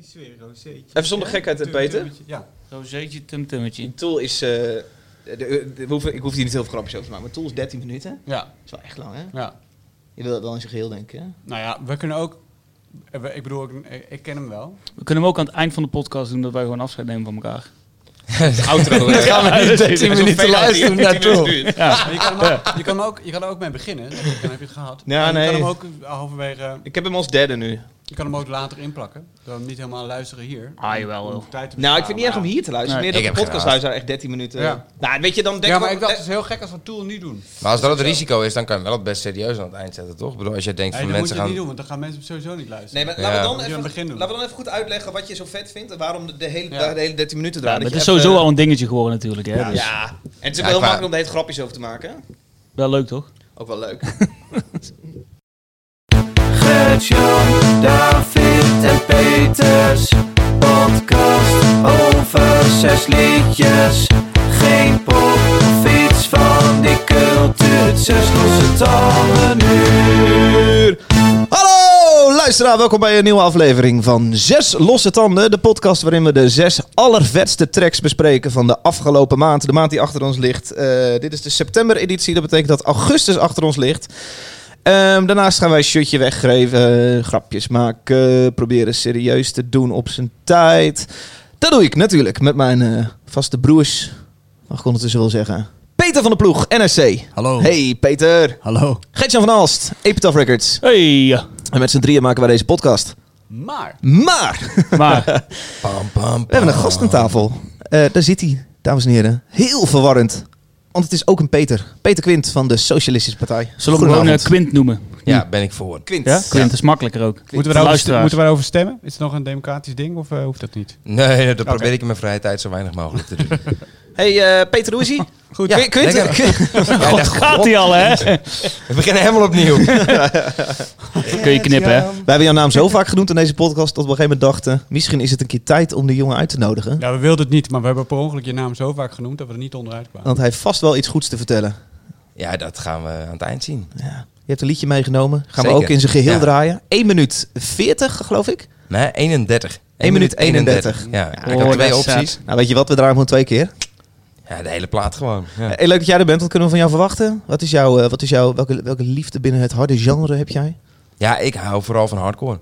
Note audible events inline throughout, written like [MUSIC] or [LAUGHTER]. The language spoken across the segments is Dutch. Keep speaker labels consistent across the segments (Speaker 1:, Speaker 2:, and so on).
Speaker 1: is weer rozeetje.
Speaker 2: Even zonder gekheid, hè,
Speaker 1: Tum-
Speaker 2: Peter?
Speaker 1: tummetje. Ja.
Speaker 3: Rozeetje, tumtummetje.
Speaker 2: Tool is... eh, de- de- we hoeven- ik hoef hier niet heel veel grapjes over te maken, maar Tool is 13 minuten.
Speaker 4: Ja,
Speaker 2: Dat is wel echt lang, hè?
Speaker 4: ja.
Speaker 2: Je wil dat wel in zijn geheel denken, hè?
Speaker 4: Nou ja, we kunnen ook... eh, we- Ik bedoel, ik, ik ken hem wel.
Speaker 3: We kunnen hem ook aan het eind van de podcast doen dat wij gewoon afscheid nemen van elkaar.
Speaker 5: De
Speaker 2: [LAUGHS]
Speaker 5: outro. eh,
Speaker 4: gaan we niet
Speaker 5: 13 minuten luisteren naartoe.
Speaker 4: Maar je, kan hem ook, je, kan hem ook, je kan er ook mee beginnen. Dan heb je het gehad.
Speaker 2: Ja,
Speaker 4: En
Speaker 2: nee.
Speaker 4: Je kan hem ook halverwege...
Speaker 2: Ik heb hem als derde nu.
Speaker 4: Je kan hem ook later inplakken. Dan niet helemaal luisteren hier.
Speaker 3: Ah, jawel.
Speaker 4: Om
Speaker 3: joh.
Speaker 4: tijd te
Speaker 2: Nou, ik
Speaker 4: besparen,
Speaker 2: vind het niet erg om
Speaker 4: maar-
Speaker 2: hier te luisteren.
Speaker 3: Nee.
Speaker 2: meer
Speaker 5: Ik
Speaker 2: dat de
Speaker 5: heb geen
Speaker 2: podcastluisteraar echt 13 minuten...
Speaker 4: Ja.
Speaker 2: Nou, weet je, dan denk
Speaker 4: Ja,
Speaker 2: ik
Speaker 4: maar
Speaker 2: wel-
Speaker 4: ik dacht,
Speaker 2: eh,
Speaker 4: het is heel gek als we Tool niet doen.
Speaker 5: Maar als dat het risico is, dan kan je hem wel het best serieus aan het eind zetten, toch? Ik bedoel, als jij denkt
Speaker 4: Nee,
Speaker 5: van
Speaker 4: dan moet je
Speaker 5: mensen
Speaker 4: het
Speaker 5: gaan...
Speaker 4: niet doen, want dan gaan mensen sowieso niet luisteren.
Speaker 2: Nee, maar
Speaker 5: Ja.
Speaker 2: laten, we dan
Speaker 5: Moet
Speaker 4: je
Speaker 2: even,
Speaker 4: aan het begin doen.
Speaker 2: laten we dan even goed uitleggen wat je zo vet vindt en waarom de, de hele,
Speaker 4: Ja.
Speaker 2: de hele 13 minuten
Speaker 3: Ja,
Speaker 2: draait.
Speaker 3: maar het
Speaker 2: Dat
Speaker 3: is
Speaker 2: je even-
Speaker 3: sowieso al een dingetje geworden natuurlijk. Hè?
Speaker 4: Ja.
Speaker 3: Dus
Speaker 2: eh, Ja, en het is ook wel
Speaker 5: Ja,
Speaker 2: heel
Speaker 5: qua-
Speaker 2: makkelijk om daar hele grapjes over te maken.
Speaker 3: wel leuk toch?
Speaker 2: Ook wel leuk.
Speaker 6: Gert-Jan, David en Peters. Podcast over zes liedjes. Geen pop of iets van die cultuur. Zes losse tanden nu.
Speaker 2: Hallo luisteraar, welkom bij een nieuwe aflevering van Zes Losse Tanden. De podcast waarin we de zes allervetste tracks bespreken van de afgelopen maand. De maand die achter ons ligt. Eh, dit is de september editie, dat betekent dat augustus achter ons ligt. Ehm, daarnaast gaan wij shirtje weggeven, eh, grapjes maken, proberen serieus te doen op zijn tijd. Dat doe ik natuurlijk met mijn eh, vaste broers, mag ik ondertussen wel zeggen. Peter van de Ploeg, NSC.
Speaker 4: Hallo.
Speaker 2: Hey Peter.
Speaker 4: Hallo.
Speaker 2: Gertjan van Alst, Epitaph Records.
Speaker 3: Hey! ja.
Speaker 2: En met z'n drieën maken we deze podcast.
Speaker 4: Maar,
Speaker 2: Maar we
Speaker 3: Maar,
Speaker 5: Pam, pam,
Speaker 2: hebben een gast aan tafel. Eh, daar zit hij, dames en heren. Heel verwarrend. Want het is ook een Peter. Peter Quint van de Socialistische Partij.
Speaker 3: zullen we hem gewoon eh,
Speaker 2: Goedenavond.
Speaker 3: Quint noemen?
Speaker 5: Ja, ben ik voor.
Speaker 2: Quint.
Speaker 3: Ja? Quint is makkelijker ook.
Speaker 4: moeten we,
Speaker 3: Voor
Speaker 4: daarover, st-
Speaker 3: luisteraars.
Speaker 4: moeten we daarover stemmen? Is het nog een democratisch ding of eh, hoeft dat niet?
Speaker 5: Nee, dat probeer ik in mijn vrije tijd zo weinig mogelijk te doen.
Speaker 2: Hey eh, Peter, hoe is hij? Goed.
Speaker 5: Ja,
Speaker 2: Quint,
Speaker 5: lekker.
Speaker 2: [LAUGHS] Quint-
Speaker 5: Jij dacht,
Speaker 3: Gaat
Speaker 5: "God,
Speaker 3: hij al, hè?
Speaker 5: We beginnen helemaal opnieuw. [LAUGHS]
Speaker 3: Kun je knippen, hè?
Speaker 2: We hebben jouw naam zo vaak genoemd in deze podcast dat we op een gegeven moment dachten... misschien is het een keer tijd om de jongen uit te nodigen.
Speaker 4: Ja, we wilden het niet, maar we hebben per ongeluk je naam zo vaak genoemd dat we er niet onderuit kwamen.
Speaker 2: Want hij heeft vast wel iets goeds te vertellen.
Speaker 5: Ja, dat gaan we aan het eind zien.
Speaker 2: Ja. Je hebt een liedje meegenomen. Gaan we
Speaker 5: Zeker.
Speaker 2: ook in zijn geheel
Speaker 5: Ja.
Speaker 2: draaien. 1 minuut 40, geloof ik.
Speaker 5: Nee, 31.
Speaker 2: 1 minuut 31.
Speaker 5: Ja, ik
Speaker 3: Oh,
Speaker 5: had twee
Speaker 3: dat is
Speaker 5: opties.
Speaker 2: Nou, weet je wat? We draaien gewoon twee keer.
Speaker 5: Ja, de hele plaat gewoon. Ja.
Speaker 2: Hey, leuk dat jij er bent. Wat kunnen we van jou verwachten? Wat is jouw, eh, wat is jouw, welke, welke liefde binnen het harde genre heb jij?
Speaker 5: Ja, ik hou vooral van hardcore.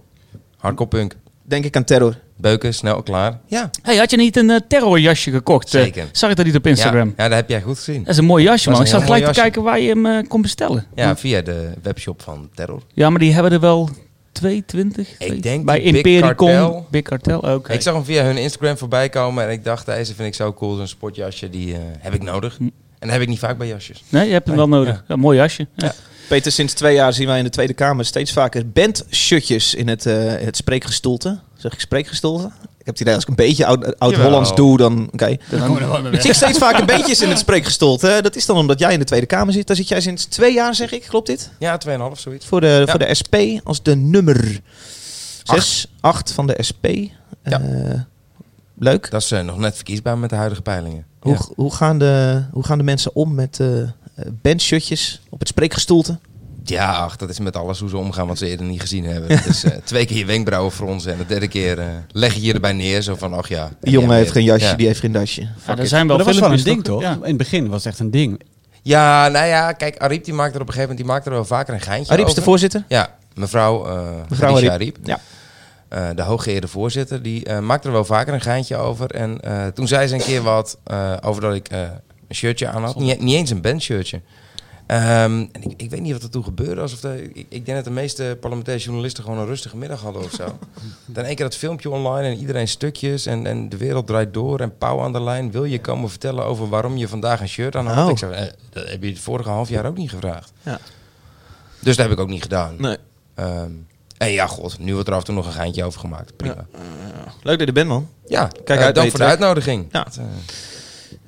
Speaker 5: Hardcore punk.
Speaker 2: Denk ik aan terror.
Speaker 5: Beuken, snel klaar. Ja,
Speaker 3: Hey, had je niet een eh, terrorjasje gekocht? Eh,
Speaker 5: Zeker.
Speaker 3: zag ik dat niet op Instagram? Eh.
Speaker 5: ja, ja, dat heb jij goed gezien.
Speaker 3: Dat is een mooi jasje,
Speaker 5: Dat
Speaker 3: man. Ik
Speaker 5: is
Speaker 3: zat
Speaker 5: een heel
Speaker 3: gelijk te
Speaker 5: mooi
Speaker 3: kijken waar je hem eh, kon bestellen.
Speaker 5: Ja, via de webshop van Terror.
Speaker 3: Ja, maar die hebben er wel 22.
Speaker 5: Ik denk
Speaker 3: bij
Speaker 5: die Big
Speaker 3: Impericon.
Speaker 5: Cartel.
Speaker 3: Big Cartel, oké.
Speaker 5: Ik zag hem via hun Instagram voorbij komen en ik dacht, deze vind ik zo cool. Zo'n sportjasje, die eh, heb ik
Speaker 2: Hm.
Speaker 5: nodig. En dat heb ik niet vaak bij jasjes.
Speaker 3: Nee, je hebt hem wel nodig. Ja. mooi jasje. Ja.
Speaker 2: Peter, sinds twee jaar zien wij in de Tweede Kamer steeds vaker bandshutjes in het, eh, het spreekgestoelte. Zeg ik spreekgestoelte? Ik heb het idee, als ik een beetje oud- oud-Hollands
Speaker 5: Jawel.
Speaker 2: doe, dan... Oké. Ik zie steeds vaker bandjes in het spreekgestoelte. Dat is dan omdat jij in de Tweede Kamer zit. Daar zit jij sinds twee jaar, zeg ik. Klopt dit?
Speaker 5: Ja, 2,5 zoiets.
Speaker 2: Voor de,
Speaker 5: Ja.
Speaker 2: voor de SP als de nummer 6, 8 van de SP.
Speaker 5: Ja.
Speaker 2: Eh, leuk.
Speaker 5: Dat is eh, nog net verkiesbaar met de huidige peilingen.
Speaker 2: Hoe,
Speaker 5: Ja.
Speaker 2: hoe, gaan de, hoe gaan de mensen om met eh eh, bandshirtjes op het spreekgestoelte?
Speaker 5: Ja, ach, dat is met alles hoe ze omgaan wat ze eerder niet gezien hebben. Het
Speaker 2: [LAUGHS]
Speaker 5: is eh, twee keer je wenkbrauwen fronsen en de derde keer eh, leg je je erbij neer. Zo van, ach ja.
Speaker 2: Die jongen
Speaker 5: Ja,
Speaker 2: heeft geen jasje,
Speaker 5: ja.
Speaker 2: die heeft geen dasje.
Speaker 3: Ja, er zijn wel
Speaker 4: Maar dat was wel een
Speaker 3: filmpjes,
Speaker 4: ding, toch?
Speaker 3: Ja.
Speaker 4: In het begin was het echt een ding.
Speaker 5: Ja, nou ja, kijk, Ariep die maakt er op een gegeven moment die maakt er wel vaker een geintje
Speaker 2: Ariep is
Speaker 5: over.
Speaker 2: de voorzitter.
Speaker 5: Ja, mevrouw, eh
Speaker 2: Mevrouw
Speaker 5: Khadija
Speaker 2: Ariep. Ja.
Speaker 5: eh, de hooggeëerde voorzitter, die eh, maakte er wel vaker een geintje over. En eh, toen zei ze een keer wat eh, over dat ik eh, een shirtje aan had. Niet, niet eens een bandshirtje. Ehm, en ik, ik weet niet wat er toen gebeurde. Alsof de, ik, ik denk dat de meeste parlementaire journalisten gewoon een rustige middag hadden of
Speaker 2: [LAUGHS]
Speaker 5: zo. Dan één keer dat filmpje online en iedereen stukjes. En, en de wereld draait door. En Pauw aan de lijn, wil je komen vertellen over waarom je vandaag een shirt aan had?
Speaker 2: Oh.
Speaker 5: Ik zei, eh, dat heb je het vorige half jaar ook niet gevraagd.
Speaker 2: Ja.
Speaker 5: Dus dat heb ik ook niet gedaan.
Speaker 2: Nee.
Speaker 5: Ehm, en ja, god, nu wordt er af en toe nog een geintje over gemaakt. Prima.
Speaker 2: Leuk dat je er bent, man.
Speaker 5: Ja,
Speaker 2: Kijk
Speaker 5: kijk
Speaker 2: uit,
Speaker 5: uit. Dank
Speaker 2: Peter.
Speaker 5: voor de uitnodiging.
Speaker 2: Ja.
Speaker 5: Eh,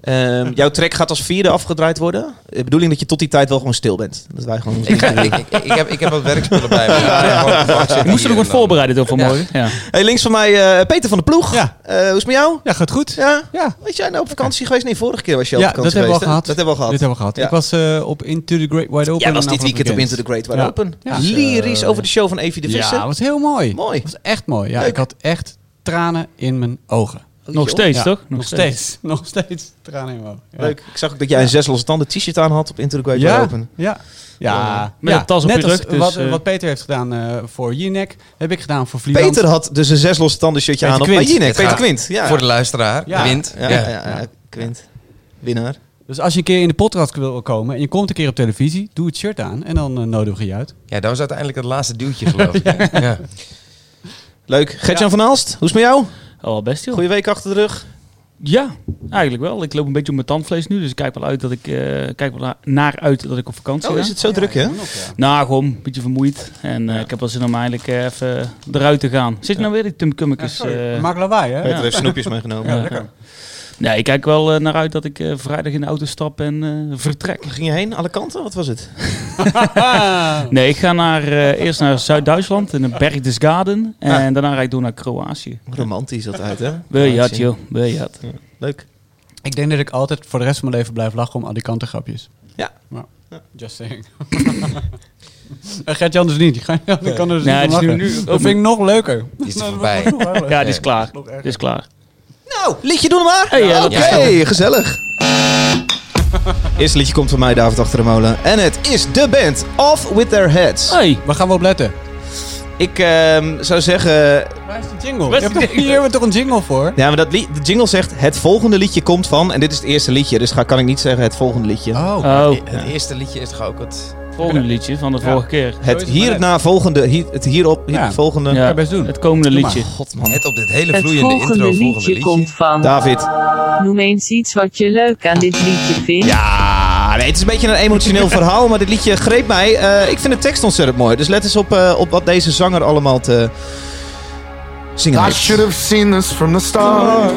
Speaker 2: Ehm, jouw track gaat als vierde afgedraaid worden. De bedoeling dat je tot die tijd wel gewoon stil bent. Dat wij gewoon...
Speaker 5: ik, ik, ik, ik heb, ik heb wat werkspullen bij me. Ja,
Speaker 3: Ik moest er nog wat voorbereiden door vanmorgen. Ja.
Speaker 2: [LAUGHS] Hey, links van mij eh, Peter van de Ploeg.
Speaker 4: Ja.
Speaker 2: Eh, hoe is het met jou?
Speaker 4: Ja, gaat goed.
Speaker 2: Ja.
Speaker 4: Ja.
Speaker 2: Weet jij nou op vakantie geweest? Nee, vorige keer was je op
Speaker 4: Ja,
Speaker 2: vakantie
Speaker 4: dat hebben we
Speaker 2: geweest,
Speaker 4: al
Speaker 2: hè?
Speaker 4: gehad.
Speaker 2: Dat hebben we al
Speaker 4: Dit
Speaker 2: gehad.
Speaker 4: hebben we gehad.
Speaker 2: Ja.
Speaker 4: Ik was eh, op Into the Great Wide Open.
Speaker 2: Jij was
Speaker 4: en
Speaker 2: dit
Speaker 4: afgelopen
Speaker 2: weekend op Into the
Speaker 4: weekend.
Speaker 2: Great Wide
Speaker 4: Ja.
Speaker 2: Open.
Speaker 4: Ja.
Speaker 2: Lyrisch over de show van Evie de Visser.
Speaker 4: Ja, was heel mooi.
Speaker 2: Mooi.
Speaker 4: was echt mooi. Ja,
Speaker 2: Leuk.
Speaker 4: ik had echt tranen in mijn ogen.
Speaker 3: Nog steeds,
Speaker 4: Ja,
Speaker 3: toch?
Speaker 4: Nog steeds. [LAUGHS] Nog steeds tranen in mijn ogen. Ja.
Speaker 2: Leuk. Ik zag ook dat jij een zes losse tanden t-shirt aan had op Interquake
Speaker 4: Ja,
Speaker 2: Open.
Speaker 4: ja. Ja,
Speaker 3: Met
Speaker 4: ja,
Speaker 3: een tas op
Speaker 4: net
Speaker 3: je
Speaker 4: als
Speaker 3: rug, dus,
Speaker 4: wat,
Speaker 3: eh.
Speaker 4: wat Peter heeft gedaan eh, voor Jinek, heb ik gedaan voor Vlieland.
Speaker 2: Peter had dus een zes losse tanden shirtje
Speaker 4: Peter
Speaker 2: aan op
Speaker 4: Quint.
Speaker 2: Jinek.
Speaker 5: Het
Speaker 2: Peter
Speaker 5: gaat-
Speaker 2: Quint. Ja.
Speaker 5: Voor de luisteraar,
Speaker 4: Ja.
Speaker 5: wint.
Speaker 2: ja, ja, ja, ja, Quint. Winnaar.
Speaker 4: Dus als je een keer in de podcast wil komen en je komt een keer op televisie, doe het shirt aan en dan eh, nodigen we je uit.
Speaker 5: Ja, dat was uiteindelijk het laatste duwtje, geloof ik. hè? ja.
Speaker 2: Leuk. Gertjan van Aalst, hoe is het met jou?
Speaker 3: Al best, joh.
Speaker 2: Goeie week achter de rug.
Speaker 3: Ja, eigenlijk wel. Ik loop een beetje op mijn tandvlees nu, dus ik kijk wel uit dat ik eh, kijk wel na- naar uit dat ik op vakantie
Speaker 2: Oh,
Speaker 3: ga.
Speaker 2: is het zo druk, hè?
Speaker 3: Nou, gewoon een beetje vermoeid. En eh, ik heb wel zin om eigenlijk eh, even eruit te gaan. Zit je nou weer die Tim Kummekes? eh,
Speaker 4: Maak lawaai,
Speaker 2: [LAUGHS]
Speaker 4: hè?
Speaker 2: Peter heeft snoepjes meegenomen.
Speaker 3: Ja, lekker. Nee, ik kijk wel eh, naar uit dat ik eh, vrijdag in de auto stap en eh, vertrek.
Speaker 2: Waar ging je heen? Alle kanten? Wat was het?
Speaker 3: Nee, ik ga naar, eh, eerst naar Zuid-Duitsland in de Berchtesgaden. En daarna rijd ik door naar Kroatië.
Speaker 2: Romantisch altijd, hè?
Speaker 3: Bejat, joh. Bejat.
Speaker 2: Leuk.
Speaker 4: [LAUGHS] Ik denk dat ik altijd voor de rest van mijn leven blijf lachen om al die kantengrapjes.
Speaker 2: Ja.
Speaker 4: Just saying. [LAUGHS] en Gert-Jan dus niet. [LAUGHS] Die ga- die kan er dus
Speaker 3: Nee,
Speaker 4: niet
Speaker 3: het
Speaker 4: van
Speaker 3: is nu-
Speaker 4: lachen.
Speaker 3: nu-
Speaker 4: dat vind ik nog
Speaker 3: [LAUGHS]
Speaker 4: leuker.
Speaker 5: Die is er voorbij.
Speaker 3: Ja, die is klaar.
Speaker 4: Nog
Speaker 3: Die
Speaker 4: erger.
Speaker 3: is klaar.
Speaker 2: Nou, liedje doen we maar.
Speaker 3: Hey, ja, dat
Speaker 2: Oké,
Speaker 3: is
Speaker 2: gezellig. Eerste liedje komt van mij, David Achter de Molen. En het is de band Off With Their Heads.
Speaker 3: Hey,
Speaker 4: Waar gaan we op letten?
Speaker 2: Ik ehm, zou zeggen...
Speaker 4: Waar is de jingle?
Speaker 3: Waar is die
Speaker 4: Je hebt-
Speaker 3: jingle?
Speaker 4: Hier hebben we toch een jingle voor?
Speaker 2: Ja, maar dat lied, de jingle zegt... Het volgende liedje komt van... En dit is het eerste liedje, dus ga, kan ik niet zeggen het volgende liedje.
Speaker 4: Oh.
Speaker 3: oh,
Speaker 5: Het eerste liedje is toch ook het...
Speaker 3: volgende liedje van de vorige keer.
Speaker 2: Het
Speaker 4: het maar
Speaker 2: hierna volgende... Hier, het hierop hier,
Speaker 4: Ja.
Speaker 2: volgende...
Speaker 3: Ja,
Speaker 4: best doen.
Speaker 3: Het komende
Speaker 4: Doe maar.
Speaker 3: liedje.
Speaker 2: God, man.
Speaker 5: Net op dit hele
Speaker 1: Het
Speaker 5: vloeiende
Speaker 1: volgende
Speaker 5: intro
Speaker 1: liedje,
Speaker 5: volgende liedje.
Speaker 1: komt van.
Speaker 2: David.
Speaker 1: Noem eens iets wat je leuk aan dit liedje vindt.
Speaker 2: Ja, nee, het is een beetje een
Speaker 4: [LAUGHS]
Speaker 2: emotioneel verhaal, maar dit liedje greep mij. Eh, ik vind de tekst ontzettend mooi. Dus let eens op, eh, op wat deze zanger allemaal te zingen
Speaker 7: I
Speaker 2: heeft.
Speaker 7: should have seen this from the start.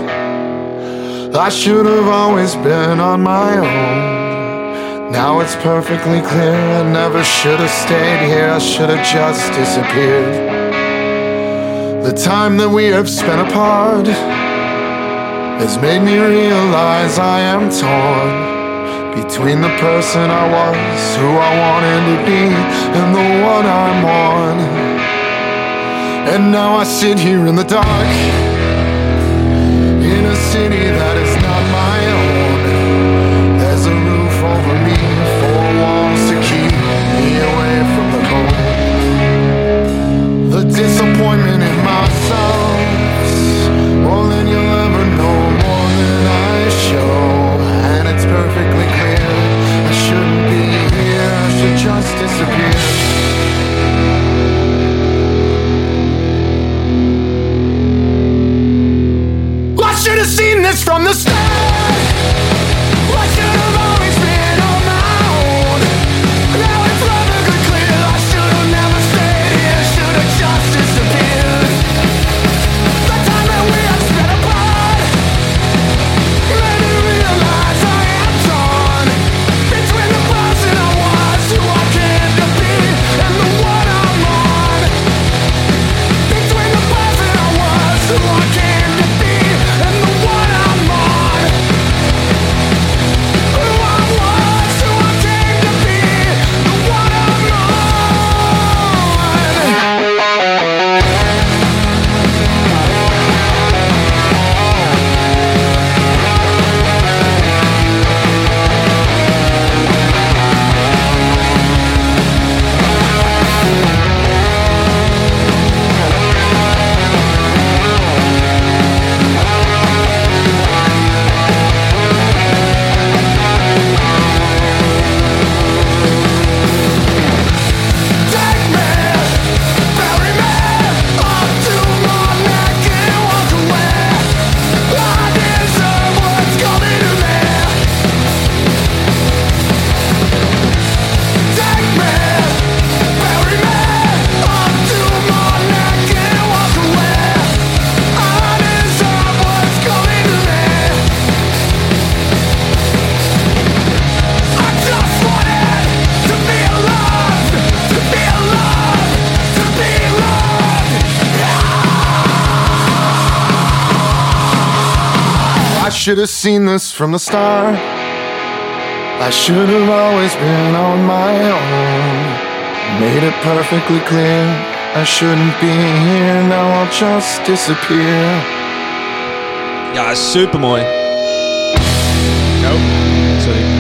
Speaker 7: I should have always been on my own. Now it's perfectly clear I never should have stayed here. I should have just disappeared. The time that we have spent apart has made me realize I am torn. Between the person I was, who I wanted to be, and the one I'm on. And now I sit here in the dark In a city that is not my own There's a roof over me Four walls to keep me away from the cold The disappointment in myself More than you'll ever know More than I show And it's perfectly clear I shouldn't be here I should just disappear I should have seen this from the start. I should have always been on my own. Now it's perfectly clear I should have never stayed here. Should have just disappeared. The time that we have spent apart made me realize I am torn between the person I was, who I came to be, and the one I'm on. Between the person I was, who I came to be, and the one I'm on. Who I was, who I came to be, the one I'm on. Just wanted to be loved, to be loved, to be loved. I should have seen this from the start. I should have always been on my own. Made it perfectly clear I shouldn't be here, now I'll just disappear.
Speaker 2: Ja, supermooi. Oh, sorry.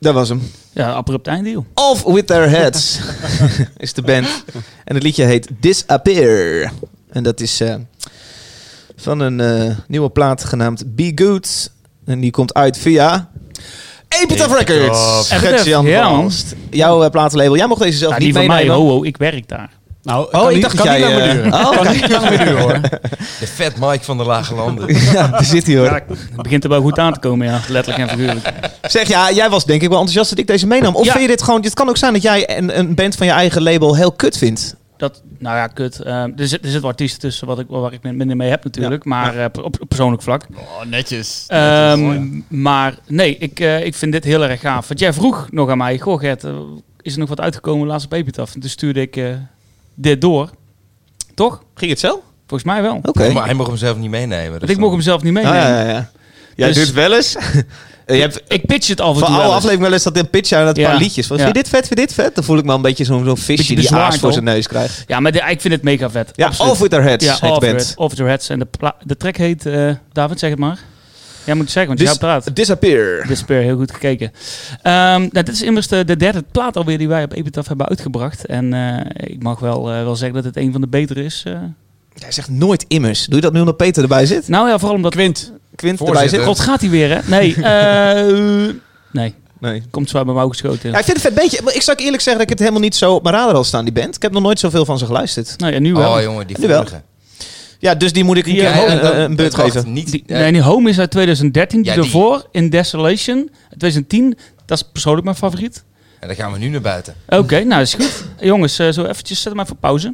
Speaker 2: Dat was hem.
Speaker 3: Ja, abrupt einddeal.
Speaker 2: Off With Their [LAUGHS] Heads is de band. En het liedje heet Disappear. En dat is eh, van een eh, nieuwe plaat genaamd Be Good. En die komt uit via... Epitaph Records.
Speaker 3: Epitaph,
Speaker 2: Gert-Jan
Speaker 3: ja,
Speaker 2: van
Speaker 3: man.
Speaker 2: Alst. Jouw eh, platenlabel. Jij mocht deze zelf
Speaker 3: Ja,
Speaker 2: niet
Speaker 3: Nou, die van mij,
Speaker 2: meenemen.
Speaker 3: ho, ho, ik werk daar.
Speaker 4: Nou,
Speaker 2: Oh, ik dacht dat jij... eh, oh,
Speaker 4: Kan niet lang meer duren hoor.
Speaker 5: De vet Mike van de Lage Landen.
Speaker 2: [LAUGHS] ja, daar zit hij hoor.
Speaker 3: Het begint er wel goed aan te komen, ja. Letterlijk en figuurlijk.
Speaker 2: Zeg, ja, jij was denk ik wel enthousiast dat ik deze meenam. Of
Speaker 3: Ja.
Speaker 2: vind je dit gewoon... Het kan ook zijn dat jij een, een band van je eigen label heel kut vindt.
Speaker 3: Dat, nou ja, kut. Ehm, er, zit, er zitten wel artiesten tussen wat ik, waar ik min- minder mee heb natuurlijk. Maar eh, op, op persoonlijk vlak.
Speaker 8: Oh, netjes.
Speaker 3: Ehm, Maar nee, ik, eh, ik vind dit heel erg gaaf. Want jij vroeg nog aan mij, goh Gert, eh, is er nog wat uitgekomen laatst op Epitaph? En toen stuurde ik eh, dit door. Toch?
Speaker 2: Ging het zo?
Speaker 3: Volgens mij wel. Want
Speaker 2: Oké.
Speaker 5: Maar hij mocht hem zelf niet meenemen.
Speaker 3: ik
Speaker 5: dus dan-
Speaker 3: mocht hem zelf niet
Speaker 2: Ah,
Speaker 3: meenemen.
Speaker 2: ja, ja, ja. Jij
Speaker 3: Dus-
Speaker 2: doet het wel eens. [LAUGHS] je
Speaker 3: [LAUGHS]
Speaker 2: hebt
Speaker 3: Ik pitch het af en toe
Speaker 2: van alle
Speaker 3: wel eens.
Speaker 2: afleveringen wel eens dat in pitch aan dat
Speaker 3: Ja.
Speaker 2: paar liedjes. Van, Vind je
Speaker 3: Ja.
Speaker 2: dit vet, vind je dit vet? Dan voel ik me een beetje zo'n zo'n visje
Speaker 3: Beetje
Speaker 2: die
Speaker 3: bezwaard,
Speaker 2: aas voor
Speaker 3: hoor.
Speaker 2: zijn neus krijgt.
Speaker 3: Ja, maar de- ik vind het mega vet.
Speaker 2: Ja,
Speaker 3: Absoluut.
Speaker 2: Off With Their Heads
Speaker 3: Ja,
Speaker 2: heet de
Speaker 3: Off
Speaker 2: band.
Speaker 3: Your- Off Your Heads. En de, pla- de track heet, eh, David zeg het maar. Jij moet het zeggen, want jij
Speaker 2: Dis-
Speaker 3: praat.
Speaker 2: Disappear.
Speaker 3: Despair, heel goed gekeken. Ehm, nou, dit is immers de, de derde plaat alweer die wij op Epitaph hebben uitgebracht. En eh, ik mag wel, eh, wel zeggen dat het een van de betere is. eh.
Speaker 2: Hij zegt nooit immers. Doe je dat nu omdat Peter erbij zit?
Speaker 3: Nou ja, vooral omdat...
Speaker 4: Quint.
Speaker 2: Quint erbij
Speaker 5: Voorzitter.
Speaker 2: zit?
Speaker 3: God, gaat hij weer, hè? Nee, eh, nee.
Speaker 2: Nee.
Speaker 3: Komt zwaar bij mijn ogen geschoten.
Speaker 2: Ja, ik vind het vet beetje. Maar ik zou ook eerlijk zeggen dat ik het helemaal niet zo op mijn radar had staan, die band. Ik heb nog nooit zoveel van ze geluisterd.
Speaker 3: Nou ja, nu wel.
Speaker 5: Oh jongen, die
Speaker 2: Nu wel.
Speaker 5: vorige.
Speaker 2: Ja, dus die moet ik een
Speaker 3: Die,
Speaker 2: keer
Speaker 3: eh,
Speaker 2: een,
Speaker 5: dat-
Speaker 2: een- een beurt
Speaker 5: dat wacht
Speaker 2: geven.
Speaker 5: Niet,
Speaker 3: Die,
Speaker 5: eh,
Speaker 3: nee, die Home is uit 2013. Die
Speaker 5: Ja, die.
Speaker 3: daarvoor, In Desolation, 2010. Dat is persoonlijk mijn favoriet.
Speaker 5: En dan gaan we nu naar buiten.
Speaker 3: Oké, nou is goed. Jongens, eh, zo eventjes, zet hem even op pauze.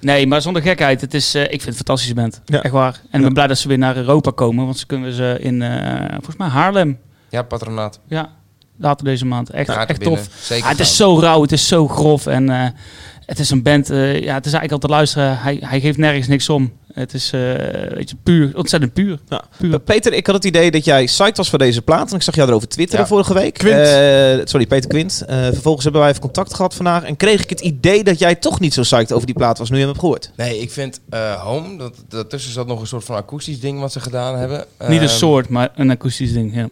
Speaker 3: Nee, maar zonder gekheid. Het is, eh, ik vind het een fantastische band.
Speaker 2: Ja.
Speaker 3: Echt waar. En ik ben blij dat ze weer naar Europa komen. Want ze kunnen ze in, eh, volgens mij, Haarlem.
Speaker 5: Ja, patronaat.
Speaker 3: Ja, later deze maand. Echt,
Speaker 5: Gaat er
Speaker 3: echt tof.
Speaker 5: binnen. Zeker
Speaker 3: Ah, het is
Speaker 5: fout.
Speaker 3: zo rauw, het is zo grof. En eh, het is een band, eh, ja, het is eigenlijk al te luisteren. Hij, hij geeft nergens niks om. Het is eh, weet je, puur, ontzettend puur.
Speaker 2: Ja.
Speaker 3: puur.
Speaker 2: Peter, ik had het idee dat jij psyched was voor deze plaat. En ik zag jou erover twitteren
Speaker 5: Ja.
Speaker 2: vorige week.
Speaker 4: Quint.
Speaker 2: Eh, sorry, Peter Quint. Eh, vervolgens hebben wij even contact gehad vandaag. En kreeg ik het idee dat jij toch niet zo psyched over die plaat was nu je hem hebt gehoord.
Speaker 5: Nee, ik vind eh, Home, dat, daartussen zat nog een soort van akoestisch ding wat ze gedaan hebben.
Speaker 3: Niet een
Speaker 5: Ehm,
Speaker 3: soort, maar een akoestisch ding. Ja.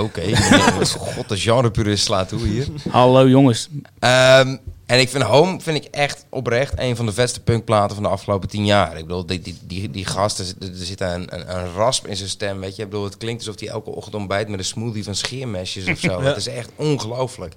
Speaker 5: Oké, [LAUGHS] god, de genrepurist slaat toe hier.
Speaker 3: Hallo jongens.
Speaker 5: Ehm, en ik vind Home vind ik echt oprecht een van de beste punkplaten van de afgelopen tien jaar. Ik bedoel, die, die, die, die gast, er zit- er zit een, een, een rasp in zijn stem, weet je. Ik bedoel, het klinkt alsof hij elke ochtend ontbijt met een smoothie van scheermesjes of
Speaker 2: [LAUGHS]
Speaker 5: zo. Het is echt ongelooflijk.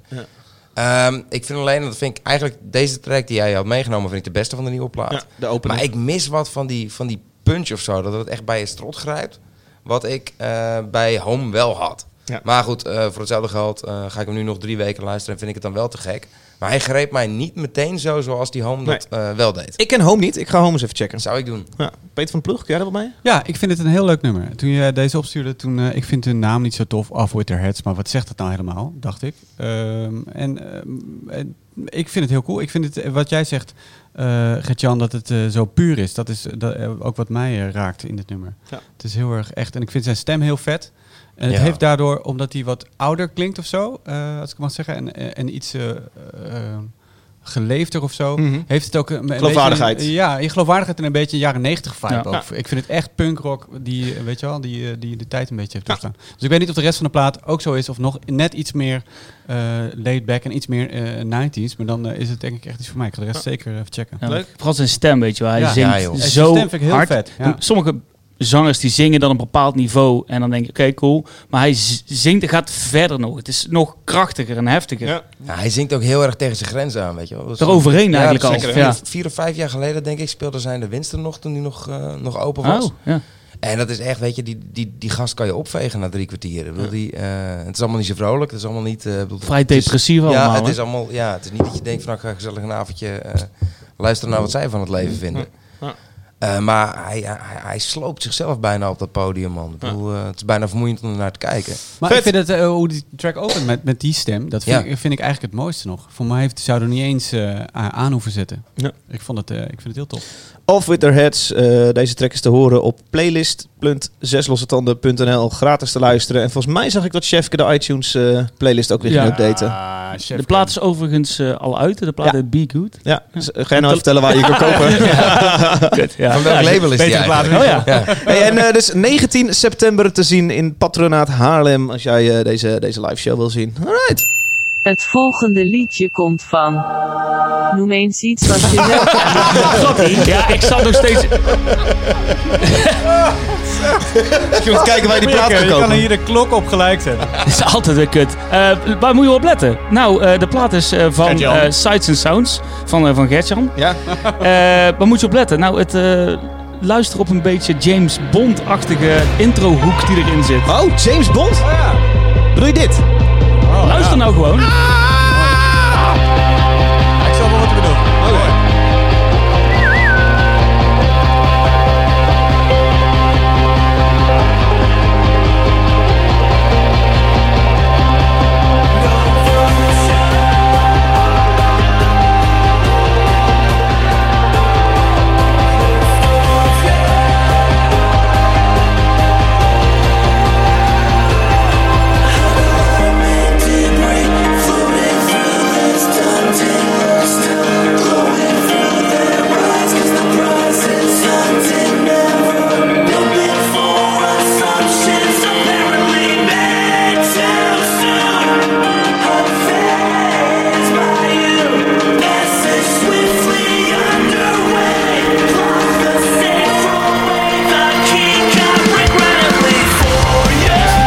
Speaker 5: Ehm, ik vind alleen, dat vind ik eigenlijk, deze track die jij had meegenomen, vind ik de beste van de nieuwe plaat.
Speaker 2: Ja, de opener.
Speaker 5: Maar ik mis wat van die, van die punch of zo, dat het echt bij je strot grijpt. Wat ik eh, bij Home wel had.
Speaker 2: Ja.
Speaker 5: Maar goed, eh, voor hetzelfde geld eh, ga ik hem nu nog drie weken luisteren en vind ik het dan wel te gek. Maar hij greep mij niet meteen zo zoals die Home dat eh, wel deed.
Speaker 2: Ik ken Home niet. Ik ga Home eens even checken.
Speaker 5: Dat zou ik doen.
Speaker 2: Ja. Peter van de Ploeg, kun jij dat wel mee?
Speaker 4: Ja, ik vind het een heel leuk nummer. Toen je deze opstuurde, toen, eh, ik vind hun naam niet zo tof, Off With Their Heads, maar wat zegt dat nou helemaal, dacht ik. Ehm, en ehm, en ik vind het heel cool. Ik vind het, eh, wat jij zegt, eh Gert-Jan, dat het eh, zo puur is, dat is eh, dat, eh, ook wat mij eh, raakt in dit nummer.
Speaker 2: Ja.
Speaker 4: Het is heel erg echt, en ik vind zijn stem heel vet. En het
Speaker 5: Ja.
Speaker 4: heeft daardoor, omdat hij wat ouder klinkt of zo, eh, als ik het mag zeggen, en, en- en iets eh, eh, geleefder of zo,
Speaker 2: Mhm.
Speaker 4: heeft het ook een, een
Speaker 2: Geloofwaardigheid.
Speaker 4: beetje- ja, je geloofwaardigheid en een beetje jaren 90 vibe
Speaker 3: Ja.
Speaker 4: ook. Ik vind het echt punkrock die, eh, weet je wel, die, eh, die de tijd een beetje heeft doorstaan. Dus ik weet niet of de rest van de plaat ook zo is of nog net iets meer eh laid back en iets meer eh 90s. Maar dan eh, is het denk ik echt iets voor mij. Ik ga de rest zeker even checken.
Speaker 3: Ja,
Speaker 2: Leuk.
Speaker 3: Vooral zijn stem, weet je wel. Hij
Speaker 4: Ja.
Speaker 5: Ja, joh.
Speaker 3: zingt
Speaker 4: Zijn
Speaker 3: zo
Speaker 4: stem vind ik heel
Speaker 3: hard.
Speaker 4: vet, ja.
Speaker 3: Sommige zangers die zingen dan een bepaald niveau en dan denk ik, oké, cool. Maar hij z- zingt en gaat verder nog. Het is nog krachtiger en heftiger.
Speaker 2: Ja.
Speaker 5: Ja, hij zingt ook heel erg tegen zijn grens aan, weet je wel. Dat is-
Speaker 3: Eroverheen eigenlijk
Speaker 5: dat is
Speaker 3: al,
Speaker 5: zeker, hè.
Speaker 3: ja.
Speaker 5: Vier, vier of vijf jaar geleden, denk ik, speelde zijn de Winston nog toen die nog, eh, nog open was.
Speaker 3: Oh, ja.
Speaker 5: En dat is echt, weet je, die, die, die gast kan je opvegen na drie kwartier. Ik bedoel, die, eh, het is allemaal niet zo vrolijk. Het is allemaal niet... eh, ik bedoel,
Speaker 3: Vrij
Speaker 5: het is-
Speaker 3: depressief allemaal,
Speaker 5: Ja, het
Speaker 3: hè?
Speaker 5: is allemaal... Ja, het is niet dat je denkt van, nou, ik ga gezellig een avondje eh, luisteren naar wat zij van het leven vinden. Eh, maar hij, hij, hij sloopt zichzelf bijna op dat podium, man. Ik bedoel, eh, het is bijna vermoeiend om naar te kijken.
Speaker 4: Maar
Speaker 2: Vet.
Speaker 4: ik vind het, eh, hoe die track opent met, met die stem, dat vind,
Speaker 5: Ja.
Speaker 4: ik, vind ik eigenlijk het mooiste nog. Voor mij heeft, zou er niet eens eh, aan hoeven zetten.
Speaker 2: Ja.
Speaker 4: Ik, vond het, eh, ik vind het heel tof.
Speaker 2: Off With Their Heads. Eh, deze track is te horen op playlist.zeslossetanden.nl. Gratis te luisteren. En volgens mij zag ik dat Chefke de iTunes eh, playlist ook weer
Speaker 3: Ja.
Speaker 2: ging updaten.
Speaker 4: Ah,
Speaker 3: De plaat is overigens eh, al uit. De plaat
Speaker 2: Ja.
Speaker 3: heet Be Good.
Speaker 2: Ja, dus, eh, ga je nou vertellen waar je
Speaker 3: [LAUGHS]
Speaker 2: kan kopen?
Speaker 3: Kut, ja.
Speaker 5: Van welk label is die
Speaker 4: betere plaat
Speaker 5: eigenlijk? [LAUGHS]
Speaker 3: Oh ja.
Speaker 2: Hey, en eh, dus 19 september te zien in Patronaat Haarlem. Als jij eh, deze, deze live show wil zien. Alright.
Speaker 1: Het volgende liedje komt van. Noem eens iets wat je leuk aan dit
Speaker 3: [LAUGHS] ja, ik zat nog
Speaker 5: [LAUGHS]
Speaker 3: steeds...
Speaker 2: Ik moet kijken waar je die plaat kan
Speaker 4: Je kan
Speaker 2: kopen.
Speaker 4: hier de klok op gelijk zetten.
Speaker 3: Dat is altijd een kut. Eh, waar moet je op letten? Nou, eh, de plaat is eh, van
Speaker 4: Gert-Jan.
Speaker 3: eh, Sights and Sounds van, eh, van Gertjan.
Speaker 2: Ja.
Speaker 3: Eh, waar moet je op letten? Nou, het, eh, luister op een beetje James Bond-achtige introhoek die erin zit.
Speaker 2: Oh, James Bond? Bedoel je dit?
Speaker 3: luister nou gewoon.
Speaker 4: Ik zal wel wat bedoelen.
Speaker 7: Yeah.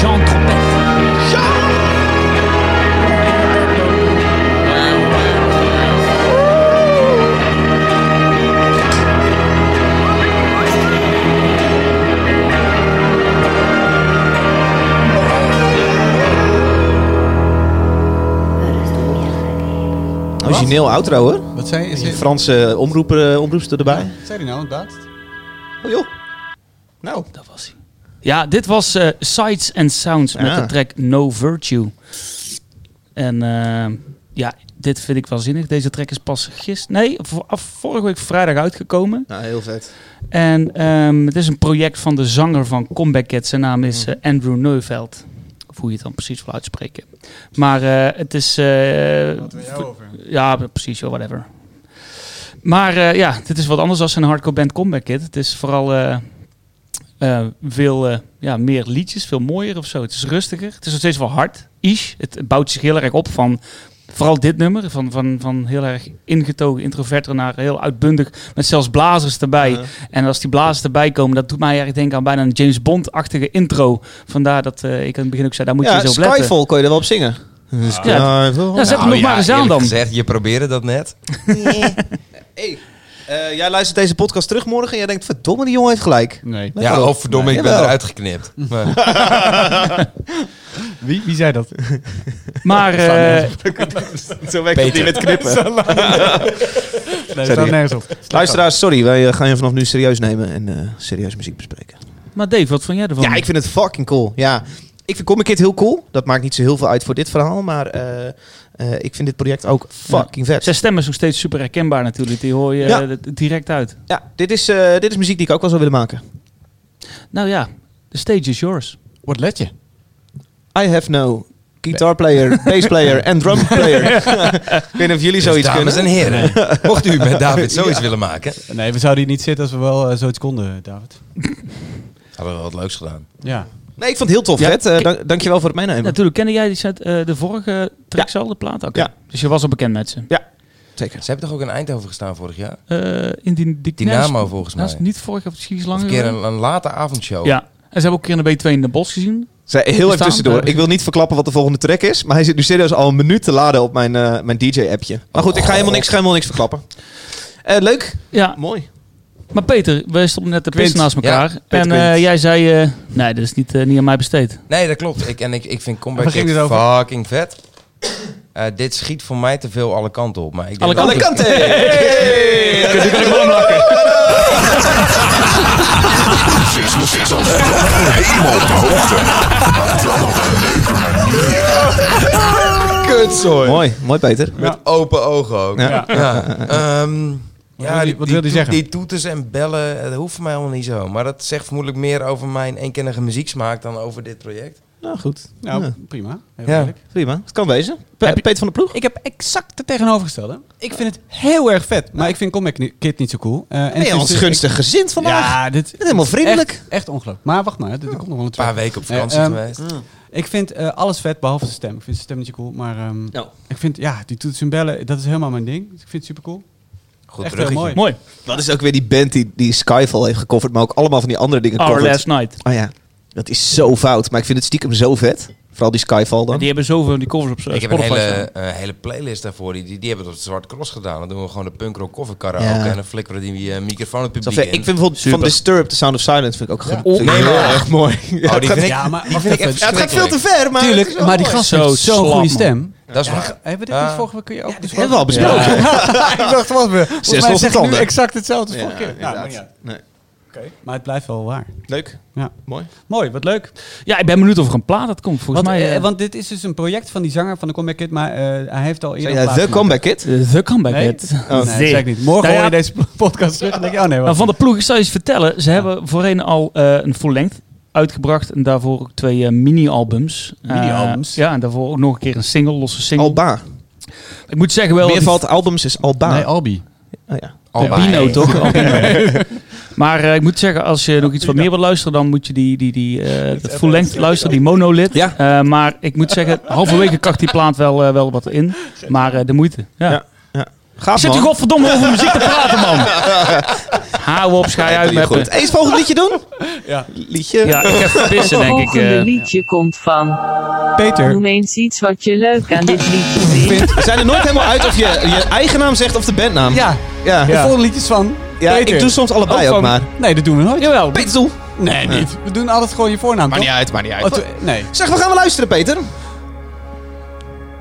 Speaker 3: Jean Trompet.
Speaker 2: Origineel outro hoor.
Speaker 4: Wat zei je?
Speaker 2: Die Franse omroeper, eh, omroepster erbij.
Speaker 4: zei die nou inderdaad?
Speaker 2: Oh joh. Nou.
Speaker 3: Dat was hij. Ja, dit was eh, Sights and Sounds met
Speaker 2: Ja.
Speaker 3: de track No Virtue. En eh, ja, dit vind ik wel zinnig. Deze track is pas gisteren... Nee, v- af- vorige week vrijdag uitgekomen.
Speaker 2: Nou, heel vet.
Speaker 3: En ehm, het is een project van de zanger van Comeback Kid. Zijn naam is eh, Andrew Neuveld. Of hoe je het dan precies wil uitspreken. Maar eh, het is... eh,
Speaker 4: over?
Speaker 3: ja, precies, joh, whatever. Maar eh, ja, dit is wat anders dan een hardcore band comeback kit. Het is vooral eh, eh, veel eh, ja, meer liedjes, veel mooier of zo. Het is rustiger. Het is nog steeds wel hard. Ish. Het bouwt zich heel erg op van Vooral dit nummer, van, van, van heel erg ingetogen, introverter naar heel uitbundig, met zelfs blazers erbij. En als die blazers erbij komen, dat doet mij eigenlijk denken aan bijna een James Bond-achtige intro. Vandaar dat eh, ik aan het begin ook zei, daar moet
Speaker 2: ja,
Speaker 3: je zo op letten.
Speaker 2: Skyfall kon je er wel op zingen. Skyfall. Eh,
Speaker 3: Ja, zet hem nog maar eens aan
Speaker 5: Oh, eerlijk
Speaker 3: dan.
Speaker 5: Gezegd, je probeerde dat net.
Speaker 2: Hey, eh, jij luistert deze podcast terug morgen en jij denkt, verdomme, die jongen heeft gelijk.
Speaker 4: [LAUGHS] Nee.
Speaker 2: Lekker
Speaker 5: ja,
Speaker 2: op.
Speaker 5: of verdomme, [LAUGHS] ik ben
Speaker 2: Jawel.
Speaker 5: eruit geknipt. Maar,
Speaker 4: Wie, wie zei dat?
Speaker 3: Maar eh,
Speaker 2: Zo werkt het niet met knippen.
Speaker 4: Nee, staat nergens op.
Speaker 2: Luisteraars, sorry, wij eh, gaan je vanaf nu serieus nemen en eh, serieus muziek bespreken.
Speaker 3: Maar Dave, wat vond jij ervan?
Speaker 2: Ja, ik vind het fucking cool. Ja, ik vind Comic Kid heel cool. Dat maakt niet zo heel veel uit voor dit verhaal, maar eh, eh, ik vind dit project ook fucking vet.
Speaker 3: Zijn stem is nog steeds super herkenbaar natuurlijk. Die hoor je
Speaker 2: Ja.
Speaker 3: eh, d- direct uit.
Speaker 2: Ja, dit is, eh, dit is muziek die ik ook wel zou willen maken.
Speaker 3: Nou ja, the stage is yours.
Speaker 4: Wat let je?
Speaker 2: I have no guitar player, bass player en [LAUGHS] drum player. ik weet niet of jullie
Speaker 5: dus
Speaker 2: zoiets
Speaker 5: dames
Speaker 2: kunnen.
Speaker 5: en heren, mocht [LAUGHS] u met David zoiets willen maken,
Speaker 4: Nee, we zouden hier niet zitten als we wel eh, zoiets konden, David.
Speaker 5: hadden we wat leuks gedaan.
Speaker 4: Ja.
Speaker 2: Nee, ik vond het heel tof,
Speaker 3: Ja,
Speaker 2: vet. Eh, dank- dankjewel voor het meenemen.
Speaker 3: Natuurlijk, kende jij die set, eh, de vorige tracks al, de plaat? Oké.
Speaker 2: Ja.
Speaker 3: Dus je was al bekend met ze.
Speaker 2: Zeker.
Speaker 5: Ze hebben toch ook in Eindhoven gestaan vorig jaar?
Speaker 3: Eh, in die, die
Speaker 5: Dynamo
Speaker 3: nee, dat is-
Speaker 5: volgens mij.
Speaker 3: Dat is niet vorig of misschien iets
Speaker 5: Of
Speaker 3: langer.
Speaker 5: een keer
Speaker 3: geleden.
Speaker 5: een, een late avondshow.
Speaker 3: Ja. En ze hebben ook een keer een B2 in de bos gezien.
Speaker 2: Zij, heel even
Speaker 3: Bestaan,
Speaker 2: tussendoor.
Speaker 3: eh,
Speaker 2: Ik wil niet verklappen wat de volgende track is. Maar hij zit nu serieus al een minuut te laden op mijn, eh, mijn DJ-appje. Maar goed, ik ga helemaal niks, ga helemaal niks verklappen. Eh, leuk.
Speaker 3: Ja,
Speaker 2: Mooi.
Speaker 3: maar Peter, we stonden net de
Speaker 2: Quint.
Speaker 3: pissen naast elkaar.
Speaker 2: Peter
Speaker 3: en eh,
Speaker 2: Quint.
Speaker 3: jij zei, eh, nee, dat is niet, eh, niet aan mij besteed.
Speaker 5: Nee, dat klopt. Ik, en ik, ik vind
Speaker 4: [LAUGHS]
Speaker 5: Comeback
Speaker 4: Waar ging
Speaker 5: Kid
Speaker 4: dit
Speaker 5: fucking vet. Eh, dit schiet voor mij te veel alle kanten op. Maar ik
Speaker 3: Alle
Speaker 5: denk
Speaker 2: Alle
Speaker 5: dat-
Speaker 2: kanten.
Speaker 5: Kutzooi.
Speaker 2: Mooi, mooi Peter.
Speaker 5: Met open ogen ook. Ja.
Speaker 4: Ja.
Speaker 5: ehm,
Speaker 4: wil die-
Speaker 5: die-
Speaker 4: wat
Speaker 5: die
Speaker 4: wil die
Speaker 5: toet-
Speaker 4: zeggen?
Speaker 5: Die toeters en bellen, eh, dat hoeft voor mij allemaal niet zo. Maar dat zegt vermoedelijk meer over mijn eenkennige muzieksmaak dan over dit project.
Speaker 2: Nou goed.
Speaker 4: Nou,
Speaker 2: Ja.
Speaker 4: prima. Heel
Speaker 5: Ja.
Speaker 4: eerlijk.
Speaker 2: Prima. Het kan wezen. Pe-
Speaker 4: Heb je-
Speaker 2: Peter van der Ploeg.
Speaker 4: Ik heb exact het tegenovergestelde. Ik vind het heel erg vet. Maar ik vind Comic Ni- Kid niet zo cool. Eh, en
Speaker 2: Ben je
Speaker 4: sinds
Speaker 2: ons
Speaker 4: de-
Speaker 2: gunstig gezind
Speaker 4: ik-
Speaker 2: vandaag?
Speaker 4: Ja, dit
Speaker 2: Helemaal vriendelijk.
Speaker 4: Echt, echt ongelooflijk. Maar wacht maar, er, er komt nog wel een
Speaker 5: Een paar
Speaker 4: tweede.
Speaker 5: weken op vakantie
Speaker 4: Eh, ehm,
Speaker 5: geweest.
Speaker 4: Ik vind eh, alles vet, behalve de stem. Ik vind de stem niet zo cool. Maar ehm,
Speaker 2: Nou.
Speaker 4: ik vind, ja, die toetsen en bellen, dat is helemaal mijn ding. Dus ik vind het super cool.
Speaker 5: Goed
Speaker 4: echt heel
Speaker 5: bruggetje.
Speaker 4: mooi.
Speaker 3: Mooi.
Speaker 2: Dat is ook weer die band die, die Skyfall heeft gecoverd. Maar ook allemaal van die andere dingen
Speaker 3: Our
Speaker 2: covert.
Speaker 3: Last Night.
Speaker 2: Oh ja. Dat is zo fout. Maar ik vind het stiekem zo vet. Vooral die Skyfall dan.
Speaker 3: Die hebben zoveel van die covers op eh,
Speaker 5: Ik heb een
Speaker 3: Spotify
Speaker 5: hele,
Speaker 3: staan.
Speaker 5: eh, hele playlist daarvoor. Die, die, die hebben we op het Zwarte Cross gedaan. Dan doen we gewoon de punkrock cover karaoke.
Speaker 2: Ja.
Speaker 5: En dan flikkeren we die eh, microfoon het
Speaker 2: Zo
Speaker 5: publiek
Speaker 2: vet.
Speaker 5: in.
Speaker 2: Ik vind bijvoorbeeld van
Speaker 3: Super.
Speaker 2: Disturbed, The Sound of Silence, vind ik ook
Speaker 5: Ja.
Speaker 2: vind ik
Speaker 5: Oh,
Speaker 2: heel
Speaker 5: ja.
Speaker 2: erg mooi.
Speaker 5: Oh, die vind ik,
Speaker 4: Ja, maar
Speaker 5: die vind ik echt
Speaker 2: Ja, het gaat veel te
Speaker 5: verschrikkelijk.
Speaker 2: ver, maar... het is
Speaker 4: Tuurlijk,
Speaker 2: wel
Speaker 4: maar die
Speaker 2: mooi.
Speaker 4: gast
Speaker 3: Zo
Speaker 4: heeft zo'n
Speaker 3: slap, man.
Speaker 4: goede stem.
Speaker 5: Dat is
Speaker 4: Ja,
Speaker 5: waar.
Speaker 4: hebben we dit
Speaker 5: Ah.
Speaker 4: niet vorige keer ook
Speaker 2: Dit
Speaker 4: besproken?
Speaker 2: hebben we al besproken.
Speaker 4: [LAUGHS] ik dacht, wat we. Volgens
Speaker 2: losse
Speaker 4: mij zeg ik nu
Speaker 2: tanden.
Speaker 4: exact hetzelfde als vorige keer. Nou,
Speaker 2: inderdaad.
Speaker 4: maar ja.
Speaker 2: Nee.
Speaker 4: Maar het blijft wel waar.
Speaker 2: Leuk.
Speaker 4: Ja.
Speaker 2: Mooi.
Speaker 4: Mooi, wat leuk.
Speaker 3: Ja, ik ben benieuwd of er een plaat uit komt. Volgens
Speaker 4: Want,
Speaker 3: mij...
Speaker 4: eh,
Speaker 3: eh,
Speaker 4: want dit is dus een project van die zanger van de Comeback Kid, maar eh, hij heeft al eerder...
Speaker 2: Zeg
Speaker 4: een
Speaker 2: jij
Speaker 4: plaat
Speaker 2: The
Speaker 4: gemaakt.
Speaker 2: Comeback Kid?
Speaker 3: eh, The Comeback
Speaker 4: Nee,
Speaker 3: Hit.
Speaker 4: Oh, nee, dat zeg ik niet. Morgen
Speaker 3: Nou ja,
Speaker 4: hoor je deze [LAUGHS] podcast terug en denk je, oh nee,
Speaker 3: Nou,
Speaker 4: wacht.
Speaker 3: van de ploeg, ik zal je iets vertellen. Ze hebben voorheen al eh, een full length uitgebracht. En daarvoor ook twee eh, mini-albums.
Speaker 4: Mini-albums?
Speaker 3: Eh, ja, en daarvoor ook nog een keer een single, losse single.
Speaker 2: Alba.
Speaker 3: Ik moet zeggen wel...
Speaker 2: Meer
Speaker 3: dat die-
Speaker 2: valt albums is Alba.
Speaker 4: Nee, Albi.
Speaker 2: Oh, ja.
Speaker 5: Alba,
Speaker 3: Albino,
Speaker 5: hey.
Speaker 3: toch? Albino. maar eh, ik moet zeggen, als je nog iets wat meer wil luisteren, dan moet je die, die, die eh, dat full length luisteren, die monolith.
Speaker 2: Ja.
Speaker 3: Eh, maar ik moet zeggen, halverwege kracht die plaat wel, eh, wel wat in. Maar eh, de moeite. Ja.
Speaker 2: Ja.
Speaker 3: Ik
Speaker 2: Gaaf
Speaker 3: zit hier
Speaker 2: man.
Speaker 3: godverdomme over muziek te praten, man. Hou op, schij uit met me.
Speaker 2: Goed. Eens volgend liedje doen.
Speaker 4: Ja.
Speaker 2: Liedje.
Speaker 3: Ja, ik heb verbissen,
Speaker 1: Het
Speaker 3: denk ik.
Speaker 1: volgende
Speaker 3: eh.
Speaker 1: liedje komt van.
Speaker 4: Peter.
Speaker 1: Noem eens iets wat je leuk aan dit liedje vindt.
Speaker 2: We zijn er nooit helemaal uit of je je eigen naam zegt of de bandnaam.
Speaker 4: Ja,
Speaker 2: Ja.
Speaker 4: de
Speaker 2: Ja.
Speaker 4: volgende liedjes van
Speaker 2: Ja,
Speaker 4: Peter.
Speaker 2: ik doe soms allebei ook,
Speaker 4: van-
Speaker 2: maar.
Speaker 4: Nee, dat doen we nooit.
Speaker 3: Jawel.
Speaker 2: Peter Doel.
Speaker 4: Nee, niet. We doen altijd gewoon je voornaam,
Speaker 2: Maar
Speaker 4: toch?
Speaker 2: niet uit, maar niet
Speaker 4: Oh,
Speaker 2: uit.
Speaker 4: toe- nee.
Speaker 2: Zeg, we gaan wel luisteren, Peter.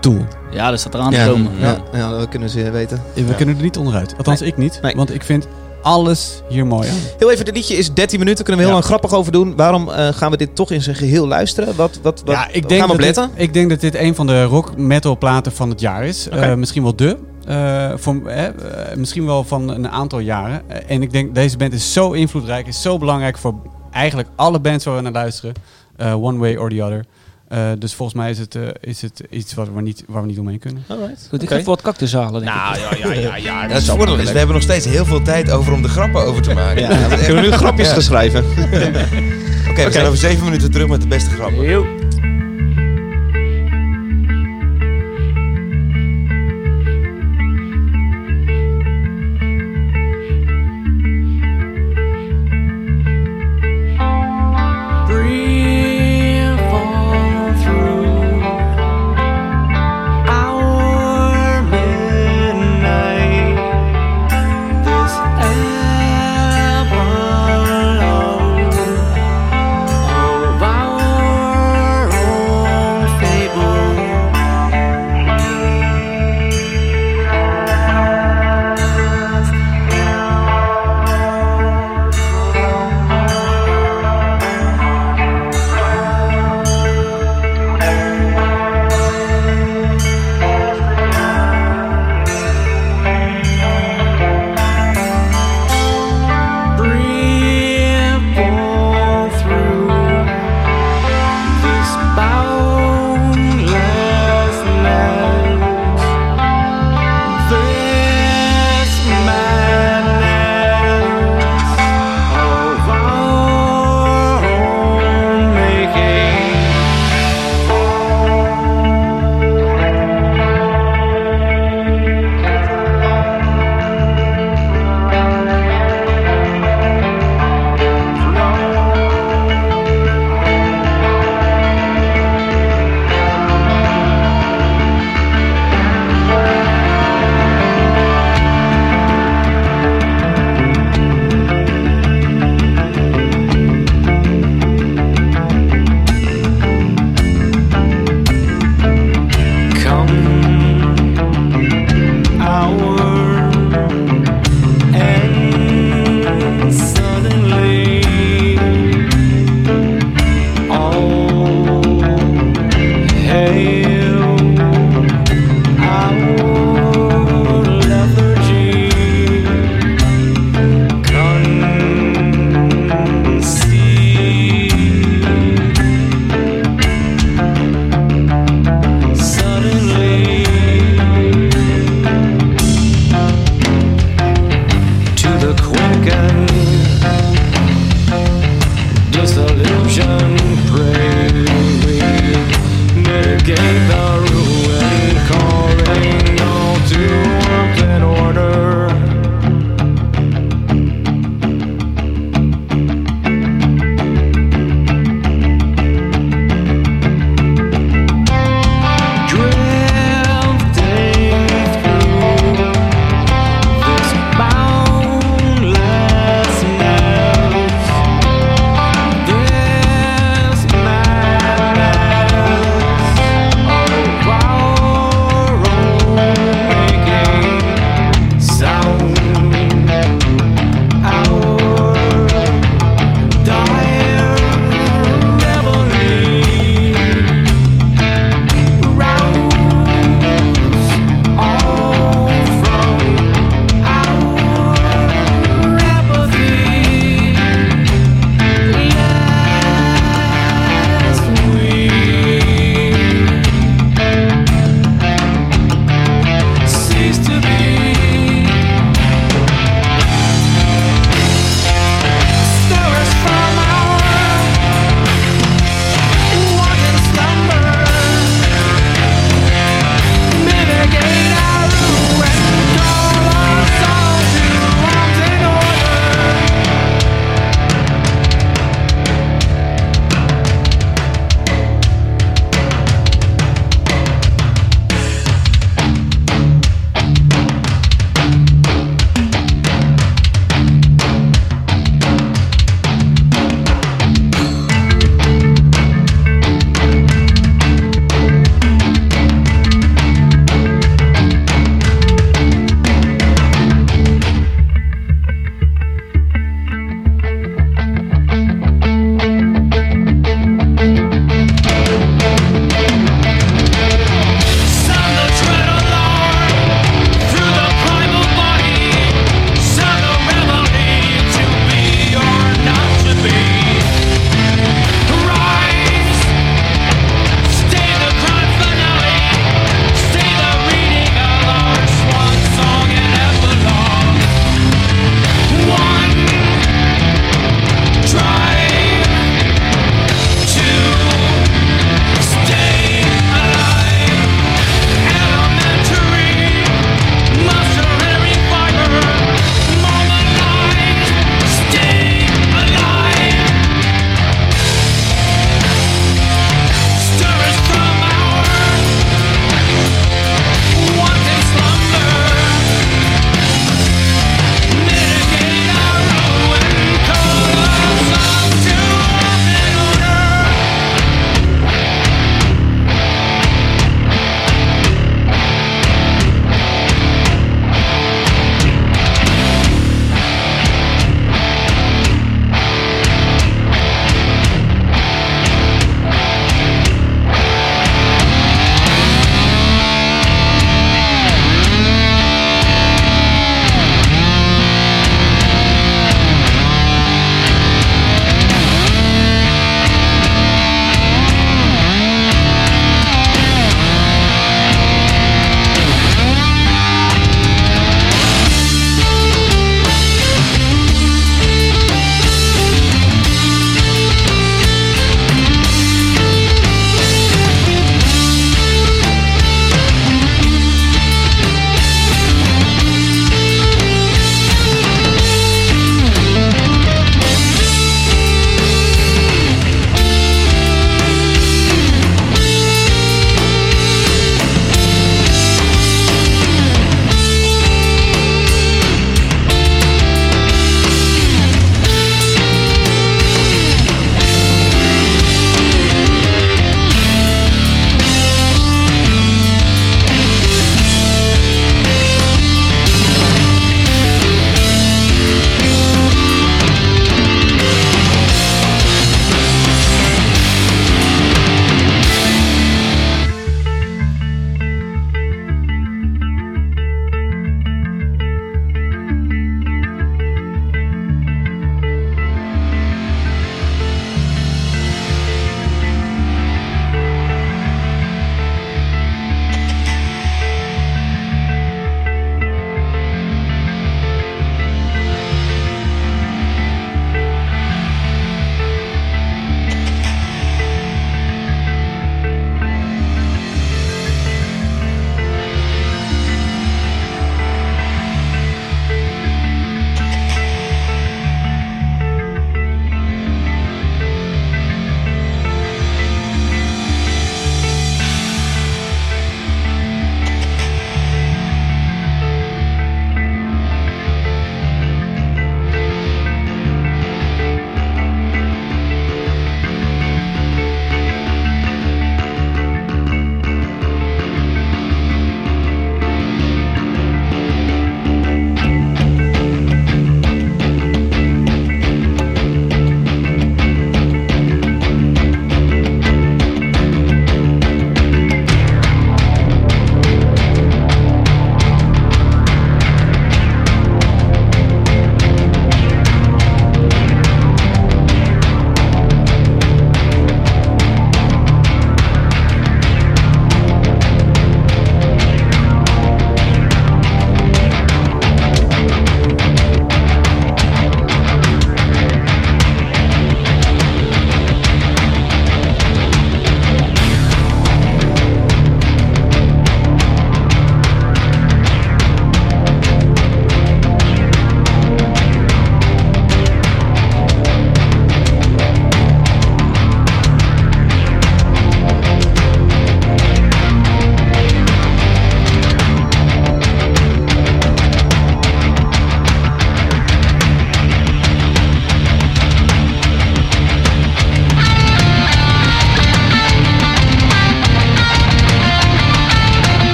Speaker 4: Doel.
Speaker 3: Ja, dat staat eraan te komen.
Speaker 2: ja. ja, dat kunnen ze weten.
Speaker 4: We kunnen er niet onderuit. Althans, ik niet.
Speaker 2: Nee.
Speaker 4: Want ik vind alles hier mooi aan.
Speaker 2: Heel even, dit liedje is 13 minuten. Kunnen we heel
Speaker 4: Ja.
Speaker 2: lang grappig over doen. Waarom eh, gaan we dit toch in zijn geheel luisteren? Wat, wat, wat
Speaker 4: Ja, ik denk,
Speaker 2: gaan we
Speaker 4: dat
Speaker 2: op letten?
Speaker 4: dit, ik denk dat dit een van de rock metal platen van het jaar is. Eh, misschien wel de. Eh, voor, eh, eh, misschien wel van een aantal jaren. Eh, en ik denk, deze band is zo invloedrijk. Is zo belangrijk voor eigenlijk alle bands waar we naar luisteren. Eh, one way or the other. Eh, dus volgens mij is het, eh, is het iets wat we niet, waar we niet omheen kunnen.
Speaker 3: Goed, ik ga even wat cactus halen, denk ik.
Speaker 5: Ja, het voordeel is, we hebben nog steeds heel veel tijd over om de grappen over te maken.
Speaker 2: Ja, we kunnen nu grapjes gaan schrijven.
Speaker 5: Oké, we zijn over zeven minuten terug met de beste grappen.
Speaker 3: Yo.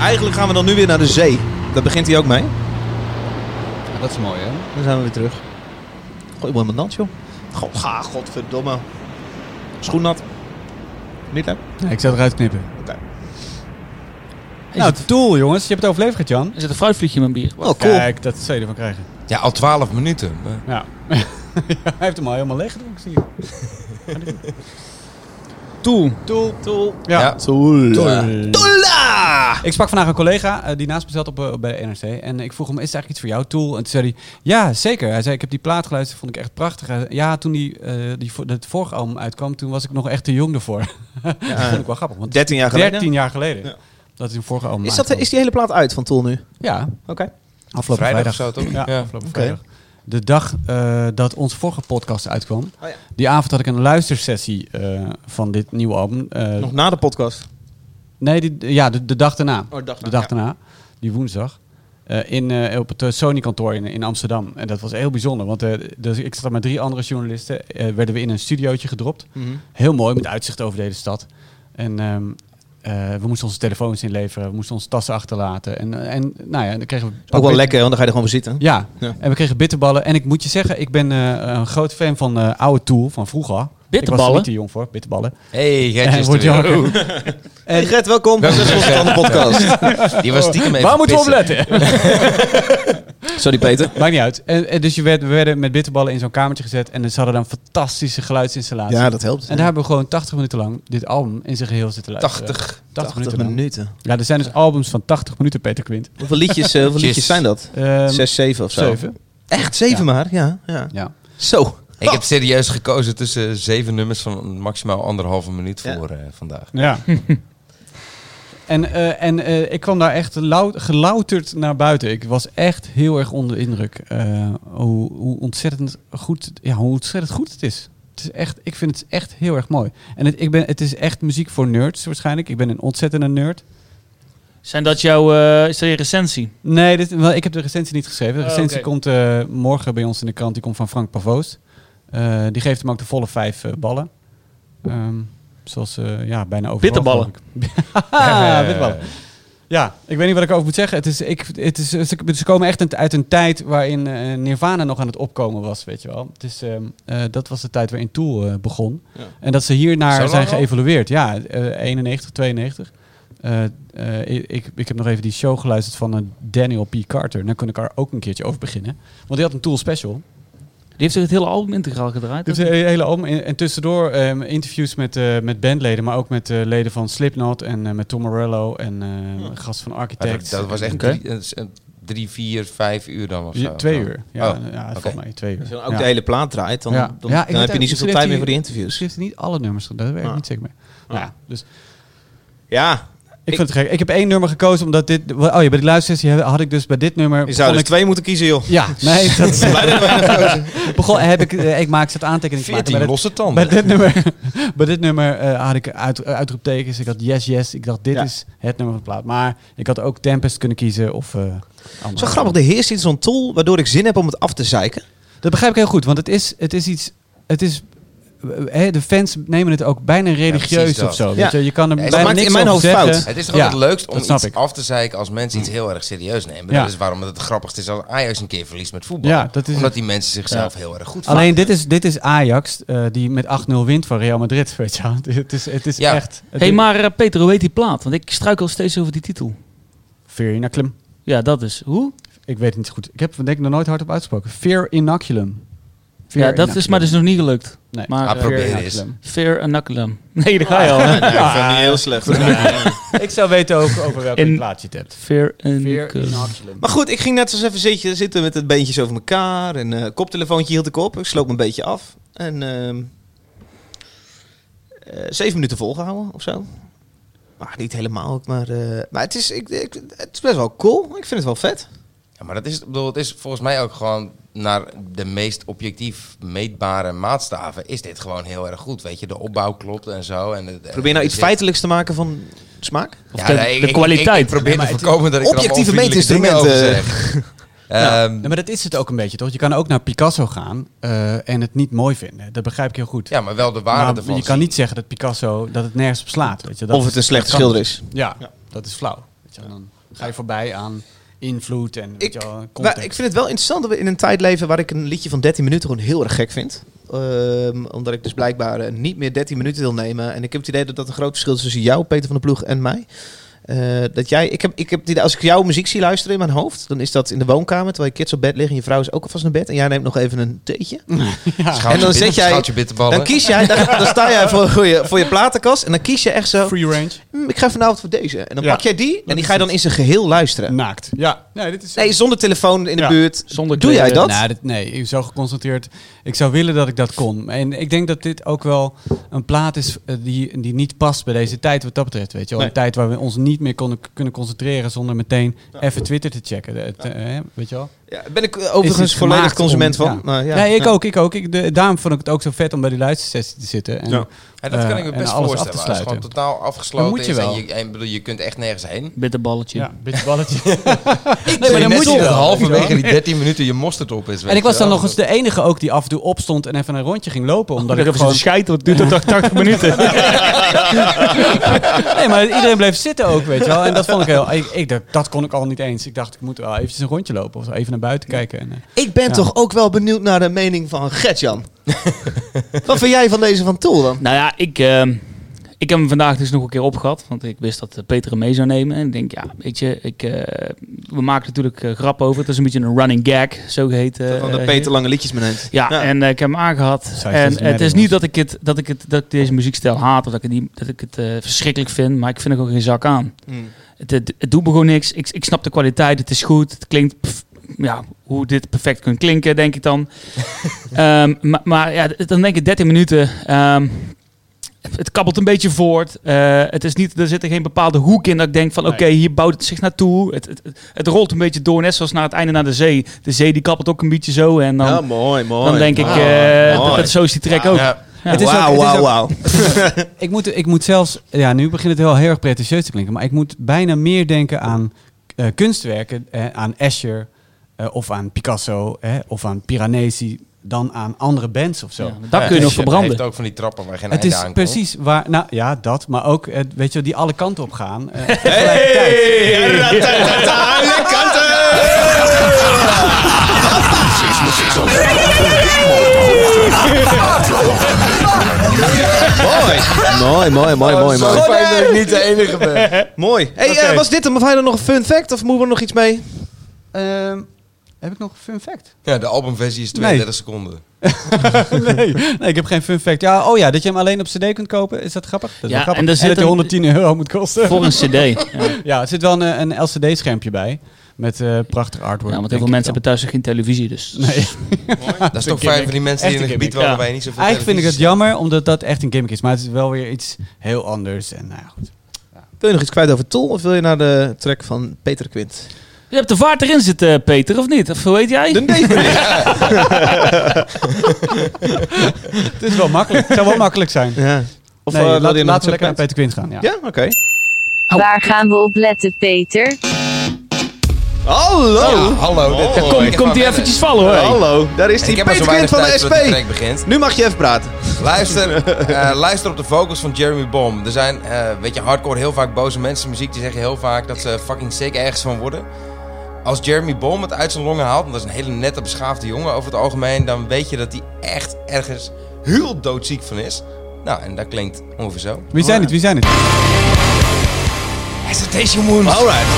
Speaker 2: eigenlijk gaan we dan nu weer naar de zee. Daar begint hij ook mee.
Speaker 4: Dat is mooi, hè?
Speaker 2: Dan zijn we weer terug. Gooi wel mijn dans, joh. Goh, ga, godverdomme. Schoen nat. Niet, hè?
Speaker 4: Ja, ik zou eruit knippen.
Speaker 2: Oké.
Speaker 3: Is,
Speaker 4: Nou,
Speaker 3: het,
Speaker 4: het doel, jongens. Je hebt het overleefd, Jan.
Speaker 3: is het een fruitvliegje in mijn bier?
Speaker 2: Wel Oh, cool.
Speaker 4: Kijk, dat zou je ervan krijgen.
Speaker 5: Ja, al twaalf minuten. Maar-
Speaker 4: Ja. [LAUGHS] Hij heeft hem al helemaal leeg gedronken, [LAUGHS] zie je.
Speaker 3: Tool.
Speaker 4: Doel. Doel. Ja.
Speaker 5: Ja.
Speaker 2: Tolla!
Speaker 4: Ik sprak vandaag een collega eh, die naast me zat op, eh, bij de NRC. En ik vroeg hem, is het eigenlijk iets voor jou, Tool? En toen zei hij, ja, zeker. Hij zei, ik heb die plaat geluisterd, vond ik echt prachtig. Hij zei, ja, toen die, eh die, vo- dat vorige album uitkwam, toen was ik nog echt te jong ervoor. [LAUGHS] dat vond ik wel grappig, want
Speaker 2: 13 jaar geleden.
Speaker 4: 13 jaar geleden.
Speaker 2: Ja.
Speaker 4: Dat is een vorige album
Speaker 2: Is, dat,
Speaker 4: uitkwam.
Speaker 2: is die hele plaat uit van Tol nu? Oké.
Speaker 4: Ja, afgelopen
Speaker 5: Vrijdag
Speaker 4: vrijdag.
Speaker 5: of zo, toch?
Speaker 4: Ja,
Speaker 5: Ja.
Speaker 4: afgelopen
Speaker 2: Oké.
Speaker 4: vrijdag. De dag eh, dat onze vorige podcast uitkwam,
Speaker 2: Oh ja.
Speaker 4: die avond had ik een luistersessie eh, van dit nieuwe album. Eh,
Speaker 2: Nog na de podcast.
Speaker 4: Nee, die, ja, de, de dag daarna.
Speaker 2: Oh, de dag
Speaker 4: de
Speaker 2: daarna,
Speaker 4: dag daarna, die woensdag. eh, in, eh, op het eh, Sony-kantoor in, in Amsterdam. En dat was heel bijzonder. Want eh, dus ik zat daar met drie andere journalisten. eh, werden we in een studiootje gedropt.
Speaker 2: Mhm.
Speaker 4: Heel mooi, met uitzicht over de hele stad. En ehm, eh, we moesten onze telefoons inleveren. We moesten onze tassen achterlaten. En, eh, en nou ja, en dan kregen we...
Speaker 2: Ook wel lekker, want dan ga je er gewoon voor zitten.
Speaker 4: Ja.
Speaker 2: Ja.
Speaker 4: en we kregen bitterballen. En ik moet je zeggen, ik ben eh, een groot fan van eh, oude Tool, van vroeger. Ik was
Speaker 3: Bitterballen?
Speaker 4: er niet te jong voor, bitterballen.
Speaker 5: hey,
Speaker 4: [LAUGHS]
Speaker 5: Gertje
Speaker 4: En
Speaker 5: is
Speaker 4: wordt
Speaker 5: er weer.
Speaker 4: jou ook-
Speaker 2: Hey Gert, welkom. Dat is onze andere podcast.
Speaker 5: [LAUGHS] Die was stiekem
Speaker 2: Oh,
Speaker 5: even
Speaker 4: Waar moeten we op
Speaker 5: pissen.
Speaker 4: letten?
Speaker 2: Sorry Peter.
Speaker 4: Maakt niet uit. En, en dus je werd, we werden met bitterballen in zo'n kamertje gezet. En ze hadden dan fantastische geluidsinstallaties.
Speaker 2: Ja, dat helpt.
Speaker 4: En daar hebben we gewoon 80 minuten lang dit album in zijn geheel zitten luisteren.
Speaker 5: 80.
Speaker 4: 80,
Speaker 2: 80
Speaker 4: minuten.
Speaker 2: minuten.
Speaker 4: lang. Ja, er zijn dus albums van 80 minuten, Peter Quint.
Speaker 2: Hoeveel liedjes, eh, hoeveel liedjes
Speaker 5: Jeez.
Speaker 2: zijn dat?
Speaker 4: Ehm,
Speaker 2: Zes, zeven of zo?
Speaker 4: zeven.
Speaker 2: Echt, zeven
Speaker 4: Ja.
Speaker 2: maar? Ja, ja.
Speaker 4: Ja.
Speaker 2: Zo.
Speaker 5: Ik heb serieus gekozen tussen zeven nummers van maximaal anderhalve minuut
Speaker 2: Ja.
Speaker 5: voor eh, vandaag.
Speaker 2: [LAUGHS]
Speaker 4: ja. en eh, en eh, ik kwam daar echt lau- gelouterd naar buiten. Ik was echt heel erg onder de indruk. eh, hoe, hoe, ontzettend goed, ja, hoe ontzettend goed het is. Het is echt, ik vind het echt heel erg mooi. En het, ik ben, het is echt muziek voor nerds waarschijnlijk. Ik ben een ontzettende nerd.
Speaker 3: Zijn dat jouw, eh, is dat je recensie?
Speaker 4: Nee, dit, wel, ik heb de recensie niet geschreven. De
Speaker 3: Oh,
Speaker 4: recensie
Speaker 3: oké.
Speaker 4: komt eh, morgen bij ons in de krant. Die komt van Frank Pavoos. Eh, die geeft hem ook de volle vijf eh, ballen. Ehm, zoals eh, ja, bijna overal.
Speaker 3: Bitterballen.
Speaker 4: geloof ik. [LAUGHS]
Speaker 5: Eh,
Speaker 4: Haha, bitterballen. Ja, ik weet niet wat ik over moet zeggen. Het is, ik, het is, ze, ze komen echt een- uit een tijd waarin eh, Nirvana nog aan het opkomen was, weet je wel. Het is, ehm, eh, dat was de tijd waarin Tool eh, begon.
Speaker 2: Ja.
Speaker 4: En dat ze hiernaar
Speaker 5: Zo lang
Speaker 4: zijn
Speaker 5: al?
Speaker 4: geëvalueerd. Ja, eh, 91, 92. Eh, eh, ik, ik heb nog even die show geluisterd van eh, Daniel P. Carter. Daar kon ik daar ook een keertje over beginnen. Want die had een Tool special.
Speaker 3: Die heeft toch het hele album integraal gedraaid?
Speaker 4: Dus
Speaker 3: of
Speaker 4: een
Speaker 3: niet?
Speaker 4: hele album. En, en tussendoor ehm, interviews met, eh, met bandleden, maar ook met eh, leden van Slipknot en eh, met Tom Morello en eh, een gast van
Speaker 5: Maar
Speaker 4: Architect.
Speaker 5: dat, dat was echt
Speaker 3: Oké.
Speaker 5: drie, eh, s- eh, drie, vier, vijf uur dan of zo.
Speaker 4: Ja, twee
Speaker 5: Zo.
Speaker 4: uur. Ja,
Speaker 5: Oh,
Speaker 4: ja
Speaker 5: oké.
Speaker 4: volgens mij twee uur.
Speaker 2: Als je dan ook
Speaker 4: ja.
Speaker 2: de hele plaat draait, dan,
Speaker 4: Ja.
Speaker 2: dan,
Speaker 4: Ja, ik
Speaker 2: dan
Speaker 4: weet
Speaker 2: heb je niet
Speaker 4: eigenlijk-
Speaker 2: zoveel
Speaker 4: misschien
Speaker 2: tijd
Speaker 4: heeft
Speaker 2: meer voor die
Speaker 4: Ze
Speaker 2: interviews.
Speaker 4: heeft niet alle nummers gedaan, daar weet ik
Speaker 2: Ah.
Speaker 4: niet zeker meer. Nou ja, dus ik,
Speaker 2: Ja, Ik-
Speaker 4: vind het gek. Ik heb één nummer gekozen omdat dit... Oh ja, bij die luistersessie had- had ik dus bij dit nummer...
Speaker 2: je zou
Speaker 4: begon
Speaker 2: dus
Speaker 4: ik,
Speaker 2: twee moeten kiezen, joh.
Speaker 5: [LAUGHS]
Speaker 4: ja, nee, dat is...
Speaker 2: Blij dat we weinig kozen.
Speaker 4: [LAUGHS] begon, heb ik, eh, ik maak zat aantekeningen. te maken. Bij
Speaker 5: Veertien
Speaker 4: dit-
Speaker 5: losse
Speaker 4: Bij
Speaker 5: tanden.
Speaker 4: dit nummer, [LAUGHS] bij dit nummer eh, had ik uit, uitroeptekens. Ik had yes, yes. Ik dacht, dit
Speaker 2: Ja.
Speaker 4: is het nummer van de plaat. Maar ik had ook Tempest kunnen kiezen of... eh, andere
Speaker 2: Zo grappig, de heerst iets zo'n tool waardoor ik zin heb om het af te zeiken.
Speaker 4: Dat begrijp ik heel goed, want het is, het is iets. Het is, hè, de fans nemen het ook bijna religieus
Speaker 5: precies dat.
Speaker 4: of zo.
Speaker 2: Ja.
Speaker 4: Weet je? je kan er
Speaker 5: Ja, dat
Speaker 4: bijna
Speaker 2: maakt
Speaker 4: niks
Speaker 2: in mijn
Speaker 4: over
Speaker 2: hoofd
Speaker 4: zeggen.
Speaker 2: fout.
Speaker 5: Het is toch
Speaker 4: Ja,
Speaker 5: het leukst om
Speaker 4: dat snap
Speaker 5: iets
Speaker 4: ik. Mm.
Speaker 5: af te zeiken als mensen iets heel erg serieus nemen.
Speaker 4: Ja.
Speaker 5: Dat is waarom het het grappigste is als Ajax een keer verliest met voetbal.
Speaker 4: Ja, dat is
Speaker 5: Omdat
Speaker 4: het. Ah.
Speaker 5: die mensen zichzelf heel erg goed
Speaker 4: Alleen dit is, dit is Ajax eh, die met 8-0 wint van Real Madrid. Weet je? wel. [LAUGHS] Het is, het is
Speaker 5: Ja.
Speaker 4: echt. Het
Speaker 3: hey,
Speaker 4: is-
Speaker 3: maar eh, Peter, hoe heet die plaat? Want ik struikel steeds over die titel.
Speaker 4: Fear Inoculum.
Speaker 3: Ja, dat is. Hoe?
Speaker 4: Ik weet het niet goed. Ik heb denk ik nog nooit hardop uitgesproken. Fear Inoculum. Fear
Speaker 3: Ja, dat is
Speaker 4: Inoculum.
Speaker 3: maar dus nog niet gelukt.
Speaker 4: Nee.
Speaker 3: Maar,
Speaker 5: Ah,
Speaker 3: eh,
Speaker 5: probeer
Speaker 4: Fear
Speaker 5: eens.
Speaker 4: Inoculum.
Speaker 3: Fear Inoculum. Nee, daar ga je al.
Speaker 2: Ja, ik vind het niet heel slecht.
Speaker 4: [LAUGHS]
Speaker 2: [LAUGHS]
Speaker 4: ik zou weten ook over welke
Speaker 3: In-
Speaker 4: plaats je het hebt.
Speaker 3: Fear
Speaker 4: Fear
Speaker 3: Inoculum.
Speaker 4: Inoculum.
Speaker 2: Maar goed, ik ging net zoals even zitten, zitten met het beentjes over elkaar. En eh koptelefoontje hield ik op. Ik sloop me een beetje af. En ehm, eh, zeven minuten volgehouden of zo. Maar niet helemaal ook, maar... eh, maar het is, ik, ik- het is best wel cool. Ik vind het wel vet.
Speaker 5: Ja, maar dat is, ik bedoel, het is volgens mij ook gewoon naar de meest objectief meetbare maatstaven is dit gewoon heel erg goed. Weet je, de opbouw klopt en zo. En de,
Speaker 2: Probeer nou iets feitelijks te maken van smaak.
Speaker 3: Of de- de kwaliteit.
Speaker 5: Ik, probeer te voorkomen dat ik er allemaal
Speaker 2: Objectieve
Speaker 5: onvriendelijke dingen over
Speaker 2: meetinstrumenten.
Speaker 5: zeg.
Speaker 2: [LAUGHS]
Speaker 5: Ehm,
Speaker 4: Nee, maar dat is het ook een beetje, toch? Je kan ook naar Picasso gaan eh, en het niet mooi vinden. Dat begrijp ik heel goed.
Speaker 5: ja, maar wel de waarde
Speaker 4: maar
Speaker 5: ervan.
Speaker 4: Nou, je kan
Speaker 5: zien.
Speaker 4: niet zeggen dat Picasso dat het nergens op slaat. Weet je? Dat
Speaker 2: of het
Speaker 4: is-
Speaker 2: een slechte
Speaker 4: dat kan- dus-
Speaker 2: schilder is.
Speaker 4: Ja,
Speaker 2: Ja.
Speaker 4: dat is flauw. Weet je? wel. Dan, ga je voorbij aan invloed en weet
Speaker 2: Ik,
Speaker 4: je wel,
Speaker 2: maar
Speaker 4: context.
Speaker 2: ik vind het wel interessant dat we in een tijd leven waar ik een liedje van 13 minuten gewoon heel erg gek vind. Ehm, omdat ik dus blijkbaar eh, niet meer 13 minuten wil nemen. En ik heb het idee dat dat een groot verschil is tussen jou, Peter van de Ploeg, en mij. Eh, dat jij, ik heb, ik heb het idee, als ik jouw muziek zie luisteren in mijn hoofd, dan is dat in de woonkamer, terwijl je kids op bed liggen en je vrouw is ook alvast naar bed en jij neemt nog even een theetje.
Speaker 4: Oh,
Speaker 2: En dan zet jij-
Speaker 5: Schaaltje bitterballen.
Speaker 2: Dan kies jij, dan, dan sta jij voor, voor, je, voor je platenkast en dan kies je echt zo,
Speaker 4: Free range.
Speaker 2: "Hmm, ik ga vanavond voor deze. En dan
Speaker 4: Ja,
Speaker 2: pak jij die en
Speaker 4: dat
Speaker 2: die
Speaker 4: is
Speaker 2: ga je dan in zijn geheel luisteren.
Speaker 4: Naakt. Ja. Nee, dit is...
Speaker 2: Nee, zonder telefoon in de
Speaker 4: Ja.
Speaker 2: buurt.
Speaker 3: Zonder
Speaker 2: Doe jij
Speaker 3: kleren.
Speaker 2: dat?
Speaker 4: Nou, dit- nee, ik zo geconcentreerd. Ik zou willen dat ik dat kon. En ik denk dat dit ook wel een plaat is eh, die, die niet past bij deze tijd wat dat betreft. Weet je wel. Een
Speaker 2: Nee.
Speaker 4: tijd waar we ons niet meer konden, kunnen concentreren zonder meteen even Twitter te checken. Het, eh, weet je wel.
Speaker 2: Ja, daar ben ik eh,
Speaker 4: Is
Speaker 2: overigens
Speaker 4: het
Speaker 2: volledig
Speaker 4: gemaakt
Speaker 2: consument
Speaker 4: om-
Speaker 2: van.
Speaker 4: ja.
Speaker 2: Maar ja.
Speaker 4: Ja, ik
Speaker 2: Ja.
Speaker 4: ook, ik ook. Ik, de, daarom vond ik het ook zo vet om bij die luistersessie te zitten. En,
Speaker 2: Ja.
Speaker 5: Ja, dat kan
Speaker 4: eh,
Speaker 5: ik me
Speaker 4: en
Speaker 5: best
Speaker 4: alles
Speaker 5: voorstellen.
Speaker 4: af te
Speaker 5: Als het
Speaker 4: sluiten.
Speaker 5: gewoon totaal afgesloten
Speaker 4: moet je
Speaker 5: is
Speaker 4: wel.
Speaker 5: En je, en ik bedoel, je kunt echt nergens heen.
Speaker 3: Bitterballetje.
Speaker 4: Ja, beetje [LAUGHS] balletje.
Speaker 5: Nee,
Speaker 4: dan moet je wel.
Speaker 5: Halverwege die 13 minuten je mosterd op is. weet
Speaker 4: en ik was
Speaker 5: je
Speaker 4: dan
Speaker 5: wel.
Speaker 4: nog eens de enige ook die af en toe opstond en even een rondje ging lopen. Omdat ik
Speaker 3: even
Speaker 4: gewoon...
Speaker 3: gewoon... scheiden, want het duurt toch 80 minuten.
Speaker 4: [LAUGHS] Nee, maar iedereen bleef zitten ook, weet je wel. En dat vond ik heel... Ik, ik, dat, dat kon ik al niet eens. Ik dacht, ik moet wel eventjes een rondje lopen of zo. Even naar buiten kijken. En, eh,
Speaker 2: Ik ben toch ook wel benieuwd naar de mening van [LAUGHS] Gertjan. Wat vind jij van deze van Tool dan?
Speaker 3: Nou ja, ik, ehm, ik heb hem vandaag dus nog een keer opgehad. Want ik wist dat eh, Peter hem mee zou nemen. En ik denk, ja, weet je, ik, eh, we maken natuurlijk eh, grap over. Het is een beetje een running gag, zo geheten.
Speaker 2: Van de
Speaker 3: eh,
Speaker 2: Peter lange liedjes meeneemt.
Speaker 3: Ja,
Speaker 2: Ja.
Speaker 3: en eh, ik heb hem aangehad.
Speaker 4: Zij
Speaker 3: en
Speaker 4: is
Speaker 3: het is
Speaker 4: Madden,
Speaker 3: niet dat ik, het, dat, ik het, dat ik deze muziekstijl haat of dat ik het, niet, dat ik het eh, verschrikkelijk vind, maar ik vind er gewoon geen zak aan.
Speaker 2: Hmm.
Speaker 3: Het, het, het doet me gewoon niks. Ik, ik snap de kwaliteit, het is goed, het klinkt... pff, ja, hoe dit perfect kan klinken, denk ik dan. Ehm, maar, maar ja, d- dan denk ik 13 minuten. ehm, het, het kabbelt een beetje voort. Eh, het is niet, er zit er geen bepaalde hoek in dat ik denk van... oké, hier bouwt het zich naartoe. Het, het, het, het rolt een beetje door, net zoals naar het einde naar de zee. De zee die kabbelt ook een beetje zo en dan...
Speaker 2: mooi, mooi.
Speaker 3: Dan denk ik,
Speaker 2: Wauw,
Speaker 3: eh,
Speaker 2: mooi.
Speaker 3: dat, dat zo is die track ook.
Speaker 5: Ja.
Speaker 4: Het is ook-
Speaker 2: Wauw,
Speaker 4: het is
Speaker 2: wauw,
Speaker 4: ook-
Speaker 2: wauw.
Speaker 4: [LAUGHS] ik, moet, ik moet zelfs... Ja, nu begint het wel heel erg pretentieus te klinken. Maar ik moet bijna meer denken aan eh, kunstwerken. eh, aan Escher eh, of aan Picasso eh, of aan Piranesi. Dan aan andere bands of zo.
Speaker 3: Ja, dat kun je nog verbranden.
Speaker 5: heeft ook van die trappen waar geen
Speaker 4: Het
Speaker 5: einde
Speaker 4: is
Speaker 5: aan komt. [LAUGHS]
Speaker 4: precies waar... Nou ja, dat. Maar ook, eh, weet je wel, die alle kanten op gaan.
Speaker 3: [LAUGHS]
Speaker 4: eh, tegelijkertijd.
Speaker 2: Hey! Mooi, mooi, mooi, mooi,
Speaker 5: Zo
Speaker 2: mooi.
Speaker 5: fijn dat ik niet de enige ben.
Speaker 4: [LAUGHS]
Speaker 2: Mooi. Hey, eh, was dit hem? Of had je nog een fun fact? Of moeten we er nog iets mee?
Speaker 4: Ehm, heb ik nog een fun fact? [LAUGHS]
Speaker 5: Ja, de albumversie is 32 seconden.
Speaker 4: nee. nee, ik heb geen fun fact. Ja, oh ja, dat je hem alleen op cd kunt kopen. Is dat grappig? Dat is
Speaker 3: Ja,
Speaker 4: wel grappig.
Speaker 3: en er
Speaker 4: En,
Speaker 3: zit
Speaker 4: dat je
Speaker 3: een-
Speaker 4: 110 euro moet kosten.
Speaker 3: [LAUGHS] Voor een cd. Ja, nou,
Speaker 4: Ja, er zit wel een, eh, een LCD-schermpje bij. Met eh, prachtig artwork.
Speaker 3: want heel
Speaker 4: denk
Speaker 3: veel
Speaker 4: ik
Speaker 3: mensen hebben
Speaker 4: dan.
Speaker 3: thuis ook geen televisie, dus...
Speaker 5: Dat is toch fijn voor die mensen die in
Speaker 4: Echt
Speaker 5: een
Speaker 4: een gimmick,
Speaker 5: gebied wonen
Speaker 3: ja.
Speaker 5: waar je niet
Speaker 2: Ah,
Speaker 5: zoveel
Speaker 4: Eigenlijk vind ik het
Speaker 5: televisie
Speaker 4: jammer, omdat dat echt een gimmick is. Maar het is wel weer iets heel anders. En nou ja, goed.
Speaker 2: Wil je nog iets kwijt over Tol? Of wil je naar de track van Peter Quint?
Speaker 3: [LAUGHS] Je hebt de vaart erin zitten, eh, Peter, of niet? Of hoe heet jij?
Speaker 2: De Dave.
Speaker 4: Het is wel makkelijk. Het zou wel makkelijk
Speaker 5: [LAUGHS]
Speaker 4: zijn.
Speaker 2: ja. Of
Speaker 4: Nee,
Speaker 2: eh,
Speaker 4: laat-
Speaker 2: laat je
Speaker 4: laten
Speaker 2: hem
Speaker 4: we
Speaker 2: nog zo
Speaker 4: lekker naar Peter
Speaker 2: kwijt?
Speaker 4: Quint gaan. Ja.
Speaker 2: Ja, oké.
Speaker 1: Waar gaan we op letten, Peter?
Speaker 2: Hallo!
Speaker 5: Ja, hallo. dit-
Speaker 2: Kom-
Speaker 5: ik
Speaker 3: Kom,
Speaker 5: heb
Speaker 3: komt die
Speaker 5: maar-
Speaker 3: eventjes vallen, hoor.
Speaker 2: Hallo, daar is
Speaker 5: Ik
Speaker 2: die
Speaker 5: heb maar zo
Speaker 2: Peter Quint
Speaker 5: weinig
Speaker 2: van de
Speaker 5: tijd voordat de track
Speaker 2: SP.
Speaker 5: begint.
Speaker 2: Nu mag je even praten.
Speaker 5: Luister, eh, luister op de vocals van Jeremy Bomb. Er zijn, eh, weet je, hardcore heel vaak boze mensen in muziek die zeggen heel vaak dat ze fucking sick ergens van worden. Als Jeremy Bomb het uit zijn longen haalt, en dat is een hele nette, beschaafde jongen over het algemeen, dan weet je dat hij echt ergens heel doodziek van is. Nou, en dat klinkt ongeveer zo.
Speaker 4: Wie zijn het? Wie zijn het?
Speaker 5: Hesitation Wounds.
Speaker 2: Alright.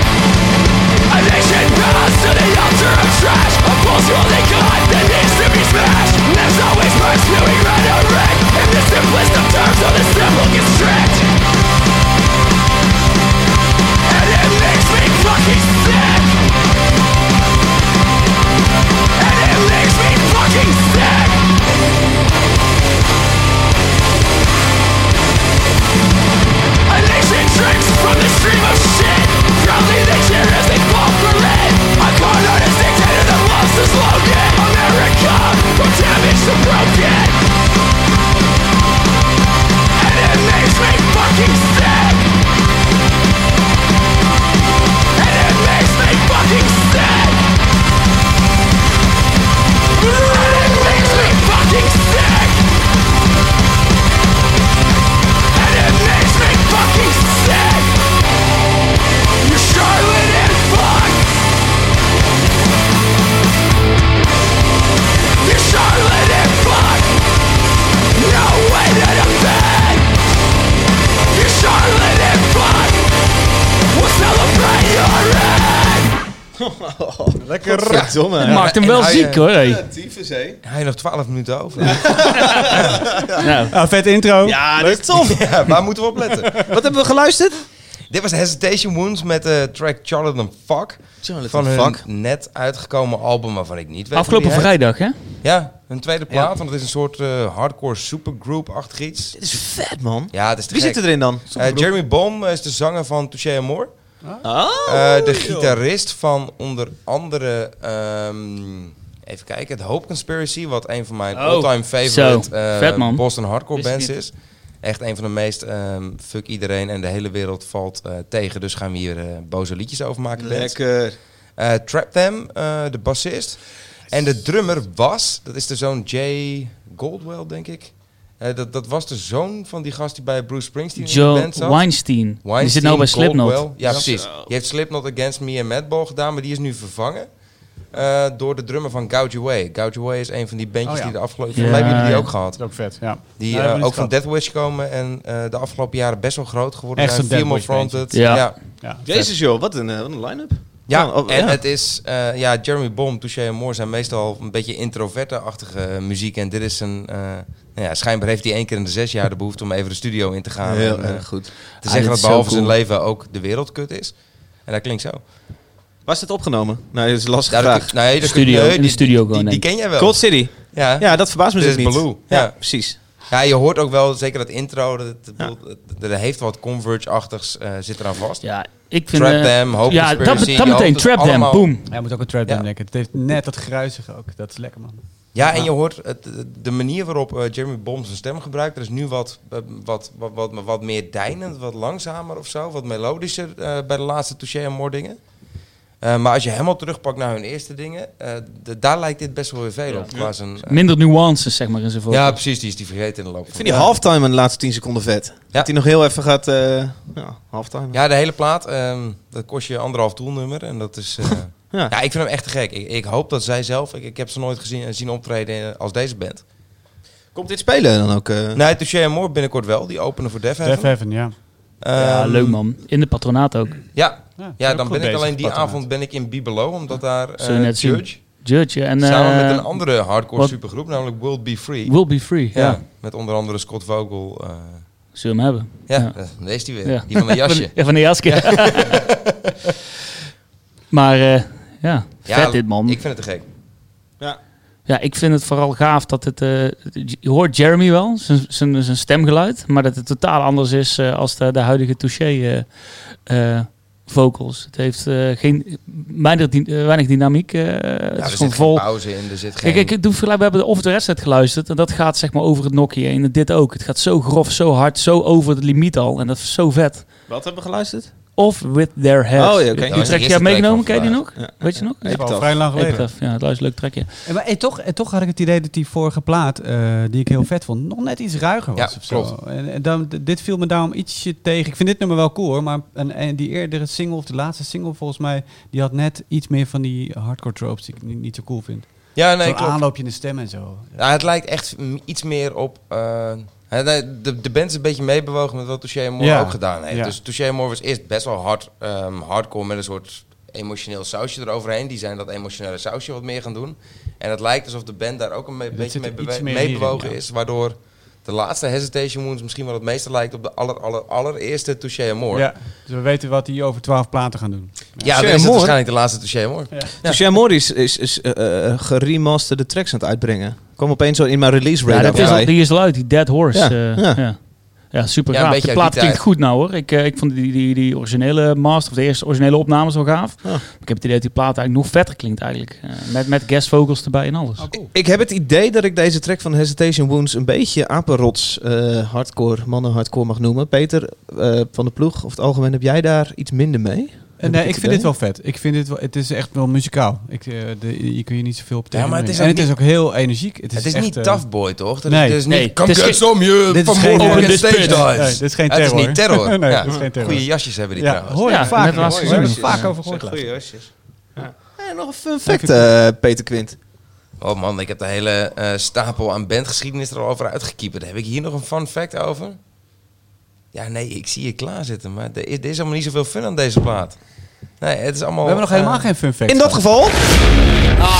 Speaker 7: A nation bows to the altar of trash A false holy god that needs to be smashed There's always merch spewing red and red In the simplest of terms so the symbol gets tricked And it makes me fucking sick And it makes me fucking sick
Speaker 2: Lekker. Verdomme.
Speaker 3: Dat maakt hem
Speaker 5: en
Speaker 3: wel
Speaker 5: hou je-
Speaker 3: ziek hoor. hey.
Speaker 5: Hij heeft nog 12 minuten over.
Speaker 3: Nou,
Speaker 4: Ah, vet intro.
Speaker 2: Ja, dat is tof.
Speaker 5: Ja, waar moeten we op letten?
Speaker 2: Wat hebben we geluisterd?
Speaker 5: Dit was Hesitation Wounds met de track Charlotte and Fuck. Van hun net uitgekomen album waarvan ik niet weet. hoe
Speaker 3: afgelopen
Speaker 5: die heet.
Speaker 3: vrijdag hè?
Speaker 5: Ja, hun tweede plaat. Want het is een soort eh, hardcore supergroup-achtig iets.
Speaker 2: Dit is vet, man.
Speaker 5: Ja, het is te
Speaker 2: Wie
Speaker 5: gek.
Speaker 2: zit erin dan?
Speaker 5: Eh, Jeremy Boom is de zanger van Touché Amor.
Speaker 2: Oh,
Speaker 5: Eh, de gitarist van onder andere, ehm, even kijken, het Hope Conspiracy, wat een van mijn
Speaker 3: Oh, zo.
Speaker 5: all-time favorite eh,
Speaker 3: Vet, man.
Speaker 5: Boston hardcore
Speaker 3: Wist ik
Speaker 5: bands
Speaker 3: niet.
Speaker 5: is. Echt een van de meest ehm, fuck iedereen en de hele wereld valt eh, tegen, dus gaan we hier eh, boze liedjes over maken. bands.
Speaker 2: lekker.
Speaker 5: Eh, Trap Them, eh, de bassist. En de drummer was, dat is de zoon Jay Goldwell, denk ik. Eh, dat, dat was de zoon van die gast die bij Bruce Springsteen in de
Speaker 3: Joe
Speaker 5: band zat.
Speaker 3: Weinstein. Die zit
Speaker 5: Weinstein,
Speaker 3: nou bij Slipknot.
Speaker 5: Caldwell. Ja, precies. Die heeft Slipknot Against Me en Madball gedaan, maar die is nu vervangen eh, door de drummer van Gouge Way. Gouge Way is een van die bandjes
Speaker 4: Oh, ja.
Speaker 5: die de afgelopen...
Speaker 3: Ja.
Speaker 5: Volgens mij hebben jullie die ook
Speaker 4: Dat
Speaker 5: gehad.
Speaker 4: is ook vet, ja.
Speaker 5: Die
Speaker 4: Ja, hebben
Speaker 5: eh,
Speaker 4: we
Speaker 5: ook
Speaker 4: niet
Speaker 5: van
Speaker 4: gehad.
Speaker 5: Death Wish komen en eh, de afgelopen jaren best wel groot geworden.
Speaker 4: Echt
Speaker 5: zijn.
Speaker 4: zo'n Death
Speaker 5: Female
Speaker 4: Wish bandje.
Speaker 5: Fronted.
Speaker 3: Ja.
Speaker 5: ja.
Speaker 4: Ja, vet.
Speaker 2: Jezus joh, wat een, eh, wat een line-up.
Speaker 5: Ja,
Speaker 2: Oh, oh,
Speaker 5: en
Speaker 2: ja.
Speaker 5: het is... eh, ja, Jeremy Bomb, Touché en Moore zijn meestal een beetje introverte-achtige muziek. En dit is een... eh, nou ja, schijnbaar heeft hij één keer in de zes jaar de behoefte om even de studio in te gaan.
Speaker 2: Heel
Speaker 5: en, eh,
Speaker 2: erg goed.
Speaker 5: te
Speaker 3: Ah, dit
Speaker 5: zeggen
Speaker 3: is
Speaker 5: dat
Speaker 3: zo
Speaker 5: behalve zijn
Speaker 3: cool.
Speaker 5: leven ook de wereld kut is. En dat klinkt zo.
Speaker 2: Waar is dit opgenomen? Nee, dat is lastig
Speaker 5: Ja, dat
Speaker 2: vraag.
Speaker 5: kun- nee, dat kun-
Speaker 3: Studio,
Speaker 5: nee,
Speaker 3: in de
Speaker 5: die-
Speaker 3: studio
Speaker 5: die-
Speaker 3: gewoon,
Speaker 5: Die,
Speaker 3: denk
Speaker 5: ken jij wel.
Speaker 2: Cold City.
Speaker 5: Ja. Ja.
Speaker 2: Ja, dat verbaast me
Speaker 5: Dit
Speaker 2: dus
Speaker 5: is
Speaker 2: niet.
Speaker 5: Baloo.
Speaker 2: Ja,
Speaker 5: Ja.
Speaker 2: precies.
Speaker 5: je hoort ook wel, zeker dat intro, dat, dat, dat- er heeft wat Converge-achtigs eh, zit eraan vast.
Speaker 3: Ja, ik vind...
Speaker 5: Trap
Speaker 3: eh,
Speaker 5: Them, Hope
Speaker 3: Ja, dat,
Speaker 5: Conspiracy,
Speaker 3: dat
Speaker 5: je hoopt
Speaker 3: meteen.
Speaker 5: het
Speaker 3: Trap Them,
Speaker 5: allemaal-
Speaker 3: boom.
Speaker 4: Hij moet ook een trap
Speaker 5: Ja.
Speaker 4: doen, lekker. Het heeft net dat gruizige ook. Dat is lekker, man.
Speaker 5: Ja, en je hoort het, de manier waarop eh, Jeremy Bomb zijn stem gebruikt. Er is nu wat, eh, wat, wat, wat, wat meer deinend, wat langzamer of zo. Wat melodischer eh, bij de laatste Touché en More dingen. Eh, maar als je helemaal terugpakt naar hun eerste dingen, eh, d- daar lijkt dit best wel weer veel op. qua zijn, eh,
Speaker 3: Minder nuances, zeg maar, in zijn
Speaker 5: ja,
Speaker 3: voorkeur.
Speaker 5: precies, die is die vergeten in de
Speaker 2: Ik
Speaker 5: loop van
Speaker 2: vind die halftime in de laatste 10 seconden vet. Dat hij nog heel even gaat... eh, ja, halftime.
Speaker 5: Ja, de hele plaat, ehm, dat kost je anderhalf doelnummer. En dat is. eh,
Speaker 3: [LAUGHS]
Speaker 5: ja. ik vind hem echt te gek. Ik, ik hoop dat zij zelf. Ik, ik heb ze nooit gezien, eh, zien optreden als deze band.
Speaker 2: Komt dit spelen dan ook? eh?
Speaker 5: Nee, Touché en Moore binnenkort wel. Die openen voor Def
Speaker 4: Def
Speaker 5: Heaven.
Speaker 4: Heaven, ja.
Speaker 3: Ja,
Speaker 5: Ehm,
Speaker 3: leuk man. In de patronaat ook.
Speaker 5: Ja,
Speaker 4: Ja,
Speaker 5: ja
Speaker 4: ook
Speaker 5: dan
Speaker 4: goed
Speaker 5: ben ik
Speaker 4: bezig,
Speaker 5: alleen die
Speaker 4: patronaat.
Speaker 5: avond ben ik in Bibelo, omdat daar
Speaker 3: Zul je
Speaker 5: eh,
Speaker 3: net zien.
Speaker 5: Church
Speaker 3: Judge en...
Speaker 5: samen
Speaker 3: eh,
Speaker 5: met een andere hardcore
Speaker 3: wat-
Speaker 5: supergroep, namelijk World Be Free.
Speaker 3: Will Be Free,
Speaker 5: ja.
Speaker 3: ja.
Speaker 5: met onder andere Scott Vogel. eh,
Speaker 3: Zullen we hem hebben.
Speaker 5: ja,
Speaker 3: Ja.
Speaker 5: eh, daar is die weer.
Speaker 3: Ja. [LAUGHS]
Speaker 5: Die van mijn jasje.
Speaker 3: Ja, van de jasje. [LAUGHS] maar eh, ja, vet
Speaker 5: ja,
Speaker 3: dit man.
Speaker 5: Ik vind het te gek.
Speaker 3: Ja, ik vind het vooral gaaf dat het... eh, je hoort Jeremy wel, zijn- zijn zijn stemgeluid. Maar dat het totaal anders is eh, als de, de huidige touché eh, eh, vocals. Het heeft eh, geen, weinig, dy- eh, weinig dynamiek. eh,
Speaker 5: Ja,
Speaker 3: het is
Speaker 5: er
Speaker 3: gewoon
Speaker 5: zit geen
Speaker 3: vol.
Speaker 5: pauze in, er zit geen...
Speaker 3: Kijk, ik, ik doe vergelijk, we hebben de over de wedstrijd geluisterd. En dat gaat zeg maar over het nokje. En dit ook. Het gaat zo grof, zo hard, zo over de limiet al. En dat is zo vet.
Speaker 2: Wat hebben we geluisterd?
Speaker 3: Of With Their Heads.
Speaker 2: Oh ja, oké.
Speaker 3: Die
Speaker 5: Ja, dat is de
Speaker 3: track
Speaker 5: eerste
Speaker 3: jij hebt meegenomen,
Speaker 5: track
Speaker 3: ken je
Speaker 5: van
Speaker 3: die nog?
Speaker 2: Ja.
Speaker 3: Weet je nog?
Speaker 4: Dat is al
Speaker 2: Epitaph.
Speaker 4: vrij lang geleden.
Speaker 3: Epitaph, ja, dat is een leuk trackje.
Speaker 4: En, maar, en toch, en toch had ik het idee dat die vorige plaat, eh, die ik heel vet vond, nog net iets ruiger was.
Speaker 5: Ja,
Speaker 4: of zo. En, en dan, d- dit viel me daarom ietsje tegen. Ik vind dit nummer wel cool hoor, maar en, en die eerdere single, of de laatste single volgens mij, die had net iets meer van die hardcore tropes die ik niet, niet zo cool vind.
Speaker 5: Ja,
Speaker 4: Nee,
Speaker 5: nee,
Speaker 4: Zo'n
Speaker 5: klopt.
Speaker 4: aanloopje in de stem en zo.
Speaker 5: Ja, Nou, het lijkt echt m- iets meer op... eh, hè, nee, de, de band is een beetje meebewogen met wat Touché Moore
Speaker 4: Ja.
Speaker 5: ook gedaan heeft.
Speaker 4: Ja.
Speaker 5: Dus Touché Moore was eerst best wel hard, ehm, hardcore met een soort emotioneel sausje eroverheen. Die zijn dat emotionele sausje wat meer gaan doen. En het lijkt alsof de band daar ook een me- beetje
Speaker 4: zit
Speaker 5: mee
Speaker 4: er iets
Speaker 5: bewe-
Speaker 4: meer
Speaker 5: meebewogen
Speaker 4: hierin, ja.
Speaker 5: is. Waardoor de laatste Hesitation Wounds misschien wel het meeste lijkt op de aller, aller, allereerste Touché Moore. Ja,
Speaker 4: Ja, dus we weten wat die over twaalf platen gaan doen.
Speaker 5: dan
Speaker 2: Touché
Speaker 5: is het
Speaker 2: Moore?
Speaker 5: waarschijnlijk de laatste Touché Moore.
Speaker 2: Dus jij Morris is, is eh, eh, geremasterde tracks aan het uitbrengen. Kwam opeens zo in mijn release
Speaker 3: Ja,
Speaker 2: radar
Speaker 3: dat is al,
Speaker 2: voorbij.
Speaker 3: die is al uit, die Dead Horse.
Speaker 2: Ja,
Speaker 3: eh,
Speaker 2: ja.
Speaker 3: ja. Ja. super
Speaker 5: Ja,
Speaker 3: gaaf.
Speaker 5: een beetje
Speaker 3: de
Speaker 5: uit
Speaker 3: plaat
Speaker 5: die
Speaker 3: klinkt
Speaker 5: tijd.
Speaker 3: goed nou hoor. Ik, eh, ik vond die, die, die originele master, of de eerste originele opname zo gaaf.
Speaker 2: Ja.
Speaker 3: Maar Ik heb het idee dat die plaat eigenlijk nog vetter klinkt eigenlijk. Eh, met, met guest vocals erbij en alles.
Speaker 2: Ik heb het idee dat ik deze track van Hesitation Wounds een beetje apenrots eh, hardcore, mannen hardcore mag noemen. Peter eh, van de ploeg, of het algemeen, heb jij daar iets minder mee?
Speaker 4: En,
Speaker 2: Heb
Speaker 4: nee,
Speaker 2: ik
Speaker 4: ik
Speaker 2: het
Speaker 4: vind
Speaker 2: idee?
Speaker 4: dit wel vet. Ik vind dit wel, het is echt wel muzikaal. Ik, eh, de, je kun je niet zoveel op tegen.
Speaker 5: maar het is
Speaker 4: en
Speaker 5: ook
Speaker 4: het is ook heel energiek. Het is,
Speaker 5: Het is
Speaker 4: echt,
Speaker 5: niet
Speaker 4: eh,
Speaker 5: Tough Boy, toch? Dat
Speaker 4: nee.
Speaker 5: is, dit is
Speaker 3: Nee,
Speaker 5: niet...
Speaker 3: het
Speaker 5: Come
Speaker 3: is
Speaker 5: get
Speaker 3: geen-
Speaker 5: some, you!
Speaker 4: Dit is
Speaker 5: Van
Speaker 4: geen
Speaker 5: Moore,
Speaker 4: terror.
Speaker 5: get
Speaker 4: Dit is
Speaker 5: stage
Speaker 4: geen-
Speaker 5: dives.
Speaker 4: nee, dit is geen
Speaker 5: Het is
Speaker 4: terror.
Speaker 5: niet terror.
Speaker 4: [LAUGHS] Nee,
Speaker 5: ja.
Speaker 4: dit is geen terror.
Speaker 5: Goede jasjes hebben die
Speaker 4: Ja,
Speaker 5: trouwens.
Speaker 4: hoor je
Speaker 3: Ja,
Speaker 4: vaak.
Speaker 3: net als-
Speaker 4: hoor. We hebben het
Speaker 3: Ja.
Speaker 4: vaak over gehoord. laatst.
Speaker 2: jasjes. Eh, nog een fun fact, eh, Peter Quint.
Speaker 5: Oh man, ik heb de hele eh, stapel aan bandgeschiedenis er al over uitgekieperd. Heb ik hier nog een fun fact over? Ja, nee, ik zie je klaarzitten, maar er is, er is allemaal niet zoveel fun aan deze plaat. Nee, het is allemaal...
Speaker 4: We hebben nog helemaal
Speaker 5: eh,
Speaker 4: geen fun fact.
Speaker 2: In dat geval...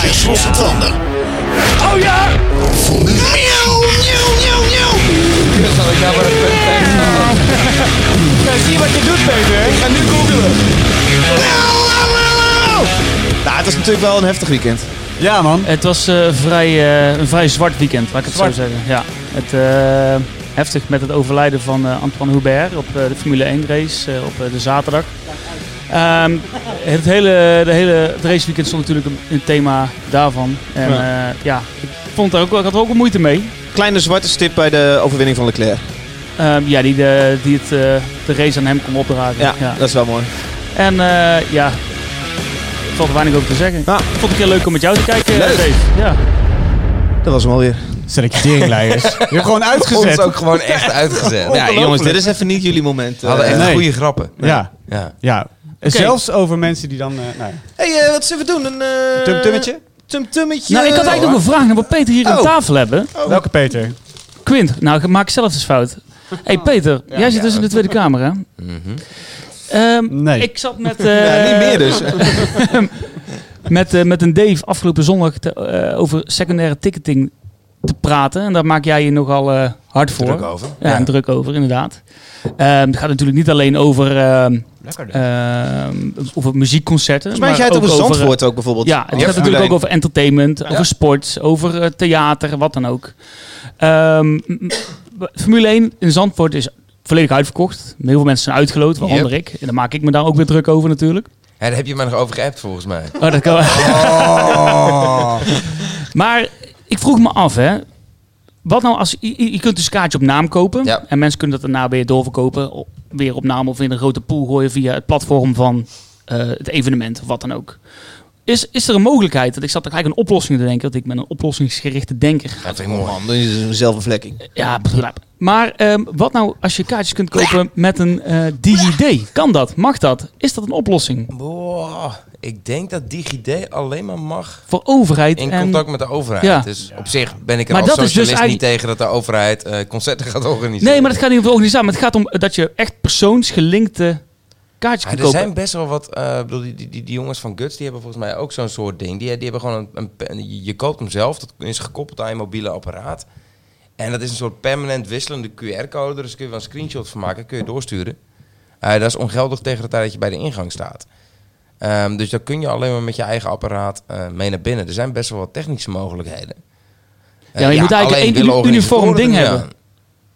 Speaker 8: Zes losse tanden. Oh ja! Formule 1.
Speaker 5: kut, had ik nou maar een fun fact gehad.
Speaker 2: zie wat je doet, Peter. Ik ga nu googelen. Nou, het is natuurlijk wel een heftig weekend.
Speaker 4: Ja, man.
Speaker 3: Het was eh, vrij, eh, een vrij zwart weekend, laat ik het zo zeggen. Ja, het, eh, heftig met het overlijden van eh, Antoine Hubert op eh, de Formule 1 race eh, op eh, de zaterdag. Ehm, het hele, de hele het raceweekend stond natuurlijk een, een thema daarvan. En ja, ja ik, vond daar ook, wel- ik had er ook wel moeite mee.
Speaker 2: Kleine zwarte stip bij de overwinning van Leclerc.
Speaker 3: Ehm, ja, die, de, die het, eh, de race aan hem kon opdragen.
Speaker 2: Ja,
Speaker 3: Ja.
Speaker 2: dat is wel mooi.
Speaker 3: En eh, ja, er valt er weinig over te zeggen.
Speaker 2: Ja.
Speaker 3: Ik vond het heel leuk om met jou te kijken,
Speaker 2: Leuk.
Speaker 3: Dave. Ja.
Speaker 2: Dat was hem alweer.
Speaker 4: Selecteringleiders.
Speaker 2: [LAUGHS]
Speaker 4: Je hebt gewoon
Speaker 5: Ons
Speaker 4: uitgezet.
Speaker 5: ook gewoon echt uitgezet.
Speaker 2: Ja, jongens, dit is even niet jullie moment. eh.
Speaker 5: We hadden echt
Speaker 4: Nee.
Speaker 5: goede grappen.
Speaker 4: Ja,
Speaker 5: Ja.
Speaker 4: ja. Zelfs over mensen die dan... eh nou, ja.
Speaker 2: hey, eh, wat zullen we doen? Een eh,
Speaker 4: Tumtummetje?
Speaker 2: Tumtummetje.
Speaker 3: Nou, ik had eigenlijk nog een vraag naar wat Peter hier aan
Speaker 2: Oh.
Speaker 3: tafel hebben.
Speaker 4: Welke Peter?
Speaker 3: Quint, nou maak zelf eens fout. hey Peter, jij zit dus in de Tweede Kamer, hè?
Speaker 5: Mhm.
Speaker 3: Ehm,
Speaker 4: Nee.
Speaker 3: Ik zat met,
Speaker 2: [LAUGHS] Ja,
Speaker 3: eh,
Speaker 2: niet meer dus.
Speaker 3: met, eh, met een Dave afgelopen zondag te- eh, over secundaire ticketing te praten. En daar maak jij je nogal eh, hard voor.
Speaker 5: Druk over.
Speaker 3: Ja, en druk over, inderdaad. Ehm, het gaat natuurlijk niet alleen over, ehm,
Speaker 4: Lekker
Speaker 3: ehm, over muziekconcerten.
Speaker 2: Volgens mij had jij het
Speaker 3: maar
Speaker 2: over
Speaker 3: ook over, eh,
Speaker 2: Zandvoort ook bijvoorbeeld.
Speaker 3: Ja, het
Speaker 2: Ja,
Speaker 3: gaat natuurlijk ook
Speaker 2: Formule
Speaker 3: over entertainment, over sport, over eh, theater, wat dan ook. Ehm, m- m- Formule 1 in Zandvoort is volledig uitverkocht. Heel veel mensen zijn uitgeloot, waaronder ik. En daar maak ik me daar ook weer druk over natuurlijk.
Speaker 5: Ja, daar heb je mij nog over geappt volgens mij.
Speaker 3: Oh, dat kan.
Speaker 5: Oh.
Speaker 3: [LAUGHS] maar ik vroeg me af, hè. Wat nou als... Je, je- je kunt dus een kaartje op naam kopen.
Speaker 5: Ja.
Speaker 3: En mensen kunnen dat daarna weer doorverkopen. o- Weer op naam of in een grote pool gooien via het platform van eh, het evenement. Of wat dan ook. Is, is er een mogelijkheid? Dat ik zat er gelijk een oplossing te denken. Dat ik ben een oplossingsgerichte denker.
Speaker 5: Dat vind
Speaker 2: Oh
Speaker 5: ik mooi.
Speaker 2: man, dat is een zelfbevlekking.
Speaker 3: Ja, blap. Maar ehm, wat nou als je kaartjes kunt kopen met een eh DigiD? Kan dat? Mag dat? Is dat een oplossing?
Speaker 5: Boah, ik denk dat DigiD alleen maar mag
Speaker 3: Voor overheid
Speaker 5: in
Speaker 3: en...
Speaker 5: contact met de overheid.
Speaker 3: Ja.
Speaker 5: Dus op zich ben ik er
Speaker 3: Maar
Speaker 5: als
Speaker 3: dat is dus
Speaker 5: socialist niet
Speaker 3: eigenlijk-
Speaker 5: tegen dat de overheid eh, concerten gaat organiseren.
Speaker 3: Nee, maar het gaat niet om de organisatie. Maar het gaat om dat je echt persoonsgelinkte kaartjes
Speaker 5: Ja,
Speaker 3: kunt
Speaker 5: er
Speaker 3: kopen.
Speaker 5: zijn best wel wat, eh, ik bedoel, die, die, die, die jongens van Guts, die hebben volgens mij ook zo'n soort ding. Die, die hebben gewoon een, een pe- je- je koopt hem zelf, dat is gekoppeld aan je mobiele apparaat. En dat is een soort permanent wisselende QR-code, dus kun je wel een screenshot van maken, kun je doorsturen. Eh, dat is ongeldig tegen de tijd dat je bij de ingang staat. Ehm, dus dan kun je alleen maar met je eigen apparaat eh, mee naar binnen. Er zijn best wel wat technische mogelijkheden.
Speaker 3: Ja,
Speaker 5: Eh,
Speaker 3: maar je moet eigenlijk één
Speaker 5: alleen willen
Speaker 3: uni- uniform
Speaker 5: organisatoren
Speaker 3: ding
Speaker 5: er niet
Speaker 3: hebben.
Speaker 5: aan.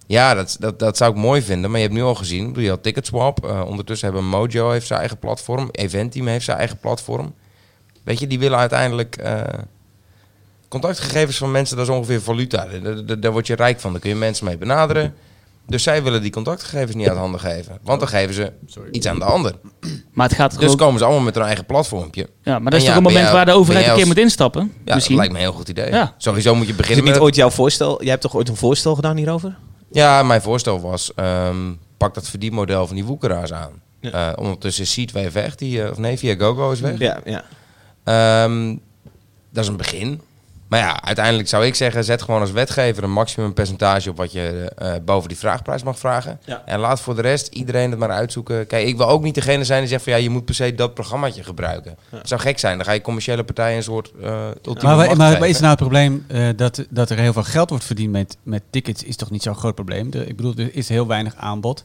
Speaker 5: Ja, dat, dat, dat zou ik mooi vinden. Maar je hebt nu al gezien, ik bedoel, je had Ticketswap. eh, ondertussen hebben Mojo heeft zijn eigen platform. Eventteam heeft zijn eigen platform. Weet je, die willen uiteindelijk... eh, contactgegevens van mensen, dat is ongeveer valuta. Daar- daar- Daar, daar word je rijk van. Daar kun je mensen mee benaderen. Dus zij willen die contactgegevens niet uit handen geven. Want dan geven ze iets aan de ander.
Speaker 3: Maar het gaat er
Speaker 5: Dus
Speaker 3: ook-
Speaker 5: komen ze allemaal met hun eigen platformpje.
Speaker 3: ja, maar dat is toch een
Speaker 5: En ja, ben
Speaker 3: moment
Speaker 5: jij-
Speaker 3: waar de
Speaker 5: ben
Speaker 3: overheid
Speaker 5: jij
Speaker 3: een keer
Speaker 5: als-
Speaker 3: moet instappen? Dus
Speaker 5: Ja,
Speaker 3: misschien.
Speaker 5: dat lijkt me een heel goed idee.
Speaker 3: Ja.
Speaker 5: Sowieso moet je
Speaker 2: Is het
Speaker 5: beginnen
Speaker 2: niet
Speaker 5: met...
Speaker 2: ooit jouw voorstel? Jij hebt toch ooit een voorstel gedaan hierover?
Speaker 5: Ja, mijn voorstel was, ehm, pak dat verdienmodel van die woekeraars aan.
Speaker 2: Ja.
Speaker 5: Eh, ondertussen is Seatway weg, die, eh, of nee, via GoGo is weg.
Speaker 2: Ja, ja.
Speaker 5: Ehm, dat is een begin. Maar ja, uiteindelijk zou ik zeggen, zet gewoon als wetgever een maximum percentage op wat je eh, boven die vraagprijs mag vragen.
Speaker 2: Ja.
Speaker 5: En laat voor de rest iedereen het maar uitzoeken. Kijk, ik wil ook niet degene zijn die zegt van ja, je moet per se dat programmaatje gebruiken. Dat zou gek zijn. Dan ga je commerciële partijen een soort eh ultieme
Speaker 4: Maar, wij-
Speaker 5: macht
Speaker 4: maar
Speaker 5: geven.
Speaker 4: is nou het probleem eh, dat, dat er heel veel geld wordt verdiend met, met tickets, is toch niet zo'n groot probleem? De- ik bedoel, er is heel weinig aanbod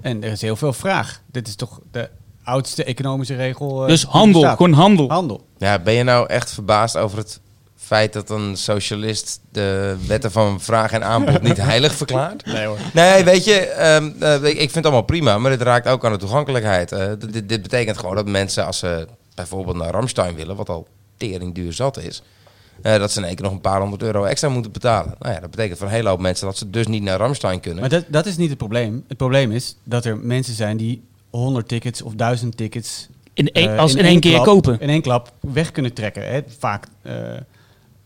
Speaker 4: en er is heel veel vraag. Dit is toch de oudste economische regel. eh,
Speaker 3: Dus
Speaker 4: die
Speaker 3: handel,
Speaker 4: bestaat.
Speaker 3: gewoon handel.
Speaker 4: Handel.
Speaker 5: Ja, ben je nou echt verbaasd over het feit dat een socialist de wetten van vraag en
Speaker 4: [LAUGHS]
Speaker 5: aanbod niet heilig verklaart?
Speaker 4: Nee hoor.
Speaker 5: Nee, weet je, ehm, eh, ik ik vind het allemaal prima, maar het raakt ook aan de toegankelijkheid. Eh, dit- dit, dit betekent gewoon dat mensen, als ze bijvoorbeeld naar Ramstein willen, wat al tering duur zat is, eh, dat ze in één keer nog een paar honderd euro extra moeten betalen. Nou ja, dat betekent voor een hele hoop mensen dat ze dus niet naar Ramstein kunnen.
Speaker 4: Maar dat, dat is niet het probleem. Het probleem is dat er mensen zijn die 100 tickets of 1000 tickets
Speaker 3: In één-
Speaker 4: eh,
Speaker 3: als in één keer
Speaker 4: klap-
Speaker 3: kopen.
Speaker 4: In één klap weg kunnen trekken. Hè? Vaak eh,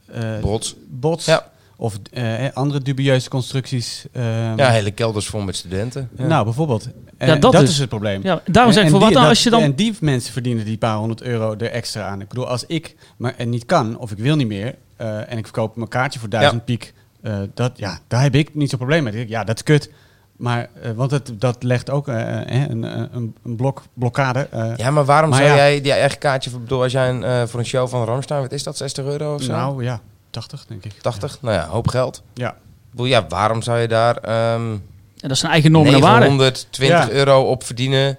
Speaker 4: eh,
Speaker 5: Bots.
Speaker 4: bots
Speaker 5: Ja.
Speaker 4: of eh, andere dubieuze constructies. ehm,
Speaker 5: Ja, hele kelders vol met studenten.
Speaker 4: Nou, bijvoorbeeld. En
Speaker 3: Ja, dat
Speaker 4: dat
Speaker 3: dus.
Speaker 4: is het probleem.
Speaker 3: Ja, daarom zeg ik,
Speaker 4: En- en
Speaker 3: voor wat
Speaker 4: die-
Speaker 3: dan
Speaker 4: dat-
Speaker 3: als je dan-
Speaker 4: En die mensen verdienen die paar honderd euro er extra aan. Ik bedoel, als ik maar en niet kan, of ik wil niet meer, eh, en ik verkoop mijn kaartje voor duizend piek, eh, dat, ja, daar heb ik niet zo'n probleem mee. Ja, dat is kut. Maar, eh, want het, dat legt ook eh, eh, een, een, een blok, blokkade. eh,
Speaker 5: Ja, maar waarom
Speaker 4: Maar
Speaker 5: zou
Speaker 4: ja.
Speaker 5: jij die eigen kaartje... voor- bedoel, als jij een, eh, voor een show van Ramstein... Wat is dat, 60 euro of zo?
Speaker 4: nou ja, 80 denk ik.
Speaker 5: 80? Nou ja, hoop geld.
Speaker 4: Ja.
Speaker 5: Ik bedoel, ja, waarom zou je daar ehm
Speaker 3: En dat is een eigen norm en waarde.
Speaker 5: 920
Speaker 4: Ja.
Speaker 5: euro op verdienen...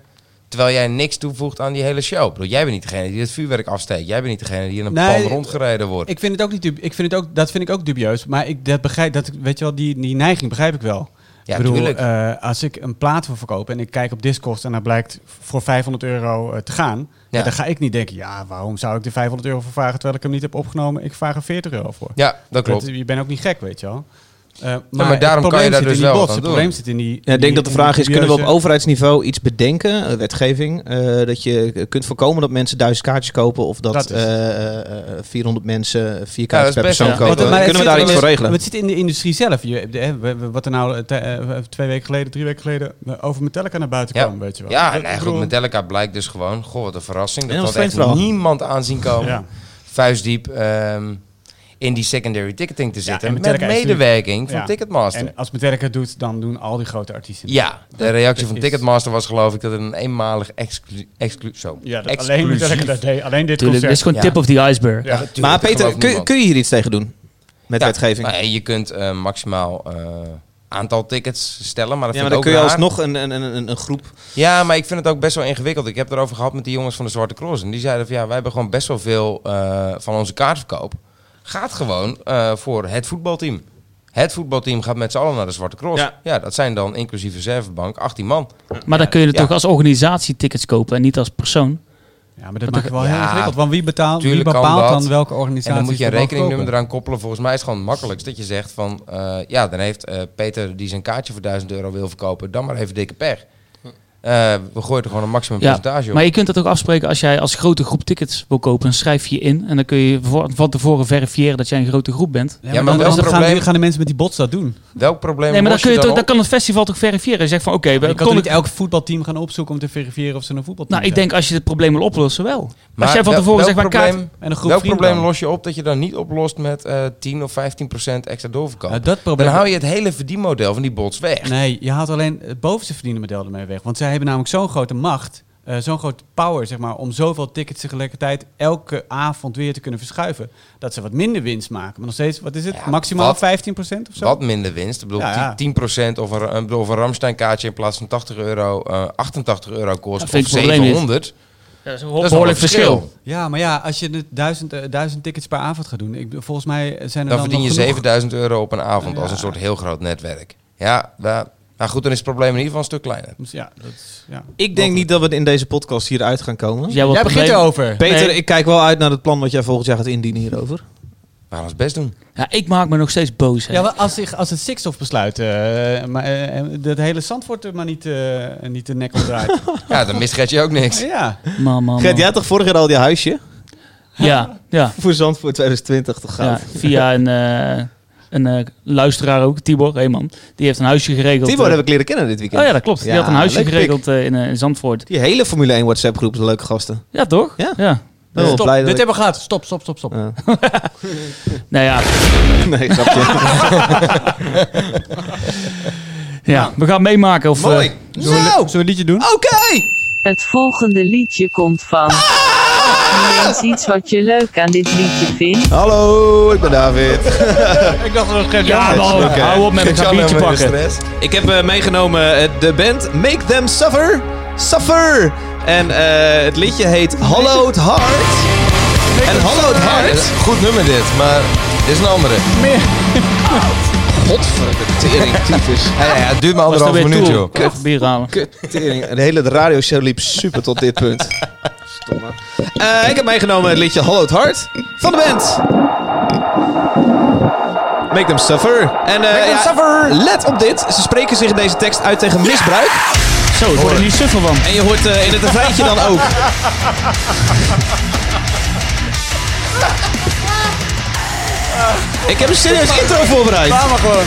Speaker 5: terwijl jij niks toevoegt aan die hele show? Ik bedoel, jij bent niet degene die het vuurwerk afsteekt. Jij bent niet degene die in een
Speaker 4: Nee.
Speaker 5: pan rondgereden wordt.
Speaker 4: Ik vind het ook niet dub- ik vind het ook, dat vind ik ook dubieus. Maar ik dat begrijp, dat, weet je wel, die, die neiging begrijp ik wel.
Speaker 5: Ja,
Speaker 4: ik bedoel,
Speaker 5: tuurlijk.
Speaker 4: eh, als ik een plaat wil verkopen en ik kijk op Discord en daar blijkt voor 500 euro eh, te gaan, ja.
Speaker 5: Ja.
Speaker 4: dan ga ik niet denken, ja, waarom zou ik de 500 euro voor vragen terwijl ik hem niet heb opgenomen? Ik vraag er 40 euro voor.
Speaker 5: ja, dat klopt.
Speaker 4: Dat- je bent ook niet gek, weet je wel. Eh,
Speaker 5: maar daarom
Speaker 4: het
Speaker 5: kan je
Speaker 4: probleem
Speaker 5: daar
Speaker 4: zit
Speaker 5: dus
Speaker 4: in die
Speaker 5: wel wat
Speaker 4: bots,
Speaker 5: aan
Speaker 4: Het
Speaker 5: doen.
Speaker 4: probleem zit in die.
Speaker 2: Ja, ik denk dat de vraag is, kunnen we op
Speaker 4: over
Speaker 2: overheidsniveau iets bedenken, eh, wetgeving, eh, dat je kunt voorkomen dat mensen duizend kaartjes kopen of dat,
Speaker 4: Dat is-
Speaker 2: eh, eh, eh, 400 mensen vier
Speaker 5: Ja, dat
Speaker 2: kaartjes
Speaker 5: is
Speaker 2: per
Speaker 5: best
Speaker 2: persoon
Speaker 5: wel-
Speaker 2: kopen?
Speaker 5: Maar-
Speaker 4: het
Speaker 2: kunnen we
Speaker 4: zit
Speaker 2: daar
Speaker 4: in
Speaker 2: iets
Speaker 4: de-
Speaker 2: voor
Speaker 4: maar
Speaker 2: regelen?
Speaker 4: het zit in de industrie zelf. Je, de- hè, we- we- wat er nou eh, te- eh, twee weken geleden, drie weken geleden eh, over Metallica naar buiten
Speaker 5: Ja.
Speaker 4: kwam, weet je wel.
Speaker 5: Ja,
Speaker 4: Ik
Speaker 5: nee, goed,
Speaker 4: bedoel-
Speaker 5: Metallica blijkt dus gewoon... Goh, wat een verrassing. Dat
Speaker 2: Ja, dat
Speaker 5: had
Speaker 2: is
Speaker 5: echt
Speaker 2: vreemd verhaal.
Speaker 5: niemand aan zien komen.
Speaker 4: Ja.
Speaker 5: Vuistdiep ehm, in die secondary ticketing te zitten.
Speaker 4: en
Speaker 5: met
Speaker 4: Metallica is
Speaker 5: medewerking van
Speaker 4: Ja.
Speaker 5: Ticketmaster.
Speaker 4: En als Metallica het doet, dan doen al die grote artiesten. het.
Speaker 5: ja, de reactie van
Speaker 4: is-
Speaker 5: Ticketmaster was geloof ik dat het een eenmalig exclu exclu zo,
Speaker 4: Ja, dat
Speaker 5: exclusief...
Speaker 4: alleen Metallica dat deed. Alleen dit
Speaker 3: Tuurlijk, dit is
Speaker 4: concert.
Speaker 3: gewoon
Speaker 5: Ja.
Speaker 3: tip of the iceberg.
Speaker 4: Ja.
Speaker 5: tuurlijk,
Speaker 2: Maar
Speaker 5: dat
Speaker 2: Peter,
Speaker 5: gelooft
Speaker 2: kun,
Speaker 5: niemand.
Speaker 2: kun je hier iets tegen doen met
Speaker 5: Ja,
Speaker 2: wetgeving?
Speaker 5: nou ja, je kunt eh, maximaal eh, aantal tickets stellen, maar dat
Speaker 2: Ja, maar
Speaker 5: vind
Speaker 2: dan kun
Speaker 5: ik
Speaker 2: je
Speaker 5: ook raar.
Speaker 2: alsnog een, een, een, een, een groep...
Speaker 5: Ja, maar ik vind het ook best wel ingewikkeld. Ik heb het erover gehad met die jongens van de Zwarte Cross. En die zeiden van ja, wij hebben gewoon best wel veel eh, van onze kaartverkoop. Gaat gewoon eh, voor het voetbalteam. Het voetbalteam gaat met z'n allen naar de Zwarte Cross.
Speaker 2: Ja.
Speaker 5: Ja, dat zijn dan inclusief reservebank 18 man.
Speaker 3: Maar dan kun je er
Speaker 5: Ja.
Speaker 3: toch als organisatie tickets kopen en niet als persoon.
Speaker 4: Ja, maar dat maakt het wel heel
Speaker 5: Ja,
Speaker 4: ingewikkeld. Want wie, betaalt, wie
Speaker 5: tuurlijk kan
Speaker 4: bepaalt
Speaker 5: dat.
Speaker 4: dan welke
Speaker 5: En
Speaker 4: organisatie?
Speaker 5: dan moet je een rekeningnummer eraan koppelen. Volgens mij is het gewoon het makkelijkst dat je zegt van... eh, ja, dan heeft eh, Peter die zijn kaartje voor 1000 euro wil verkopen... dan maar even dikke pech. Eh, we gooien er gewoon een maximum
Speaker 3: Ja,
Speaker 5: percentage op.
Speaker 3: maar je kunt dat ook afspreken als jij als grote groep tickets wil kopen. Dan schrijf je je in en dan kun je voor- van tevoren verifiëren dat jij een grote groep bent.
Speaker 4: Ja,
Speaker 5: Ja,
Speaker 4: maar,
Speaker 5: maar
Speaker 4: dan,
Speaker 5: welk
Speaker 4: dan gaan,
Speaker 5: probleem-
Speaker 4: die- gaan de mensen met die bots dat doen.
Speaker 5: Welk probleem
Speaker 3: Nee, maar dan,
Speaker 5: los
Speaker 3: kun je
Speaker 5: je
Speaker 3: toch,
Speaker 5: dan
Speaker 3: dan
Speaker 5: op?
Speaker 3: kan het festival toch verifiëren. Je zegt van oké, we
Speaker 4: Je kan toch
Speaker 3: kon
Speaker 4: niet
Speaker 3: ik.
Speaker 4: elk voetbalteam gaan opzoeken om te verifiëren of ze een voetbalteam
Speaker 3: Nou, ik
Speaker 4: zijn.
Speaker 3: denk als je het probleem wil oplossen, wel.
Speaker 5: Maar
Speaker 3: als jij van
Speaker 5: wel-
Speaker 3: tevoren
Speaker 5: welk
Speaker 3: zegt, maar kaart,
Speaker 5: probleem-
Speaker 4: En een groep
Speaker 5: Welk
Speaker 4: vrienden
Speaker 5: probleem
Speaker 4: dan.
Speaker 5: los je op dat je dan niet oplost met eh 10 of 15 procent extra doorverkoop?
Speaker 4: Nou, dat
Speaker 5: dan
Speaker 4: probleem...
Speaker 5: hou je het hele verdienmodel van die bots weg.
Speaker 4: Nee, je haalt alleen het bovenste verdienmodel ermee weg. Want zij hebben namelijk zo'n grote macht, eh, zo'n grote power, zeg maar, om zoveel tickets tegelijkertijd elke avond weer te kunnen verschuiven. Dat ze wat minder winst maken. Maar nog steeds, wat is het?
Speaker 5: Ja,
Speaker 4: Maximaal
Speaker 5: wat-
Speaker 4: 15% of zo?
Speaker 5: Wat minder winst. Ik bedoel,
Speaker 4: Ja, ja.
Speaker 5: 10 procent of een, ik bedoel, of een Ramstein kaartje in plaats van 80 euro, eh 88 euro kost
Speaker 3: Dat vind
Speaker 5: of
Speaker 3: ik het probleem niet.
Speaker 5: 700.
Speaker 3: dat is een
Speaker 5: Dat is wel
Speaker 3: behoorlijk
Speaker 5: een
Speaker 3: verschil.
Speaker 4: Ja, maar ja, als je de duizend, eh, duizend tickets per avond gaat doen, ik, volgens mij zijn er dan,
Speaker 5: Dan verdien
Speaker 4: nog
Speaker 5: je
Speaker 4: genoeg-
Speaker 5: 7000 euro op een avond als
Speaker 4: Ja.
Speaker 5: een soort heel groot netwerk. Ja, daar- nou goed, dan is het probleem in ieder geval een stuk kleiner.
Speaker 4: Dus Ja, dat is... Ja.
Speaker 2: Ik denk niet dat we in deze podcast hieruit gaan komen.
Speaker 3: Dus jij wil
Speaker 4: Jij
Speaker 3: het
Speaker 4: begint
Speaker 3: probleem-
Speaker 4: erover.
Speaker 2: Peter,
Speaker 3: Nee.
Speaker 2: ik kijk wel uit naar het plan wat jij volgend jaar gaat indienen hierover.
Speaker 5: We gaan ons best doen.
Speaker 3: Ja, ik maak me nog steeds boos. hè.
Speaker 4: Ja, maar als, zich- als het Sixtof besluit, eh, maar, eh, eh, dat hele Zandvoort er maar niet, eh, niet de nek om
Speaker 2: [LAUGHS]
Speaker 4: draait.
Speaker 5: Ja, dan misgaat je ook
Speaker 3: [LAUGHS]
Speaker 5: niks.
Speaker 4: ja.
Speaker 3: Man, man, man.
Speaker 2: Gert, jij had toch vorig jaar al die huisje?
Speaker 3: Ja, ja.
Speaker 2: Voor Zandvoort 2020 te gaan.
Speaker 3: ja via een, eh, een eh, luisteraar ook, Tibor Reeman. Die heeft een huisje geregeld.
Speaker 2: Tibor
Speaker 3: eh,
Speaker 2: heb ik leren kennen dit weekend.
Speaker 3: Oh ja, dat klopt.
Speaker 2: Ja,
Speaker 3: die had een huisje
Speaker 2: leuk pik.
Speaker 3: geregeld eh, in, eh, in Zandvoort.
Speaker 2: Die hele Formule 1 WhatsApp groep is een leuke gasten.
Speaker 3: Ja, toch?
Speaker 2: Ja.
Speaker 3: ja.
Speaker 2: Ik ben wel
Speaker 4: Stop,
Speaker 2: blij
Speaker 4: dit
Speaker 2: dat ik-
Speaker 4: hebben we gehad. Stop, stop, stop, stop.
Speaker 2: Ja.
Speaker 3: Nou ja,
Speaker 2: [LAUGHS] Nee, grapje.
Speaker 3: ja. we gaan meemaken. Of,
Speaker 2: Mooi.
Speaker 3: eh,
Speaker 4: Zullen we,
Speaker 2: Zo,
Speaker 4: zullen we een liedje doen?
Speaker 2: oké!
Speaker 1: Het volgende liedje komt van. Noem eens iets wat je leuk aan dit liedje vindt.
Speaker 2: Hallo, ik ben David.
Speaker 4: Ik dacht dat het geen
Speaker 3: ja, man,
Speaker 2: Oké.
Speaker 3: hou op met
Speaker 5: Ik
Speaker 3: een
Speaker 5: zal
Speaker 3: biertje
Speaker 5: helemaal in de
Speaker 3: pakken.
Speaker 5: stress.
Speaker 2: Ik heb eh, meegenomen eh, de band Make Them Suffer. Suffer! En eh, het liedje heet Hallo het Hart. En Hallo het
Speaker 5: Ja, dit
Speaker 2: Hart.
Speaker 5: is een Goed nummer dit, maar dit is een andere.
Speaker 2: Godverdomme, tyfus.
Speaker 5: Ja, ja, ja, het duurt maar
Speaker 3: Was er
Speaker 5: anderhalf
Speaker 3: weer
Speaker 5: minuut,
Speaker 3: toe.
Speaker 5: joh.
Speaker 3: Ik ga even bier halen.
Speaker 2: Tering. De hele radioshow liep super tot dit punt. Stomme. Eh, ik heb meegenomen het liedje Hollow Hart van de band. Make them suffer. En, Make them suffer. Let op dit. Ze spreken zich in deze tekst uit tegen misbruik.
Speaker 3: Zo, ik word er niet suffer van.
Speaker 2: En je hoort eh, in het refreintje dan ook. Ik heb een serieus intro voorbereid. Laat maar gewoon.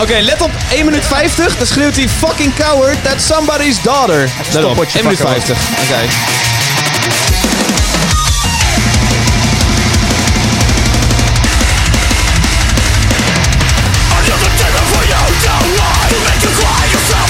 Speaker 2: Oké, let op 1 minuut 50. Dan schreeuwt hij fucking coward that somebody's daughter. Let op, 1 minuut 50. Oké.
Speaker 7: Another dinner for you, don't lie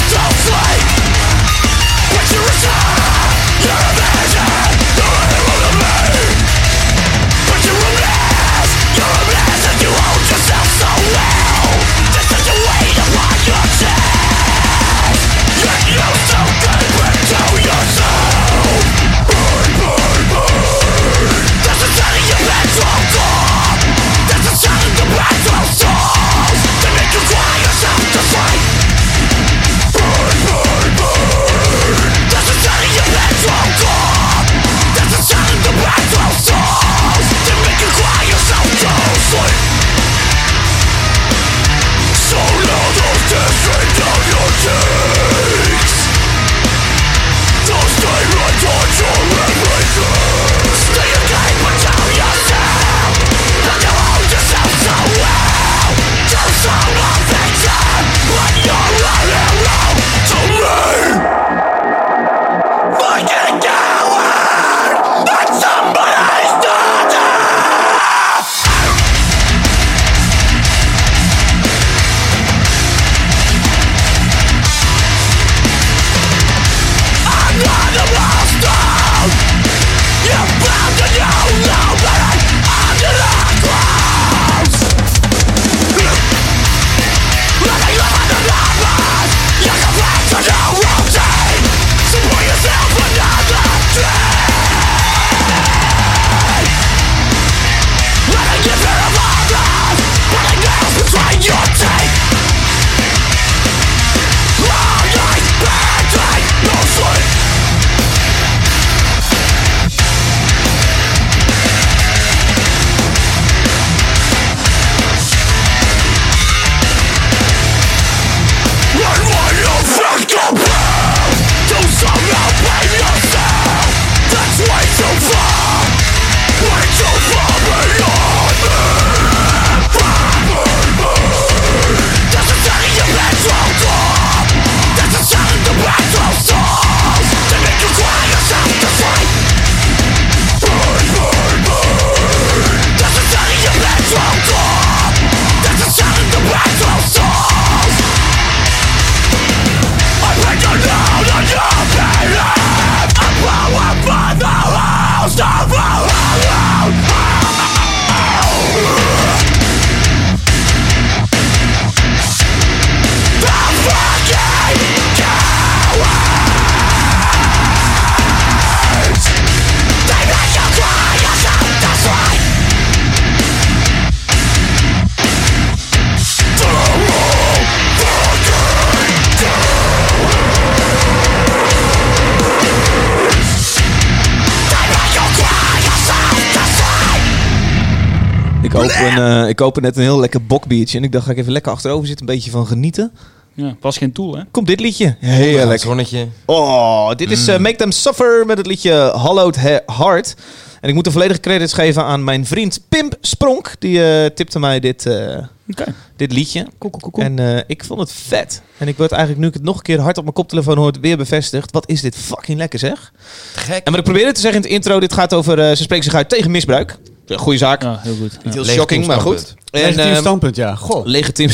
Speaker 2: Ik open, eh, ik open net een heel lekker bokbiertje. En ik dacht, ga ik even lekker achterover zitten. Een beetje van genieten.
Speaker 3: Ja, was geen tool, hè?
Speaker 2: Komt dit liedje.
Speaker 5: Het
Speaker 2: Heerlijk.
Speaker 5: zonnetje.
Speaker 2: Oh, dit is eh, Make Them Suffer met het liedje Hallowed He- Heart. En ik moet de volledige credits geven aan mijn vriend Pimp Spronk. Die eh, tipte mij dit, eh,
Speaker 3: Oké.
Speaker 2: dit liedje.
Speaker 3: Cool, cool, cool, cool.
Speaker 2: En eh, ik vond het vet. En ik word eigenlijk, nu ik het nog een keer hard op mijn koptelefoon hoor, weer bevestigd. Wat is dit fucking lekker zeg.
Speaker 5: Gek.
Speaker 2: En wat ik probeerde te zeggen in het intro, dit gaat over, eh, ze spreken zich uit tegen misbruik. Goeie zaak.
Speaker 3: Ja, heel goed. Ja.
Speaker 2: Niet heel
Speaker 5: Legitiem
Speaker 2: shocking, maar goed.
Speaker 5: standpunt.
Speaker 2: En,
Speaker 4: Legitiem
Speaker 2: ehm,
Speaker 4: standpunt, ja. Goh.
Speaker 2: [LAUGHS] legitiem.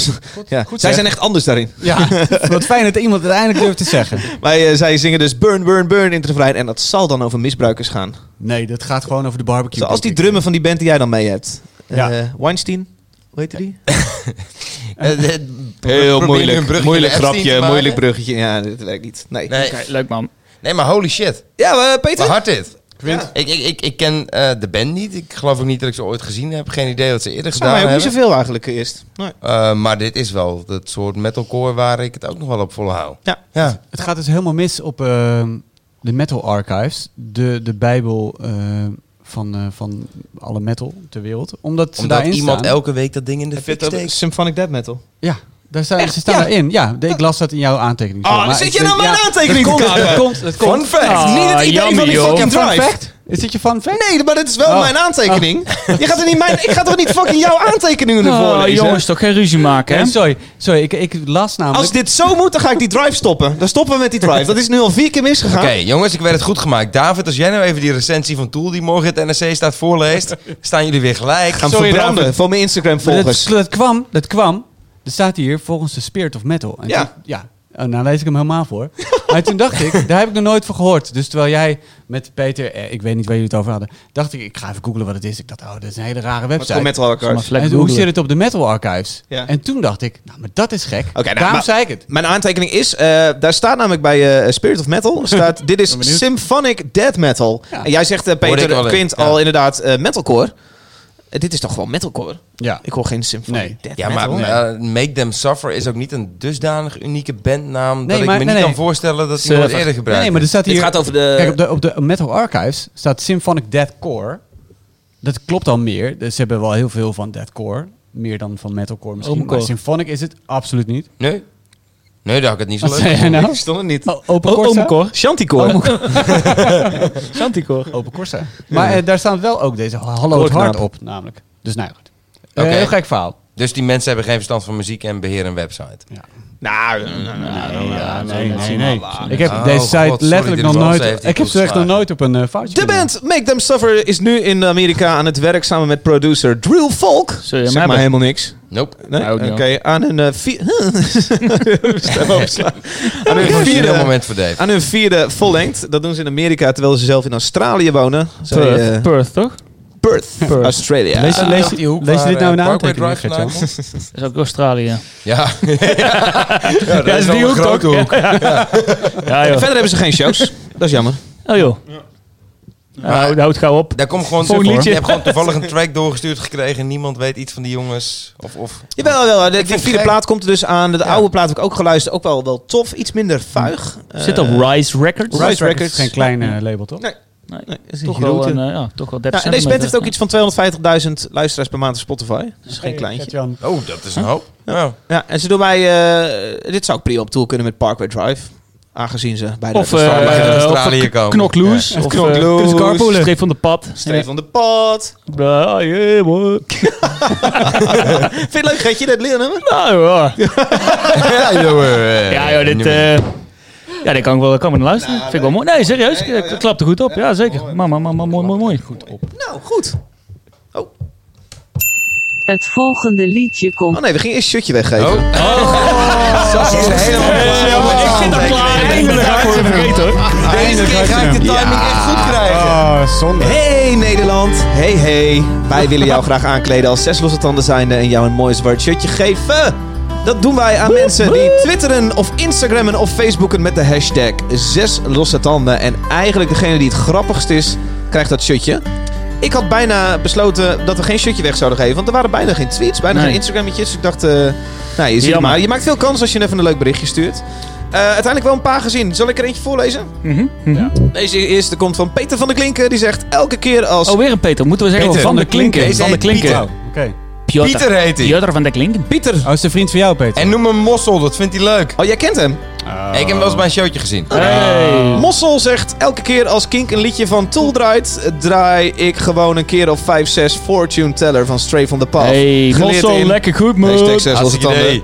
Speaker 2: Ja.
Speaker 4: goed
Speaker 2: Zij
Speaker 4: zeg.
Speaker 2: zijn echt anders daarin.
Speaker 4: Ja, wat fijn dat iemand het eindelijk durft te zeggen.
Speaker 2: Wij, eh, zij zingen dus burn, burn, burn in het refrein. En dat zal dan over misbruikers gaan.
Speaker 4: Nee, dat gaat gewoon over de barbecue.
Speaker 2: Zoals
Speaker 4: denk
Speaker 2: die
Speaker 4: ik.
Speaker 2: drummer van die band die jij dan mee hebt. Eh,
Speaker 4: Ja.
Speaker 2: Weinstein, hoe heet die?
Speaker 5: eh, Heel
Speaker 2: bruggetje. Ja, dat werkt niet. Nee.
Speaker 5: Nee,
Speaker 3: Oké, leuk man.
Speaker 5: nee, maar holy shit.
Speaker 2: Ja, maar, eh, Peter?
Speaker 5: Wat hard dit.
Speaker 4: Quint?
Speaker 5: Ik, ik, ik, ik ken eh, de band niet. Ik geloof ook niet dat ik ze ooit gezien heb. Geen idee wat ze eerder
Speaker 2: Volgens
Speaker 5: gedaan
Speaker 2: mij ook
Speaker 5: hebben.
Speaker 2: niet zoveel eigenlijk eerst. Nee.
Speaker 5: Eh, maar dit is wel het soort metalcore waar ik het ook nog wel op volhou.
Speaker 2: Ja.
Speaker 5: Ja.
Speaker 4: Het gaat dus helemaal mis op ehm, de Metal Archives, de, de Bijbel ehm, van, eh, van alle metal ter wereld. Omdat, ze
Speaker 5: Omdat
Speaker 4: daarin
Speaker 5: iemand
Speaker 4: staan-
Speaker 5: elke week dat ding in de
Speaker 2: Heb je
Speaker 5: fik
Speaker 2: het over
Speaker 5: steekt.
Speaker 2: symphonic death metal?
Speaker 4: Ja, daar staan, ze
Speaker 2: Echt?
Speaker 4: staan
Speaker 2: Ja.
Speaker 4: daarin. Ja, de- ik las dat in jouw aantekening.
Speaker 2: Ah, zit je nou mijn aantekening
Speaker 4: dat
Speaker 2: te
Speaker 4: komt, dat
Speaker 2: kapen?
Speaker 4: komt, dat komt.
Speaker 2: Fun fact!
Speaker 3: Ah,
Speaker 2: niet het idee van
Speaker 3: jammer,
Speaker 2: die
Speaker 3: joh.
Speaker 2: fucking
Speaker 4: Fun
Speaker 2: drive.
Speaker 4: fact? Is dit je fun fact?
Speaker 2: Nee, maar dit is wel
Speaker 4: Oh.
Speaker 2: mijn aantekening. Je gaat er niet mijn, ik ga toch niet fucking jouw aantekeningen
Speaker 3: Oh,
Speaker 2: voorlezen?
Speaker 3: jongens, toch geen ruzie maken, hè?
Speaker 4: Nee, sorry, sorry ik, ik las namelijk...
Speaker 2: Als dit zo moet, dan ga ik die drive stoppen. Dan stoppen we met die drive. Dat is nu al vier keer misgegaan.
Speaker 5: Oké, jongens, ik werd het goed gemaakt. David, als jij nou even die recensie van Tool die morgen het NRC staat
Speaker 4: [LAUGHS]
Speaker 5: voorleest, staan jullie weer gelijk.
Speaker 2: Gaan
Speaker 5: Sorry,
Speaker 2: verbranden
Speaker 5: David.
Speaker 2: voor mijn Instagram
Speaker 4: Maar
Speaker 2: volgers.
Speaker 4: Dat, dat kwam, dat kwam. Er staat hier volgens de Spirit of Metal. En
Speaker 2: Ja.
Speaker 4: toen- ja. Oh, nou lees ik hem helemaal
Speaker 2: [LAUGHS]
Speaker 4: voor. maar toen dacht ik, daar heb ik nog nooit van gehoord. Dus terwijl jij met Peter, eh, ik weet niet waar jullie het over hadden, dacht ik, ik ga even googlen wat het is. Ik dacht, oh, dat is een hele rare
Speaker 2: Wat voor
Speaker 4: website.
Speaker 2: metal
Speaker 3: Maar
Speaker 2: records.
Speaker 3: vlek
Speaker 4: en hoe
Speaker 3: googelen.
Speaker 4: zit het op de Metal Archives?
Speaker 2: Ja.
Speaker 4: En toen dacht ik, nou, maar dat is gek.
Speaker 2: nou,
Speaker 4: Daarom
Speaker 2: maar-
Speaker 4: zei ik het.
Speaker 2: Mijn aantekening is, eh, daar staat namelijk bij eh, Spirit of Metal, staat, dit is symphonic death metal.
Speaker 4: Ja.
Speaker 2: En jij zegt, eh,
Speaker 5: Hoorde ik
Speaker 2: Peter
Speaker 5: wel
Speaker 2: Quint,
Speaker 5: in, ja.
Speaker 2: al inderdaad eh, metalcore. Eh, dit is toch gewoon metalcore?
Speaker 4: Ja.
Speaker 2: Ik hoor geen symphonic
Speaker 4: Nee.
Speaker 2: death
Speaker 5: Ja, maar
Speaker 2: metal.
Speaker 5: eh, Make Them Suffer is ook niet een dusdanig unieke bandnaam
Speaker 4: Nee,
Speaker 5: dat
Speaker 4: maar- nee,
Speaker 5: ik me niet
Speaker 4: nee.
Speaker 5: kan voorstellen dat
Speaker 3: Surfer.
Speaker 5: iemand eerder
Speaker 4: Nee,
Speaker 5: gebruikt.
Speaker 4: nee, maar er staat
Speaker 2: Dit
Speaker 4: hier...
Speaker 2: gaat over de...
Speaker 4: Kijk, op de, op de Metal Archives staat Symphonic Deathcore. Dat klopt al meer. Dus Ze hebben wel heel veel van Deathcore. Meer dan van Metalcore misschien.
Speaker 3: Opencore.
Speaker 4: Maar Symphonic is het absoluut niet.
Speaker 5: Nee? Nee, daar had ik het niet zo
Speaker 4: Wat
Speaker 5: leuk.
Speaker 4: zei jij nou?
Speaker 2: Stond er niet.
Speaker 4: O- Open
Speaker 3: Oh,
Speaker 4: Corsa?
Speaker 3: Omecore.
Speaker 2: Shantycore.
Speaker 3: Santicor.
Speaker 5: Oh,
Speaker 4: Open Corsa. [LAUGHS] Maar eh, daar staan wel ook deze Hallo
Speaker 2: Koordinaat.
Speaker 4: Hard op namelijk. Dus nou ja, goed. Eh,
Speaker 5: Oké.
Speaker 4: heel gek verhaal.
Speaker 5: Dus die mensen hebben geen verstand van muziek en beheren een website.
Speaker 2: nou,
Speaker 3: Nee, nee, nee.
Speaker 4: Ik heb
Speaker 5: Oh,
Speaker 4: deze
Speaker 5: God,
Speaker 4: site
Speaker 5: sorry,
Speaker 4: letterlijk
Speaker 5: dit is
Speaker 4: nog
Speaker 5: wel
Speaker 4: nooit...
Speaker 5: een safety
Speaker 4: Ik heb ze echt nog
Speaker 5: toeslagen.
Speaker 4: nooit op een eh, foutje
Speaker 2: De
Speaker 4: kunnen.
Speaker 2: band Make Them Suffer is nu in Amerika aan het werk samen met producer Drill Folk.
Speaker 3: Zul je
Speaker 2: zeg
Speaker 3: hem
Speaker 2: maar
Speaker 3: hebben?
Speaker 2: helemaal niks.
Speaker 5: Nope.
Speaker 2: Nee?
Speaker 3: Nou, ook
Speaker 2: Oké,
Speaker 3: niet.
Speaker 2: aan hun eh, vi- [LAUGHS] Stem overslaan. aan hun
Speaker 5: Een
Speaker 4: eh,
Speaker 5: heel
Speaker 2: vierde...
Speaker 5: moment voor Dave.
Speaker 2: Aan hun vierde vollengd. Dat doen ze in Amerika, terwijl ze zelf in Australië wonen. Zij, eh,
Speaker 3: Perth, Perth, toch?
Speaker 2: Perth,
Speaker 3: Perth.
Speaker 2: Australia.
Speaker 4: Lees, je- lees,
Speaker 5: Is
Speaker 4: je-
Speaker 5: dat die hoek
Speaker 4: lees je
Speaker 5: waar,
Speaker 4: dit nou in de
Speaker 5: eh, Parkway
Speaker 4: aantekeningen,
Speaker 5: Drive
Speaker 4: Gert-Jan?
Speaker 5: vandaan [LAUGHS]
Speaker 3: Is dat ook Australië?
Speaker 5: Ja. ja, dat
Speaker 3: die
Speaker 5: is wel een
Speaker 3: hoek
Speaker 5: grote
Speaker 3: ook.
Speaker 5: hoek.
Speaker 3: Ja, joh.
Speaker 2: Verder hebben ze geen shows. Dat is jammer.
Speaker 3: Oh, joh. Nou, dat houdt gauw op.
Speaker 5: Daar komt gewoon
Speaker 3: Volgend
Speaker 5: Je
Speaker 3: liedje.
Speaker 5: hebt gewoon toevallig een track doorgestuurd gekregen. Niemand weet iets van die jongens. Of, of.
Speaker 2: Jawel, wel. De,
Speaker 5: Ik vind het
Speaker 2: vierde
Speaker 5: gek.
Speaker 2: plaat komt er dus aan. De
Speaker 5: Ja.
Speaker 2: oude plaat heb ik ook geluisterd. Ook wel, wel tof. Iets minder vuig.
Speaker 3: Zit
Speaker 2: Eh,
Speaker 3: op Rise Records.
Speaker 2: Rise
Speaker 4: Records
Speaker 2: Records.
Speaker 4: is geen klein eh, label, toch?
Speaker 2: Nee.
Speaker 3: Nee,
Speaker 2: Nee, is een
Speaker 3: toch, wel
Speaker 2: grote.
Speaker 3: een, eh, ja, toch wel
Speaker 2: Ja,
Speaker 3: eh. 30
Speaker 2: en deze band
Speaker 3: centimeter.
Speaker 2: heeft ook iets van 250.000 luisteraars per maand op Spotify. Dus geen kleintje.
Speaker 4: Gert-Jan.
Speaker 5: Oh, dat is een hoop. Ja.
Speaker 2: Ja, en ze doen mij... eh, dit zou ik prima op tour kunnen met Parkway Drive. Aangezien ze bij de...
Speaker 3: Of,
Speaker 2: de
Speaker 3: eh,
Speaker 2: Starlight-
Speaker 5: uit
Speaker 3: of
Speaker 5: Australië
Speaker 3: een k-
Speaker 5: komen.
Speaker 3: Knok Loose. Of
Speaker 2: Knok
Speaker 3: eh,
Speaker 2: Loose.
Speaker 3: kunnen ze carpoolen. Streep van de pad.
Speaker 2: Streef van de Pot.
Speaker 3: Ja, yeah,
Speaker 2: [LAUGHS]
Speaker 3: boy.
Speaker 2: Vind je het leuk, Gertje, dat leernummer?
Speaker 3: Nou, ja.
Speaker 5: Ja, joh.
Speaker 3: Ja, joh, dit... eh, ja, dit kan ik wel, kan ik wel naar luisteren. Vind ik wel mooi. Nee, serieus.
Speaker 2: Nou, Nee, oh, ja.
Speaker 3: Het klapt er goed op. Ja, zeker. Mama, mama, mooi, mooi, mooi. Goed op.
Speaker 2: Nou, goed.
Speaker 1: Het volgende liedje komt.
Speaker 2: Oh nee, we gingen eerst shirtje weggeven.
Speaker 5: Oh. Sas is helemaal
Speaker 3: ik zit er klaar. Eindelijk had ik ze vergeten, hoor.
Speaker 5: Deze keer ga ik de timing echt goed krijgen.
Speaker 4: Ah, zonde.
Speaker 2: Hey Nederland, hey hey. Wij willen jou graag aankleden als zes losse tanden zijnde en jou een mooi zwart shirtje geven. Dat doen wij aan mensen die twitteren of instagrammen of facebooken met de hashtag zes losse tanden. En eigenlijk degene die het grappigst is, krijgt dat shirtje. Ik had bijna besloten dat we geen shirtje weg zouden geven, want er waren bijna geen tweets, bijna
Speaker 3: Nee.
Speaker 2: geen instagrammetjes. Dus ik dacht, eh, nou je ziet het
Speaker 3: Jammer.
Speaker 2: maar. Je maakt veel kans als je even een leuk berichtje stuurt. Eh, uiteindelijk wel een paar gezien. Zal ik er eentje voorlezen?
Speaker 3: Mhm, mhm.
Speaker 2: Deze eerste komt van Peter van der Klinken. eh, Die zegt elke keer als...
Speaker 3: Oh, weer een Peter. Moeten we zeggen
Speaker 5: Peter.
Speaker 3: van de klinken.
Speaker 5: Deze
Speaker 3: Van de
Speaker 5: heet
Speaker 3: klinken.
Speaker 5: Pieter.
Speaker 3: Piotr.
Speaker 5: Pieter heet hij.
Speaker 3: Piotr van der Klinken.
Speaker 2: Pieter.
Speaker 4: Oh, is de vriend van jou, Peter?
Speaker 5: En noem me Mossel, dat vindt hij leuk.
Speaker 2: Oh, jij kent hem?
Speaker 5: Ik heb hem wel eens bij een showtje gezien.
Speaker 3: Oh.
Speaker 2: Mossel zegt elke keer als Kink een liedje van Tool draait, draai ik gewoon een keer of 5, 6 Fortune Teller van Stray van the Path.
Speaker 3: Hey,
Speaker 2: Geleerd
Speaker 3: Mossel,
Speaker 2: in-
Speaker 3: lekker goed, man.
Speaker 2: Hashtag 6 was het
Speaker 5: Hartstikke
Speaker 2: dan.
Speaker 5: idee. Eh.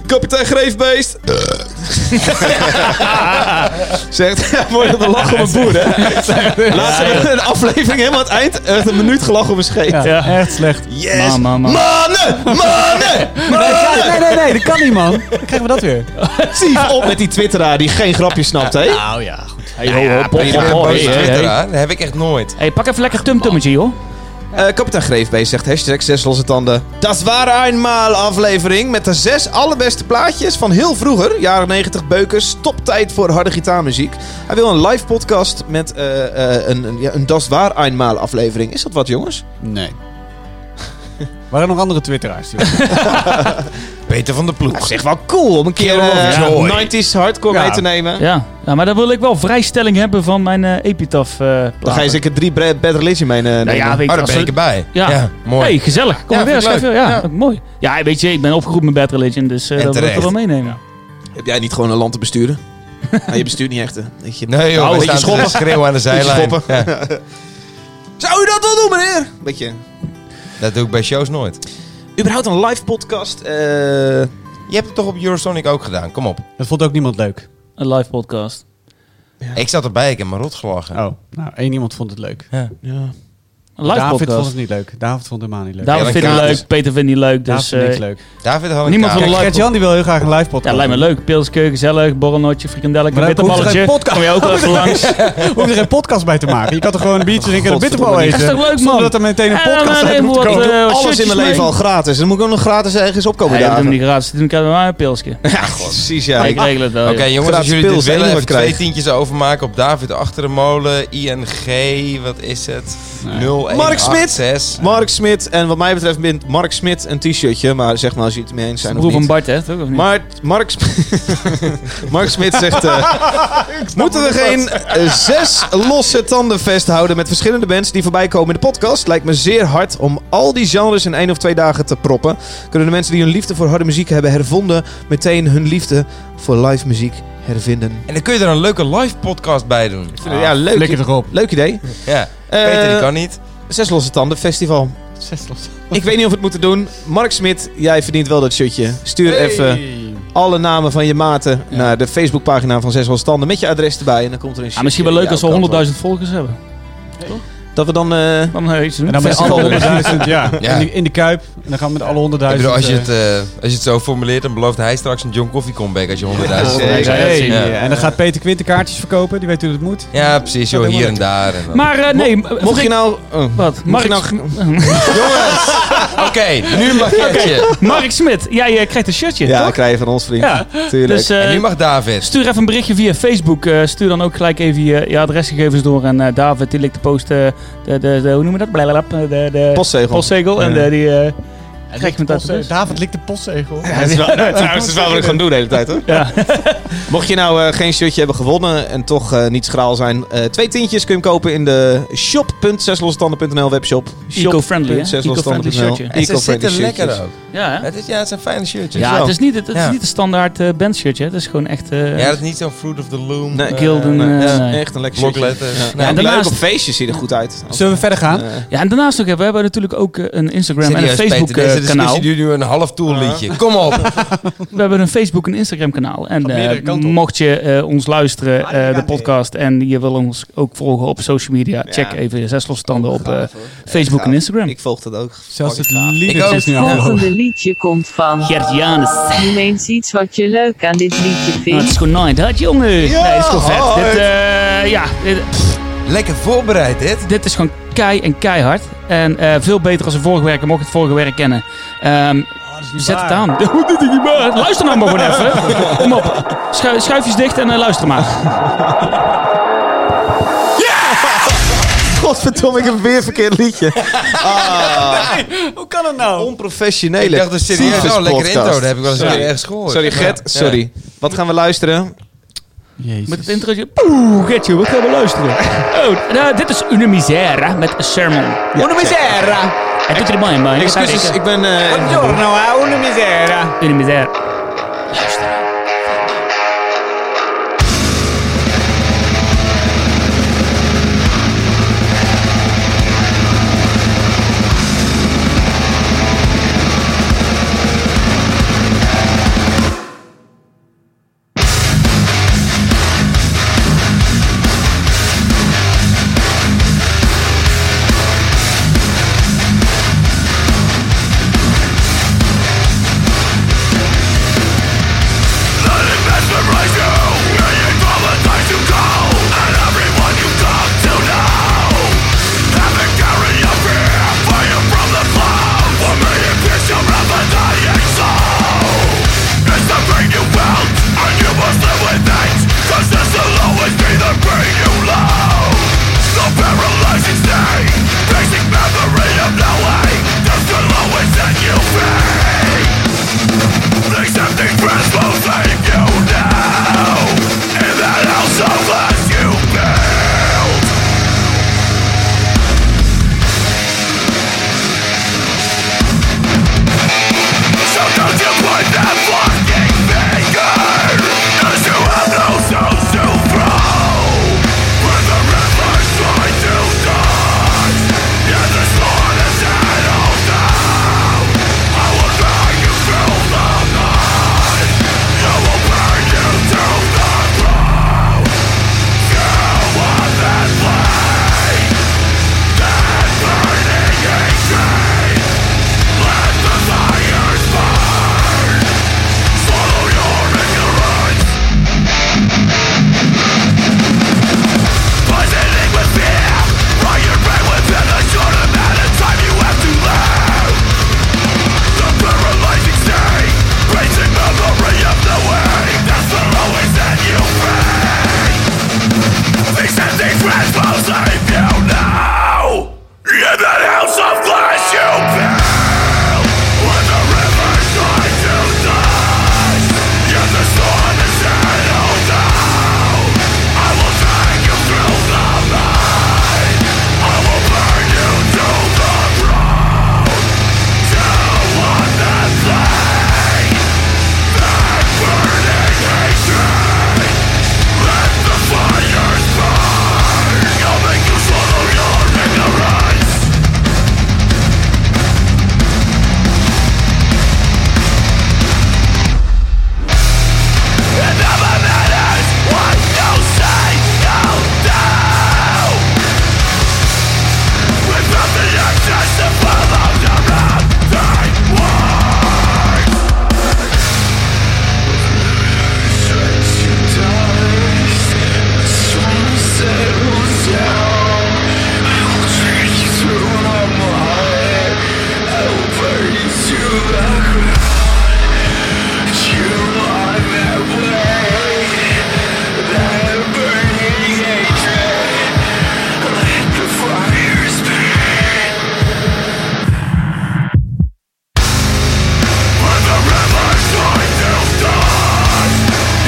Speaker 2: hè? Kapitein Greefbeest. [LAUGHS] zegt, ja, mooi dat de lach op een boer, hè? Laatste een aflevering helemaal aan het eind. Echt een minuut gelach op een scheet.
Speaker 4: Ja, echt slecht.
Speaker 2: Yes!
Speaker 3: Man, man, man.
Speaker 2: Mannen! Mannen!
Speaker 4: Nee, nee, nee, nee, dat kan niet, man. Dan [LAUGHS] krijgen we dat weer.
Speaker 2: Actief op met die twitteraar die geen grapje snapt, hè?
Speaker 4: Nou ja, goed.
Speaker 3: Hey, ho, ho, pop,
Speaker 5: Jullie
Speaker 3: pop,
Speaker 5: hebben
Speaker 3: ho,
Speaker 5: een boze
Speaker 3: hey, hey, hey.
Speaker 5: twitteraar. Dat heb ik echt nooit.
Speaker 3: Hey, pak even lekker tumtummetje, joh.
Speaker 2: Eh kapitein Greefbeest zegt hashtag 6 losse tanden. Dat waren eenmaal aflevering met de zes allerbeste plaatjes van heel vroeger. Jaren 90 beukers, toptijd voor harde gitaarmuziek. Hij wil een live podcast met eh, eh, een, een, ja, een Das war eenmaal aflevering. Is dat wat jongens?
Speaker 4: Nee. [LAUGHS] Waren er nog andere twitteraars? joh?
Speaker 5: Peter van der Ploeg.
Speaker 2: Zeg wel cool om een keer
Speaker 5: of joy.
Speaker 2: eh 90s hardcore
Speaker 4: Ja.
Speaker 2: mee te nemen.
Speaker 3: Ja. ja, maar dan wil ik wel vrijstelling hebben van mijn eh epitaph. eh
Speaker 2: Dan ga je
Speaker 3: platen.
Speaker 2: zeker drie Bre- Bad Religion mee eh, nemen.
Speaker 3: Nou ja, weet
Speaker 5: Oh,
Speaker 3: je,
Speaker 5: daar
Speaker 3: als
Speaker 5: ben ik
Speaker 3: we-
Speaker 5: erbij.
Speaker 3: Ja.
Speaker 5: mooi.
Speaker 3: Hey, gezellig. Kom
Speaker 5: Ja,
Speaker 3: maar weer,
Speaker 5: vind ik
Speaker 3: schrijf weer.
Speaker 5: leuk.
Speaker 3: Ja,
Speaker 5: Ja.
Speaker 3: mooi. Ja, weet je, ik ben opgeroepen met Bad Religion, dus eh,
Speaker 5: En
Speaker 3: dat wil ik er
Speaker 5: terecht.
Speaker 3: wel meenemen.
Speaker 2: Heb jij niet gewoon een land te
Speaker 3: [LAUGHS]
Speaker 2: besturen? nou, je bestuurt niet echt, hè? Dat je-
Speaker 5: Nee joh,
Speaker 2: Hou,
Speaker 5: we
Speaker 2: beetje
Speaker 5: staan
Speaker 2: schoppen.
Speaker 5: Nou, schoppen. schreeuwen aan de zijlijn. Ja,
Speaker 2: Zou u dat wel doen, meneer? Beetje...
Speaker 5: dat doe ik bij shows nooit.
Speaker 2: Überhaupt een live podcast. eh,
Speaker 5: Je hebt het toch op Eurosonic ook gedaan, kom op.
Speaker 4: [LAUGHS] Dat vond ook niemand leuk.
Speaker 3: Een live podcast.
Speaker 5: Ik zat erbij, ik heb me rot gelachen.
Speaker 4: Oh, nou, één iemand vond het leuk.
Speaker 3: Een live
Speaker 4: David vond
Speaker 3: podcast.
Speaker 4: het niet leuk. David vond het helemaal niet leuk.
Speaker 3: David
Speaker 5: Ja,
Speaker 3: vindt het
Speaker 5: dan
Speaker 3: leuk,
Speaker 5: kan-
Speaker 3: Peter vindt het niet leuk,
Speaker 4: David
Speaker 3: dus...
Speaker 4: vond
Speaker 3: eh,
Speaker 4: niks leuk.
Speaker 5: David had een
Speaker 3: Niemand
Speaker 5: kaart.
Speaker 3: van
Speaker 4: Kijk,
Speaker 3: de live
Speaker 4: Gert-Jan die wil heel graag een live podcast.
Speaker 3: ja, lijkt me leuk. Pilskeu, gezellig, borrelnotje, frikandelletje,
Speaker 4: Maar dan hoeft er
Speaker 3: bitterballetje.
Speaker 4: geen podcast-
Speaker 3: Kom je ook wel even langs.
Speaker 4: Hoef je er geen podcast bij te maken. Je kan toch gewoon een biertje drinken en een bitterbal
Speaker 3: Godverdomme,
Speaker 4: eten.
Speaker 3: dat is toch leuk,
Speaker 4: Zonder
Speaker 3: man?
Speaker 4: dat er meteen een
Speaker 3: En dan
Speaker 4: podcast uit
Speaker 3: nemen
Speaker 4: moet
Speaker 3: we wat,
Speaker 4: komen.
Speaker 3: eh,
Speaker 2: alles in
Speaker 3: shirtjes
Speaker 2: mijn leven
Speaker 3: mee.
Speaker 2: al gratis. Dan moet ik ook nog gratis ergens opkomen.
Speaker 3: Nee, dat
Speaker 2: dagen.
Speaker 3: doen we niet gratis. Toen kan we maar een pilsje.
Speaker 2: Ja, precies, ja.
Speaker 3: Ik regel het wel.
Speaker 5: Oké
Speaker 3: joh.
Speaker 5: jongens, als
Speaker 2: Gratis
Speaker 5: jullie dit
Speaker 2: pils, hè,
Speaker 5: willen,
Speaker 2: die
Speaker 5: even
Speaker 2: we krijgen.
Speaker 5: twee tientjes overmaken op David achter de molen. ING, wat is het? 0
Speaker 2: Mark Smit. Mark Smit. En wat mij betreft wint Mark Smit een t-shirtje. Maar zeg maar als je het mee eens zijn of
Speaker 3: Broer van
Speaker 2: niet.
Speaker 3: Bart, hè? Toch, of niet?
Speaker 2: Maar Mark, Sm- [LAUGHS] Mark Smit zegt...
Speaker 3: [LAUGHS]
Speaker 2: eh, moeten we geen eh, [LAUGHS] zes losse tanden vasthouden met verschillende bands die voorbij komen in de podcast? Lijkt me zeer hard om al die genres in één of twee dagen te proppen. Kunnen de mensen die hun liefde voor harde muziek hebben hervonden... meteen hun liefde voor live muziek hervinden?
Speaker 5: En dan kun je er een leuke live podcast bij doen. Ah,
Speaker 2: ja, leuk,
Speaker 4: Flikker toch op.
Speaker 2: leuk idee.
Speaker 5: Ja,
Speaker 2: Eh,
Speaker 5: Peter die kan niet.
Speaker 2: Zes losse tanden festival.
Speaker 4: Zes los.
Speaker 2: Ik weet niet of we het moeten doen. Mark Smit, jij verdient wel dat shirtje. Stuur even alle namen van je maten naar de Facebookpagina van Zes losse tanden met je adres erbij en dan komt er een
Speaker 3: Ah, misschien wel
Speaker 2: shirtje
Speaker 3: leuk als
Speaker 2: jouw kant
Speaker 3: we 100.000 volgers hebben.
Speaker 2: op. Dat we dan eh,
Speaker 3: [LAUGHS] Dan eh, iets doen.
Speaker 4: En dan met
Speaker 3: Festival.
Speaker 4: alle 100.000, ja.
Speaker 5: Ja.
Speaker 4: In, de, in de kuip. En dan gaan we met alle 100.000.
Speaker 5: Ik bedoel, als, je het,
Speaker 4: eh,
Speaker 5: eh, als je het zo formuleert, dan belooft hij straks een John Coffee comeback als je 100.000
Speaker 2: Ja,
Speaker 5: hebt.
Speaker 2: zeker.
Speaker 3: Ja, dat zien we.
Speaker 5: Ja.
Speaker 4: En dan gaat Peter Quint de kaartjes verkopen. Die weet hoe dat moet.
Speaker 5: Ja, precies, joh, hier en daar. en dan.
Speaker 3: Maar eh, nee,
Speaker 2: mocht je nou... oh.
Speaker 3: Wat?
Speaker 2: Mocht
Speaker 3: Mark,
Speaker 2: je nou-
Speaker 3: [LAUGHS]
Speaker 5: Oké,
Speaker 2: [LAUGHS]
Speaker 5: nu mag Gertje.
Speaker 3: Mark Smit, jij eh, krijgt een shirtje,
Speaker 2: Ja,
Speaker 3: toch?
Speaker 2: krijg je van ons vriend.
Speaker 3: Ja.
Speaker 2: Tuurlijk.
Speaker 3: Dus eh,
Speaker 5: En nu mag David.
Speaker 3: stuur even een berichtje via Facebook. Eh, stuur dan ook gelijk even je, je adresgegevens door aan eh, David. Die ligt de post, eh, de, de, de, hoe noemen we dat? Blablabla. De, de
Speaker 2: Postzegel.
Speaker 3: postzegel. En
Speaker 2: Ja.
Speaker 3: eh, die eh, krijg je met uit de
Speaker 2: dus-
Speaker 3: bus.
Speaker 4: David likt de postzegel.
Speaker 2: [LAUGHS] Ja, dat is wel, trouwens, dat is wel wat ik gewoon doe de hele tijd hoor.
Speaker 3: Ja.
Speaker 2: Mocht je nou eh, geen shirtje hebben gewonnen en toch eh, niet schraal zijn, eh, twee tientjes kun je hem kopen in de shop.zeslosstanden.nl webshop.
Speaker 3: Eco-friendly, hè?
Speaker 2: Shop.zeslosstanden.nl.
Speaker 3: Eco-friendly shirtje.
Speaker 5: En ze
Speaker 2: Eco-friendly
Speaker 5: zitten
Speaker 2: shirtjes.
Speaker 5: lekker ook.
Speaker 3: Ja, hè?
Speaker 5: Het is, ja, het zijn fijne shirtjes.
Speaker 3: ja
Speaker 2: wel.
Speaker 3: het is niet, het, het
Speaker 5: Ja.
Speaker 3: is niet de standaard eh, bandshirtje. hè. Het is gewoon echt... eh,
Speaker 5: Ja, dat is niet zo'n Fruit of the Loom.
Speaker 2: Nee,
Speaker 5: eh,
Speaker 3: Gilden,
Speaker 2: Nee,
Speaker 3: eh,
Speaker 2: ja,
Speaker 3: nee.
Speaker 2: Echt een lekker shirtje.
Speaker 5: Blokletters.
Speaker 2: Ja.
Speaker 5: Nee.
Speaker 2: en
Speaker 3: daarnaast-
Speaker 2: leuk op feestjes ziet er goed uit.
Speaker 4: Zullen we verder gaan?
Speaker 2: Eh,
Speaker 3: Ja, en daarnaast ook, hè, we hebben natuurlijk ook eh, een Instagram
Speaker 5: Serieus,
Speaker 3: en een eh,
Speaker 5: Peter, deze
Speaker 3: Facebook-kanaal.
Speaker 5: discussie duurt nu een half tool liedje. Kom op. [LAUGHS]
Speaker 3: we hebben een Facebook en Instagram kanaal. En
Speaker 4: Van meerdere
Speaker 3: eh,
Speaker 4: kanten op.
Speaker 3: mocht je eh, ons luisteren,
Speaker 4: ja,
Speaker 3: eh, de
Speaker 4: nee.
Speaker 3: podcast, en je wil ons ook volgen op social media, check even zes
Speaker 4: Oh,
Speaker 3: losstanden op eh, Facebook en Instagram.
Speaker 2: ik volg dat ook.
Speaker 4: Zelfs het
Speaker 5: Ik ook.
Speaker 4: liedje is dus
Speaker 5: Het
Speaker 4: nu
Speaker 1: Het
Speaker 4: afgelopen.
Speaker 1: volgende liedje komt van.
Speaker 3: Gert
Speaker 4: Ah.
Speaker 3: Janus.
Speaker 1: Noem eens iets wat je leuk aan dit liedje
Speaker 3: Nou, het
Speaker 1: vindt.
Speaker 3: is gewoon night hard, jongen. nee, het is gewoon vet.
Speaker 2: hard.
Speaker 3: Dit, eh, ja, dit,
Speaker 5: Lekker voorbereid dit.
Speaker 3: dit is gewoon kei en keihard. En eh, veel beter als een vorige werk, mocht je het vorige werk kennen.
Speaker 4: Ah,
Speaker 3: Ehm, Zet het aan. [LAUGHS] Dit is niet waar. Luister nou maar gewoon even. Kom op. Schu- schuifjes dicht en eh, luister maar.
Speaker 2: Godverdomme, ik heb weer verkeerd liedje.
Speaker 4: Hoe kan het nou?
Speaker 5: Ik
Speaker 2: Onprofessionele
Speaker 5: dacht dus serieus,
Speaker 2: tyfus
Speaker 5: oh, lekker
Speaker 2: podcast.
Speaker 5: intro. Dat heb ik wel eens
Speaker 2: Sorry.
Speaker 5: weer ergens gehoord.
Speaker 2: Sorry Gert,
Speaker 5: Ja.
Speaker 2: sorry. Wat gaan we luisteren?
Speaker 3: Met het introotje. Poeh, Gertje, we [LAUGHS] gaan we luisteren. Oh, nou, dit is Una Misera met Sermon.
Speaker 2: Ja, check.
Speaker 3: Misera. E tutti buoni, ma in realtà
Speaker 2: Excuses, ik ben... eh,
Speaker 4: Buongiorno, a una misera.
Speaker 3: in misère.
Speaker 7: Basic memory of knowing There's the lowest that you feel Accepting transposing you now In that house of glass you build So don't you point that fucking finger Cause you have no soul to throw When the rivers try to dodge Yeah, the sword is at all down I will drag you through the night I will burn you to the ground Go on that flame That burning insane Let the fires burn Swallow your ignorance Poisoning with fear Riot rain within a short amount of time you have to live The paralyzing state Basic memory of the way That's the lowest that you pay These empty friends will save you now In that house of glass you build When the rivers try to die Yet the storm is settled down I will drag you through the night I will burn you to the ground Tell on that flame That burning hatred Let the fires burn I'll make you swallow your ignorance It never matters what you say you'll do Without the access to follow your own they want When the rivers join to dust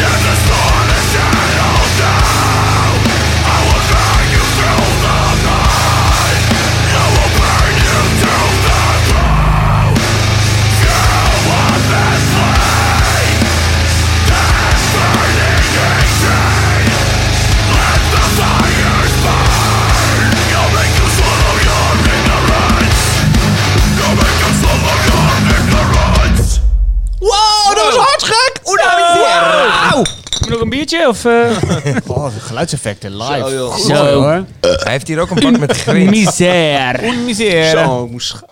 Speaker 7: And the storm is settled down I will drag you through the night I will burn you to the ground Feel what this flame That burning hatred Let the fires burn I'll make you swallow your ignorance I'll make you swallow your ignorance
Speaker 2: Wow, Oh, dat was hartgek! Wow!
Speaker 3: Heb je nog een biertje? Of, eh
Speaker 4: Oh, de geluidseffecten live.
Speaker 2: Zo, joh.
Speaker 4: Goed hoor.
Speaker 5: Hij heeft hier ook een pak
Speaker 3: [LAUGHS]
Speaker 5: met grint.
Speaker 3: misère.
Speaker 4: Een misère.
Speaker 2: Zo, Oh, ik moest scha-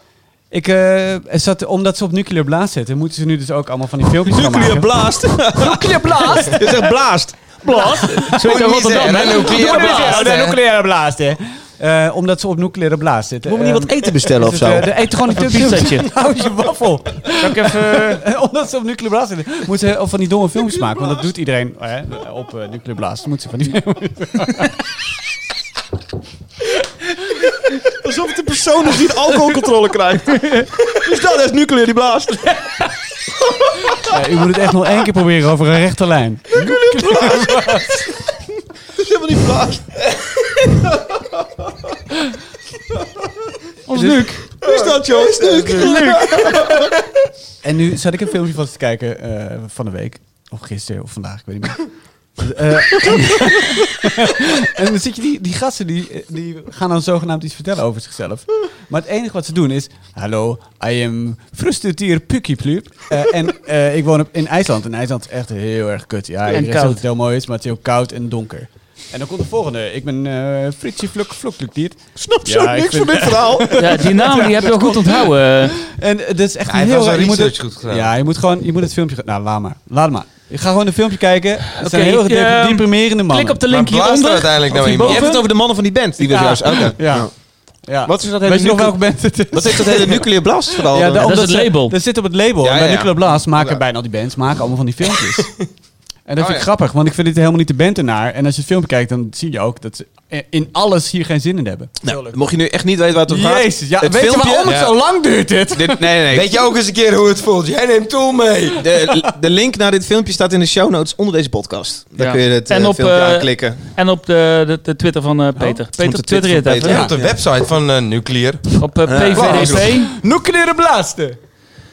Speaker 4: Ik eh, zat, omdat ze op nuclear blaast zitten, moeten ze nu dus ook allemaal van die filmpjes gaan maken.
Speaker 2: Nuclear blaast!
Speaker 4: Nuclear blaast?
Speaker 2: Je zegt blaast!
Speaker 3: Blast. Zo heet dat in Rotterdam, hè?
Speaker 5: Nucleaire
Speaker 2: Oh,
Speaker 5: blaast, hè?
Speaker 4: nucleaire blaast, hè. Eh, omdat ze op nucleaire blaast zitten.
Speaker 2: Moet me niet wat eten bestellen of
Speaker 4: Is
Speaker 2: zo?
Speaker 4: het, eh, de- eet gewoon een
Speaker 3: Even een
Speaker 4: tubje.
Speaker 3: pizzaatje.
Speaker 4: [LAUGHS] Hou je waffel.
Speaker 3: Zal ik even...
Speaker 4: [LAUGHS] Eh, Omdat ze op nuclear blast zitten. Moeten ze van die domme films maken. Want dat doet iedereen eh, op eh, nuclear blast. Moeten ze van
Speaker 2: [LAUGHS]
Speaker 4: die films.
Speaker 2: Alsof het een persoon is [LAUGHS] die een alcoholcontrole krijgt. Dus dat is nucleair die blaast.
Speaker 4: Eh, u moet het echt nog één keer proberen over een rechte lijn.
Speaker 2: [LAUGHS] Dat is helemaal niet blaast.
Speaker 4: Ons Luc.
Speaker 2: Dus dat dat, joh. [LAUGHS]
Speaker 4: En nu zat ik een filmpje van te kijken eh, van de week. Of gisteren of vandaag, ik weet niet meer.
Speaker 2: [LAUGHS]
Speaker 4: Eh, en dan zit je die, die gasten die, eh, die gaan dan zogenaamd iets vertellen over zichzelf. Maar het enige wat ze doen is: Hallo, I am frustratier Pukkieplub. Eh en eh, ik woon op- in IJsland. En IJsland is echt heel erg kut. Ja, iedereen zegt
Speaker 3: koud.
Speaker 4: dat het heel mooi is, maar het is heel koud en donker. En dan komt de volgende. Ik ben eh Fritsje Vluk Vluk Diert.
Speaker 2: Snap zo
Speaker 4: Ja, ik
Speaker 2: niks
Speaker 4: vind-
Speaker 2: van dit verhaal.
Speaker 3: [LAUGHS] Ja, die naam die heb je wel goed onthouden.
Speaker 4: En eh, dat is echt
Speaker 5: Ja, hij
Speaker 4: een
Speaker 5: heeft
Speaker 4: heel
Speaker 5: wel zijn
Speaker 4: je moet
Speaker 5: research
Speaker 4: het-
Speaker 5: goed gedaan.
Speaker 4: Ja, je moet gewoon je moet het filmpje. Nou, laat maar. Laat maar. Ik ga gewoon een filmpje kijken. Het zijn
Speaker 3: Oké,
Speaker 4: heel erg
Speaker 3: ehm,
Speaker 4: deprimerende mannen.
Speaker 3: Klik op de
Speaker 5: Maar
Speaker 3: link
Speaker 5: blaast er
Speaker 3: hieronder.
Speaker 5: uiteindelijk
Speaker 3: Of
Speaker 5: nou
Speaker 2: Je
Speaker 5: iemand?
Speaker 2: hebt het over de mannen van die band. Die
Speaker 4: Ja.
Speaker 2: we juist. Oké.
Speaker 4: Ja. ja.
Speaker 2: Wat is dat hele
Speaker 4: Weet je nog welke
Speaker 2: nucle-
Speaker 4: band het is?
Speaker 2: wat heeft dat hele nuclear blast
Speaker 6: Oh,
Speaker 2: eh, verhaal?
Speaker 4: Ja,
Speaker 2: dan?
Speaker 4: omdat
Speaker 3: het
Speaker 4: ze-
Speaker 3: label.
Speaker 4: Dat zit op het label.
Speaker 2: Ja,
Speaker 4: en bij
Speaker 2: ja, ja.
Speaker 4: Nuclear Blast maken
Speaker 5: Ja.
Speaker 4: bijna al die bands maken allemaal van die filmpjes. en dat vind ik
Speaker 5: ja.
Speaker 4: grappig, want ik vind dit helemaal niet de band ernaar. En als je het filmpje kijkt, dan zie je ook dat ze in alles hier geen zin in hebben.
Speaker 2: Nou, [LAUGHS] mocht je nu echt niet weten waar het over gaat.
Speaker 4: Jezus, ja,
Speaker 2: het
Speaker 4: weet
Speaker 2: filmpje,
Speaker 4: je waarom
Speaker 5: Ja.
Speaker 4: het zo lang duurt dit?
Speaker 2: Dit, nee, nee, nee.
Speaker 5: Weet je ook eens een keer hoe het voelt? Jij neemt Tool mee.
Speaker 2: De, de link naar dit filmpje staat in de show notes onder deze podcast. Daar
Speaker 3: Ja.
Speaker 2: kun je het
Speaker 3: En
Speaker 2: eh,
Speaker 3: op,
Speaker 2: filmpje
Speaker 3: eh,
Speaker 2: aanklikken.
Speaker 3: En op de, de, de Twitter van eh, Peter. Peter,
Speaker 2: de
Speaker 3: Twitter
Speaker 2: Twitter
Speaker 3: je het
Speaker 2: van
Speaker 3: even.
Speaker 2: Peter.
Speaker 5: Op de website van eh, Nuclear.
Speaker 3: Op eh, PVDP.
Speaker 4: Nucleaire blasten.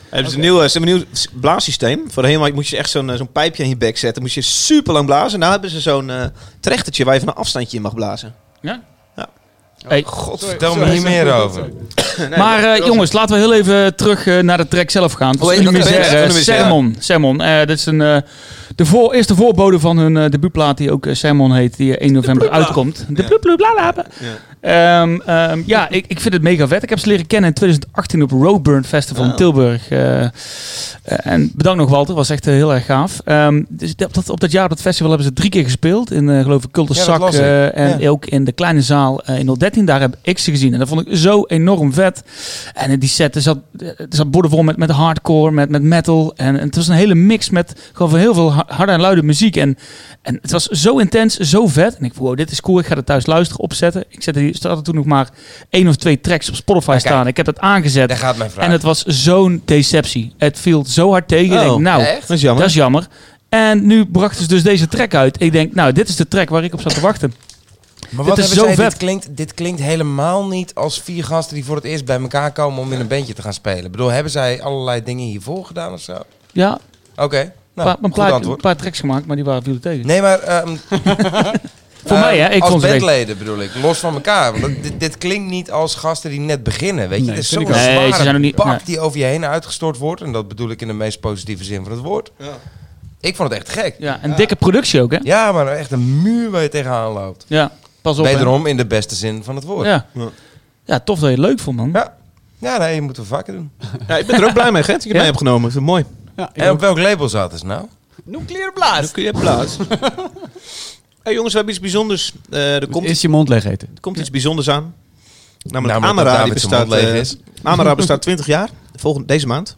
Speaker 2: Hebben ze een nieuw, eh, ze hebben een nieuw s- blaassysteem. Voorheen moest je echt zo'n eh, zo'n pijpje in je bek zetten. Moest je super lang blazen. Nou hebben ze zo'n eh trechtertje waar je van een afstandje in mag blazen.
Speaker 3: Ja?
Speaker 2: Ja.
Speaker 3: Hey,
Speaker 5: God, vertel me hier meer over.
Speaker 3: maar eh, jongens, laten we heel even terug eh, naar de track zelf gaan.
Speaker 2: Oh,
Speaker 3: Het
Speaker 2: en
Speaker 3: is
Speaker 2: dat
Speaker 3: een
Speaker 2: band,
Speaker 3: misère,
Speaker 2: van
Speaker 3: eh,
Speaker 2: de misère.
Speaker 3: Sermon. Sermon. Eh, dit is een, eh, de voor, eerste voorbode van hun eh, debuutplaat die ook eh, Sermon heet, die eh, 1 november uitkomt. De blub blub bla bla bla. Ehm, ehm, ja, ik, ik vind het mega vet. Ik heb ze leren kennen in 2018 op Roadburn Festival in
Speaker 2: Oh.
Speaker 3: Tilburg. Eh, eh, en bedankt nog Walter, was echt eh, heel erg gaaf. Ehm, dus op dat, op dat jaar op dat festival hebben ze drie keer gespeeld. In eh, geloof ik
Speaker 5: Ja,
Speaker 3: Kulterzak
Speaker 5: dat las ik.
Speaker 3: eh, en
Speaker 5: Ja.
Speaker 3: ook in de kleine zaal eh, in 013. Daar heb ik ze gezien. En dat vond ik zo enorm vet. En in die set er zat, eh, er zat bordenvol met, met hardcore, met, met metal. En, en het was een hele mix met gewoon van heel veel ha- harde en luide muziek. En, en het was zo intens, zo vet. En ik vond, wow, dit is cool. Ik ga het thuis luisteren, opzetten. Ik zette die, er hadden toen nog maar één of twee tracks op Spotify
Speaker 5: kijk.
Speaker 3: staan. Ik heb dat aangezet.
Speaker 5: Daar gaat mijn vraag.
Speaker 3: En het was zo'n deceptie. Het viel zo hard tegen. Ik
Speaker 2: Oh,
Speaker 3: denk, nou,
Speaker 5: echt?
Speaker 2: Dat is jammer.
Speaker 3: dat is jammer. En nu brachten ze dus deze track uit. Ik denk, nou, dit is de track waar ik op zat te wachten.
Speaker 5: Maar
Speaker 3: Dit
Speaker 5: wat
Speaker 3: is zo
Speaker 5: hebben zij,
Speaker 3: vet.
Speaker 5: Dit klinkt, dit klinkt helemaal niet als vier gasten die voor het eerst bij elkaar komen om in een bandje te gaan spelen. Ik bedoel, hebben zij allerlei dingen hiervoor gedaan of zo? Oké,
Speaker 3: Ja, een
Speaker 5: nou,
Speaker 3: paar- een,
Speaker 5: goed
Speaker 3: paar, een
Speaker 5: antwoord.
Speaker 3: paar tracks gemaakt, maar die waren vielen tegen.
Speaker 5: Nee, maar... ehm,
Speaker 3: Voor
Speaker 5: eh,
Speaker 3: mij, hè? Ik
Speaker 5: als
Speaker 3: vond ze leuk.
Speaker 5: bandleden bedoel ik, los van elkaar. Want dat- dit, dit klinkt niet als gasten die net beginnen, weet je.
Speaker 4: Nee,
Speaker 5: het is
Speaker 4: vind ik ook.
Speaker 5: zo'n
Speaker 3: Nee, ze zijn
Speaker 5: zware
Speaker 3: er niet-
Speaker 5: bak
Speaker 3: nee.
Speaker 5: die over je heen uitgestort wordt. En dat bedoel ik in de meest positieve zin van het woord. Ik vond het echt gek. Ja,
Speaker 3: Ja, een dikke productie ook, hè?
Speaker 5: maar echt een muur waar je tegenaan loopt.
Speaker 3: Ja, pas op. hè.
Speaker 5: Wederom in de beste zin van het woord. Ja,
Speaker 3: Ja. ja, tof dat je het leuk vond, man.
Speaker 5: ja. nee, je moet het vaker doen.
Speaker 2: Ja, ik ben er ook blij mee, Gent. Ik heb
Speaker 3: Ja?
Speaker 2: mee opgenomen. Ik vind het mooi.
Speaker 4: Ja, ik
Speaker 5: En op
Speaker 4: ook.
Speaker 5: welk label zaten ze nou?
Speaker 4: Nucleaire blaast.
Speaker 2: kun je plaats. hey, jongens, we hebben iets bijzonders. Eh, er komt,
Speaker 4: Is je mond leeg eten?
Speaker 2: er komt iets bijzonders aan. Namelijk,
Speaker 5: Namelijk dat
Speaker 2: Amara, die
Speaker 5: David zijn
Speaker 2: bestaat,
Speaker 5: mond leeg
Speaker 2: eh,
Speaker 5: is.
Speaker 2: Amara bestaat 20 jaar. Volgende, deze maand.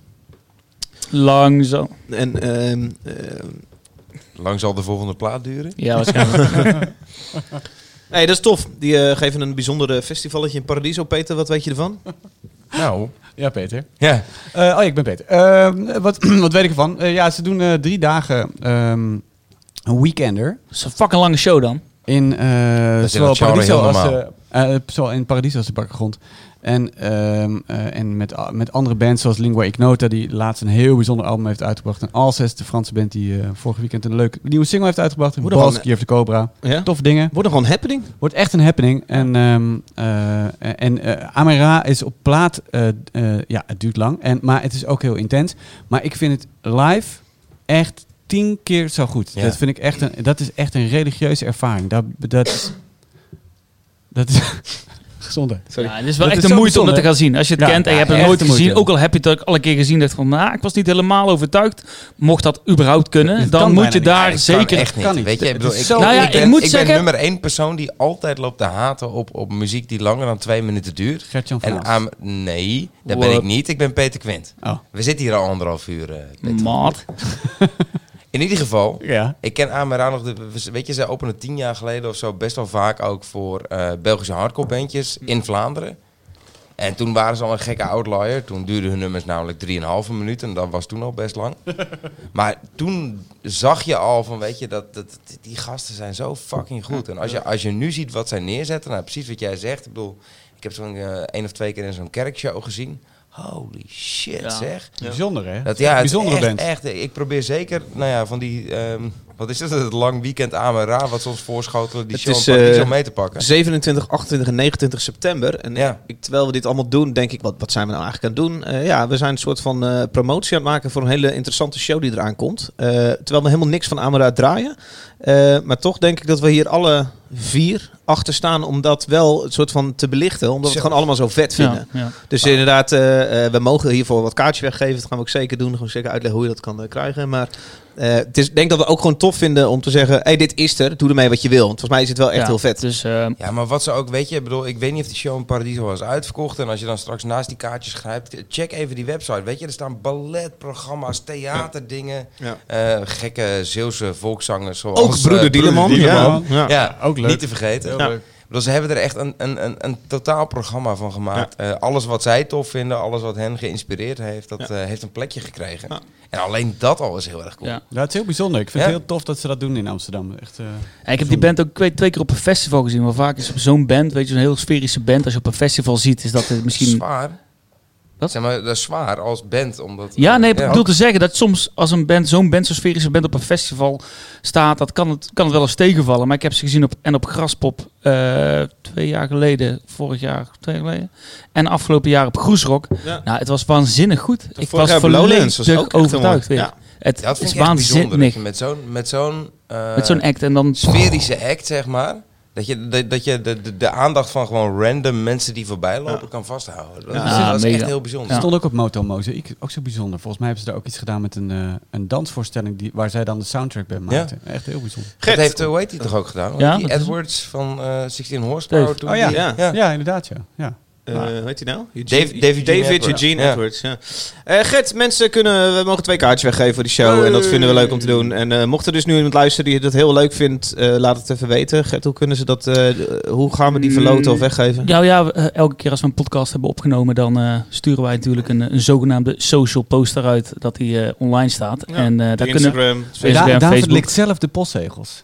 Speaker 3: Langzaam.
Speaker 2: En ehm, ehm,
Speaker 5: Lang zal de volgende plaat duren.
Speaker 3: Ja, waarschijnlijk.
Speaker 5: [LAUGHS]
Speaker 2: Nee, dat is tof. Die eh, geven een bijzonder festivalletje in Paradiso. Peter, wat weet je ervan?
Speaker 5: Nou,
Speaker 4: Ja, Peter.
Speaker 5: ja.
Speaker 4: Eh, oh ja, ik ben Peter. Ehm, wat, [CLEARS THROAT] wat weet ik ervan? Eh, ja, ze doen eh, drie dagen ehm, een weekender.
Speaker 3: Dat is een fucking lange show dan.
Speaker 4: In, eh
Speaker 5: is in
Speaker 4: zowel,
Speaker 5: het genre
Speaker 4: Paradiso
Speaker 5: heel
Speaker 4: als,
Speaker 5: normaal.
Speaker 4: eh, eh, zowel in Paradiso als de Bakkergrond. En, ehm, eh, en met, a- met andere bands zoals Lingua Ignota, die laatst een heel bijzonder album heeft uitgebracht. En Alcest, de Franse band die eh, vorig weekend een leuk nieuwe single heeft uitgebracht.
Speaker 2: Hoe dan?
Speaker 4: Balski of de Cobra.
Speaker 2: Ja?
Speaker 4: Tof dingen.
Speaker 2: Wordt nog gewoon happening?
Speaker 4: Wordt echt een happening. En, ehm, eh, en eh, Amara is op plaat. eh, eh, ja, het duurt lang. En, maar het is ook heel intens. Maar ik vind het live echt tien keer zo goed.
Speaker 5: Ja.
Speaker 4: Dat vind ik echt een. Dat is echt een religieuze ervaring. Dat, dat is. dat [LAUGHS] is. Gezondheid.
Speaker 3: Ja, het is
Speaker 4: Dat
Speaker 3: wel echt
Speaker 4: is zo
Speaker 3: de moeite om dat te
Speaker 4: bijzonder.
Speaker 3: gaan zien. Als je het
Speaker 4: Ja,
Speaker 3: kent en
Speaker 4: ja,
Speaker 3: je hebt het
Speaker 4: echt
Speaker 3: nooit
Speaker 4: de
Speaker 3: gezien.
Speaker 4: moeite.
Speaker 3: Ook al heb je het ook alle keer gezien. dacht van, nou, ik was niet helemaal overtuigd. Mocht dat überhaupt kunnen,
Speaker 4: Het
Speaker 3: dan
Speaker 4: kan
Speaker 3: moet
Speaker 4: bijna
Speaker 3: je
Speaker 4: niet.
Speaker 3: daar
Speaker 5: Ja, dat
Speaker 3: Ah, zeker...
Speaker 5: Kan echt niet.
Speaker 4: Kan niet.
Speaker 5: Weet je, ik bedoel,
Speaker 4: Het is
Speaker 5: ik,
Speaker 4: zo-
Speaker 5: ik
Speaker 3: Nou ja, ik
Speaker 5: ben,
Speaker 3: moet
Speaker 5: ik
Speaker 3: zeggen-
Speaker 5: ben nummer één persoon die altijd loopt te haten op, op muziek die langer dan twee minuten duurt.
Speaker 4: Gert-Jan van
Speaker 5: En
Speaker 4: Aalst.
Speaker 5: aan- nee, dat
Speaker 3: Wat?
Speaker 5: ben ik niet. Ik ben Peter Quint.
Speaker 4: Oh.
Speaker 5: We zitten hier al anderhalf uur. eh, Peter.
Speaker 3: Maat.
Speaker 5: In ieder geval,
Speaker 4: Ja.
Speaker 5: ik ken Amara nog. De, weet je, zij opende tien jaar geleden of zo best wel vaak ook voor eh, Belgische hardcore bandjes in Vlaanderen. En toen waren ze al een gekke outlier. Toen duurden hun nummers namelijk 3,5 minuut. En dat was toen al best lang. maar toen zag je al van, weet je, dat, dat, die gasten zijn zo fucking goed. En als je, als je nu ziet wat zij neerzetten, nou precies wat jij zegt. Ik bedoel, ik heb zo'n eh, één of twee keer in zo'n kerkshow gezien. Holy shit,
Speaker 3: Ja.
Speaker 5: zeg.
Speaker 4: Bijzonder, hè?
Speaker 5: Dat, ja, het is
Speaker 4: Bijzondere
Speaker 5: echt,
Speaker 4: band.
Speaker 5: echt, ik probeer zeker, nou ja, van die, ehm, wat is het, het lang weekend Amara, wat ze ons voorschotelen, die
Speaker 2: Het
Speaker 5: show
Speaker 2: is,
Speaker 5: een paar- die
Speaker 2: eh,
Speaker 5: show mee te pakken.
Speaker 2: 27, 28 en 29 september. En
Speaker 5: Ja.
Speaker 2: ik, terwijl we dit allemaal doen, denk ik, wat, wat zijn we nou eigenlijk aan het doen? Eh, ja, we zijn een soort van eh, promotie aan het maken voor een hele interessante show die eraan komt. Eh, terwijl we helemaal niks van Amara draaien. Eh, maar toch denk ik dat we hier alle vier achter staan om dat wel een soort van te belichten. Omdat we het
Speaker 5: Zo. Nou.
Speaker 2: gewoon allemaal zo vet vinden.
Speaker 3: Ja, ja.
Speaker 2: Dus inderdaad, eh, eh, we mogen hiervoor wat kaartjes weggeven. Dat gaan we ook zeker doen. Gewoon zeker uitleggen hoe je dat kan eh, krijgen. Maar eh, het is, ik denk dat we ook gewoon tof vinden om te zeggen... hey, dit is er. Doe ermee wat je wil. Want volgens mij is het wel echt
Speaker 3: Ja,
Speaker 2: heel vet.
Speaker 3: Dus eh,
Speaker 5: Ja, maar wat ze ook, weet je, ik bedoel, ik weet niet of die show in Paradiso was uitverkocht. En als je dan straks naast die kaartjes grijpt, check even die website. Weet je, er staan balletprogramma's, theaterdingen,
Speaker 2: Ja.
Speaker 5: eh, gekke Zeeuwse volkszangers. Zoals,
Speaker 2: Ook broeder
Speaker 5: eh,
Speaker 2: Dieleman.
Speaker 4: Broeder
Speaker 2: Ja.
Speaker 4: Dieleman.
Speaker 2: Ja.
Speaker 5: Ja,
Speaker 4: ook leuk.
Speaker 5: Niet te vergeten.
Speaker 4: Ja.
Speaker 5: Ik bedoel, ze hebben er echt een, een, een, een totaal programma van gemaakt. Eh, alles wat zij tof vinden, alles wat hen geïnspireerd heeft, dat eh, heeft een plekje gekregen.
Speaker 2: Ja.
Speaker 5: En alleen dat al is heel erg cool.
Speaker 3: ja.
Speaker 4: Ja, Nou, het is heel bijzonder. Ik vind
Speaker 5: Ja.
Speaker 4: het heel tof dat ze dat doen in Amsterdam. Echt, eh,
Speaker 3: Ja, ik heb die band ook twee, twee keer op een festival gezien. Maar vaak is op zo'n band, weet je, zo'n heel sferische band. Als je op een festival ziet, is dat het misschien...
Speaker 5: Zwaar.
Speaker 3: Wat?
Speaker 5: Zeg maar, dat is zwaar als band, omdat...
Speaker 3: Ja, nee, ik
Speaker 5: Ja.
Speaker 3: bedoel te zeggen dat soms als een band, zo'n band, zo'n sferische band op een festival staat, dat kan het, kan het wel eens tegenvallen. Maar ik heb ze gezien op, en op Graspop eh, twee jaar geleden, vorig jaar, twee jaar geleden. En afgelopen jaar op Groesrock.
Speaker 2: Ja.
Speaker 3: Nou, het was waanzinnig goed. ik
Speaker 2: vorig
Speaker 3: was
Speaker 2: jaar op Lowlands
Speaker 3: volledig
Speaker 2: was het ook echt helemaal-
Speaker 3: overtuigd weer.
Speaker 2: ja.
Speaker 3: Het
Speaker 5: Ja, dat vind
Speaker 3: is
Speaker 5: ik echt bijzonder. dat
Speaker 3: waanzinnig.
Speaker 5: je Met zo'n met zo'n eh,
Speaker 3: Met zo'n act en dan...
Speaker 5: sferische act, zeg maar. Dat je, dat, dat je de, de, de aandacht van gewoon random mensen die voorbij lopen kan vasthouden. Dat,
Speaker 3: Ja,
Speaker 5: is, dat is
Speaker 3: mega.
Speaker 5: echt heel bijzonder.
Speaker 4: Ze
Speaker 3: Ja.
Speaker 4: stond ook op Moto Mozaïek. Ook zo bijzonder. Volgens mij hebben ze daar ook iets gedaan met een, eh, een dansvoorstelling die, waar zij dan de soundtrack bij maakten. Echt heel bijzonder.
Speaker 5: Dat heeft, eh, hoe heet die toch ook gedaan?
Speaker 3: Ja,
Speaker 5: die
Speaker 3: dat is-
Speaker 5: Edwards van eh 16 Horsepower.
Speaker 3: Dave.
Speaker 5: Toen
Speaker 4: Oh ja.
Speaker 5: die-
Speaker 2: Ja.
Speaker 4: Ja, inderdaad. Ja. Ja.
Speaker 2: Eh, hoe heet hij nou?
Speaker 5: Dave- Dave Eugene
Speaker 2: David
Speaker 5: Edwards.
Speaker 2: Eugene
Speaker 5: Ja.
Speaker 2: Edwards. Ja. Eh, Gert, mensen kunnen, we mogen twee kaartjes weggeven voor die show. En dat vinden we leuk om te doen. En eh, mocht er dus nu iemand luisteren die dat heel leuk vindt, eh, laat het even weten. Gert, hoe kunnen ze dat, eh, d- hoe gaan we die verloten of weggeven?
Speaker 3: Ja, ja, we- eh, elke keer als we een podcast hebben opgenomen, dan eh, sturen wij natuurlijk een, een zogenaamde social poster uit dat die eh, online staat.
Speaker 2: Ja,
Speaker 3: en eh, daar kunnen,
Speaker 2: Instagram.
Speaker 3: Instagram,
Speaker 4: Da- David
Speaker 3: Facebook.
Speaker 4: likt zelf de postzegels.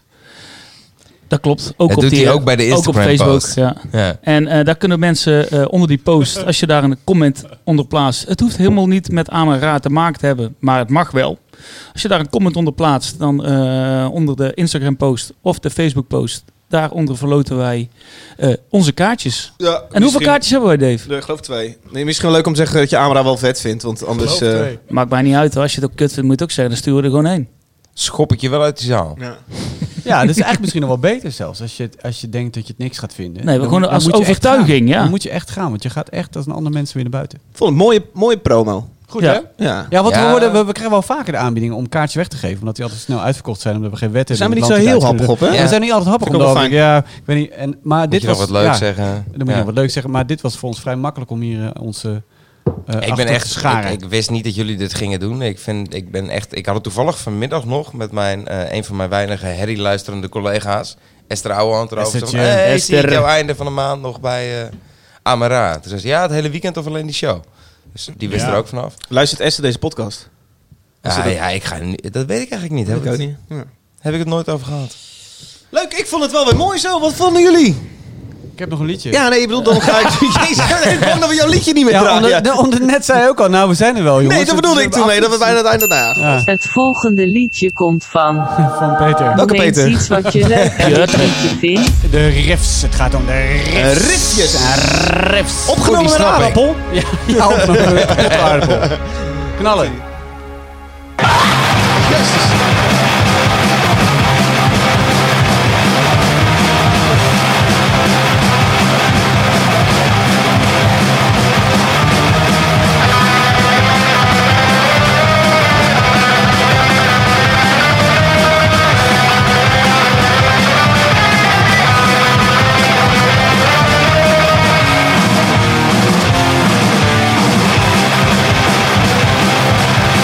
Speaker 3: dat klopt. Ook
Speaker 5: Dat
Speaker 3: op
Speaker 5: doet
Speaker 3: die, eh,
Speaker 5: hij ook bij de
Speaker 3: ook op
Speaker 5: Instagram
Speaker 3: Facebook.
Speaker 5: post.
Speaker 3: Ja.
Speaker 5: Ja.
Speaker 3: En eh, daar kunnen mensen eh, onder die post, als je daar een comment onder plaatst, het hoeft helemaal niet met Amara te maken te hebben, maar het mag wel. Als je daar een comment onder plaatst, dan eh, onder de Instagram post of de Facebook post, daaronder verloten wij eh, onze kaartjes. En hoeveel kaartjes hebben wij, Dave?
Speaker 2: Ik geloof twee. Nee, misschien wel leuk om te zeggen dat je Amara wel vet vindt, want anders... eh,
Speaker 3: Maakt mij niet uit. hoor. Als je het ook kut vindt, moet je het ook zeggen. Dan sturen we er gewoon heen.
Speaker 5: Schop ik je wel uit de zaal.
Speaker 2: ja.
Speaker 4: Ja, dat is eigenlijk misschien nog wel beter zelfs. Als je, het- als je denkt dat je het niks gaat vinden.
Speaker 3: Nee, maar gewoon als
Speaker 4: moet je echt
Speaker 3: overtuiging,
Speaker 4: gaan.
Speaker 3: ja.
Speaker 4: Dan moet je echt gaan, want je gaat echt als een ander mens weer naar buiten.
Speaker 2: Ik Vond het een mooie, mooie promo.
Speaker 4: Goed,
Speaker 3: Ja.
Speaker 4: hè?
Speaker 2: Ja.
Speaker 4: Ja, want
Speaker 5: Ja.
Speaker 4: We, worden, we, we krijgen wel vaker de aanbiedingen om kaartjes weg te geven. Omdat die altijd snel uitverkocht zijn, omdat we geen wet hebben.
Speaker 2: Zijn we
Speaker 4: in
Speaker 2: niet
Speaker 4: het
Speaker 2: zo
Speaker 4: land
Speaker 2: heel
Speaker 4: die het
Speaker 2: happig op, hè?
Speaker 4: uitsturen.
Speaker 5: Ja.
Speaker 4: We zijn niet altijd happig
Speaker 2: Vind ik ook wel
Speaker 4: op. Ja, ik weet niet. En, maar
Speaker 5: Moet
Speaker 4: dit
Speaker 5: je
Speaker 4: was
Speaker 5: wel wat leuk
Speaker 4: ja,
Speaker 5: zeggen.
Speaker 4: Dan moet
Speaker 5: Ja.
Speaker 4: je wat leuk zeggen. Maar dit was voor ons vrij makkelijk om hier eh, onze eh
Speaker 5: Ik ben echt
Speaker 4: scharen.
Speaker 5: Ik, ik wist niet dat jullie dit gingen doen. Ik, vind, ik, ben echt, ik had het toevallig vanmiddag nog met mijn, eh, een van mijn weinige herrie luisterende collega's, Esther Ouwehand, erover.
Speaker 4: Esthertje.
Speaker 5: Zo van, Hey, zie ik
Speaker 3: Esther.
Speaker 5: jou einde van de maand nog bij eh Amara. Toen zei ze, ja, het hele weekend of alleen die show. Dus die wist
Speaker 4: Ja.
Speaker 5: er ook vanaf.
Speaker 2: Luistert Esther deze podcast? Is
Speaker 5: Ja,
Speaker 2: dat-
Speaker 5: ja, ik ga, nu- dat weet ik eigenlijk niet. Heb ik, het,
Speaker 2: niet. Ja.
Speaker 5: heb ik het nooit over gehad.
Speaker 2: Leuk, ik vond het wel weer mooi zo. Wat vonden jullie?
Speaker 4: Ik heb nog een liedje.
Speaker 2: Ja, nee, ik bedoel, dan ga ik... [LAUGHS] Jezus, nee, gewoon dat we jouw liedje niet meer
Speaker 4: Ja,
Speaker 2: draaien.
Speaker 4: omdat, nou, omdat net zei je ook al, nou we zijn er wel jongens.
Speaker 2: nee, dat
Speaker 4: Het
Speaker 2: bedoelde
Speaker 4: is
Speaker 2: ik toen mee, dat we bijna het einde... Nou ja.
Speaker 4: Ja,
Speaker 1: Het volgende liedje komt van.
Speaker 4: van Peter.
Speaker 2: Welke
Speaker 1: Noem eens
Speaker 2: Peter?
Speaker 1: iets wat je leuk aan dit liedje vindt.
Speaker 4: De riffs, het gaat om de
Speaker 2: Eh,
Speaker 4: riffs.
Speaker 2: Riffjes.
Speaker 4: Riffs.
Speaker 2: Opgenomen met een aardappel.
Speaker 4: Ja, ja opgenomen met Oh, een
Speaker 2: [LAUGHS]
Speaker 4: aardappel. Knallen.
Speaker 7: Thank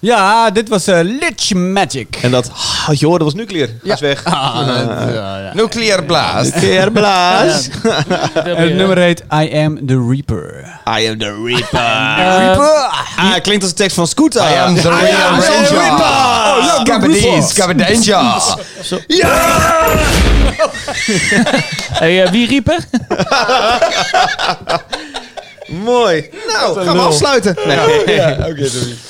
Speaker 4: Ja, dit was eh Lich Magic.
Speaker 2: En eh, dat, ah, je hoorde, was nuclear. Ga eens weg.
Speaker 4: Ah, ja, ja.
Speaker 2: [LAUGHS]
Speaker 5: Nucleair blaas.
Speaker 2: Keer blaas.
Speaker 3: Oh,
Speaker 4: En
Speaker 3: eh,
Speaker 4: het nummer heet I Am The Reaper.
Speaker 2: I am the Reaper.
Speaker 4: Eh,
Speaker 2: Ah, klinkt als de tekst van Scooter.
Speaker 5: I am the real ranger. Scabadee, scabadanger.
Speaker 3: Hey, eh, wie riep er?
Speaker 2: Mooi. Nou, gaan we afsluiten. Nee.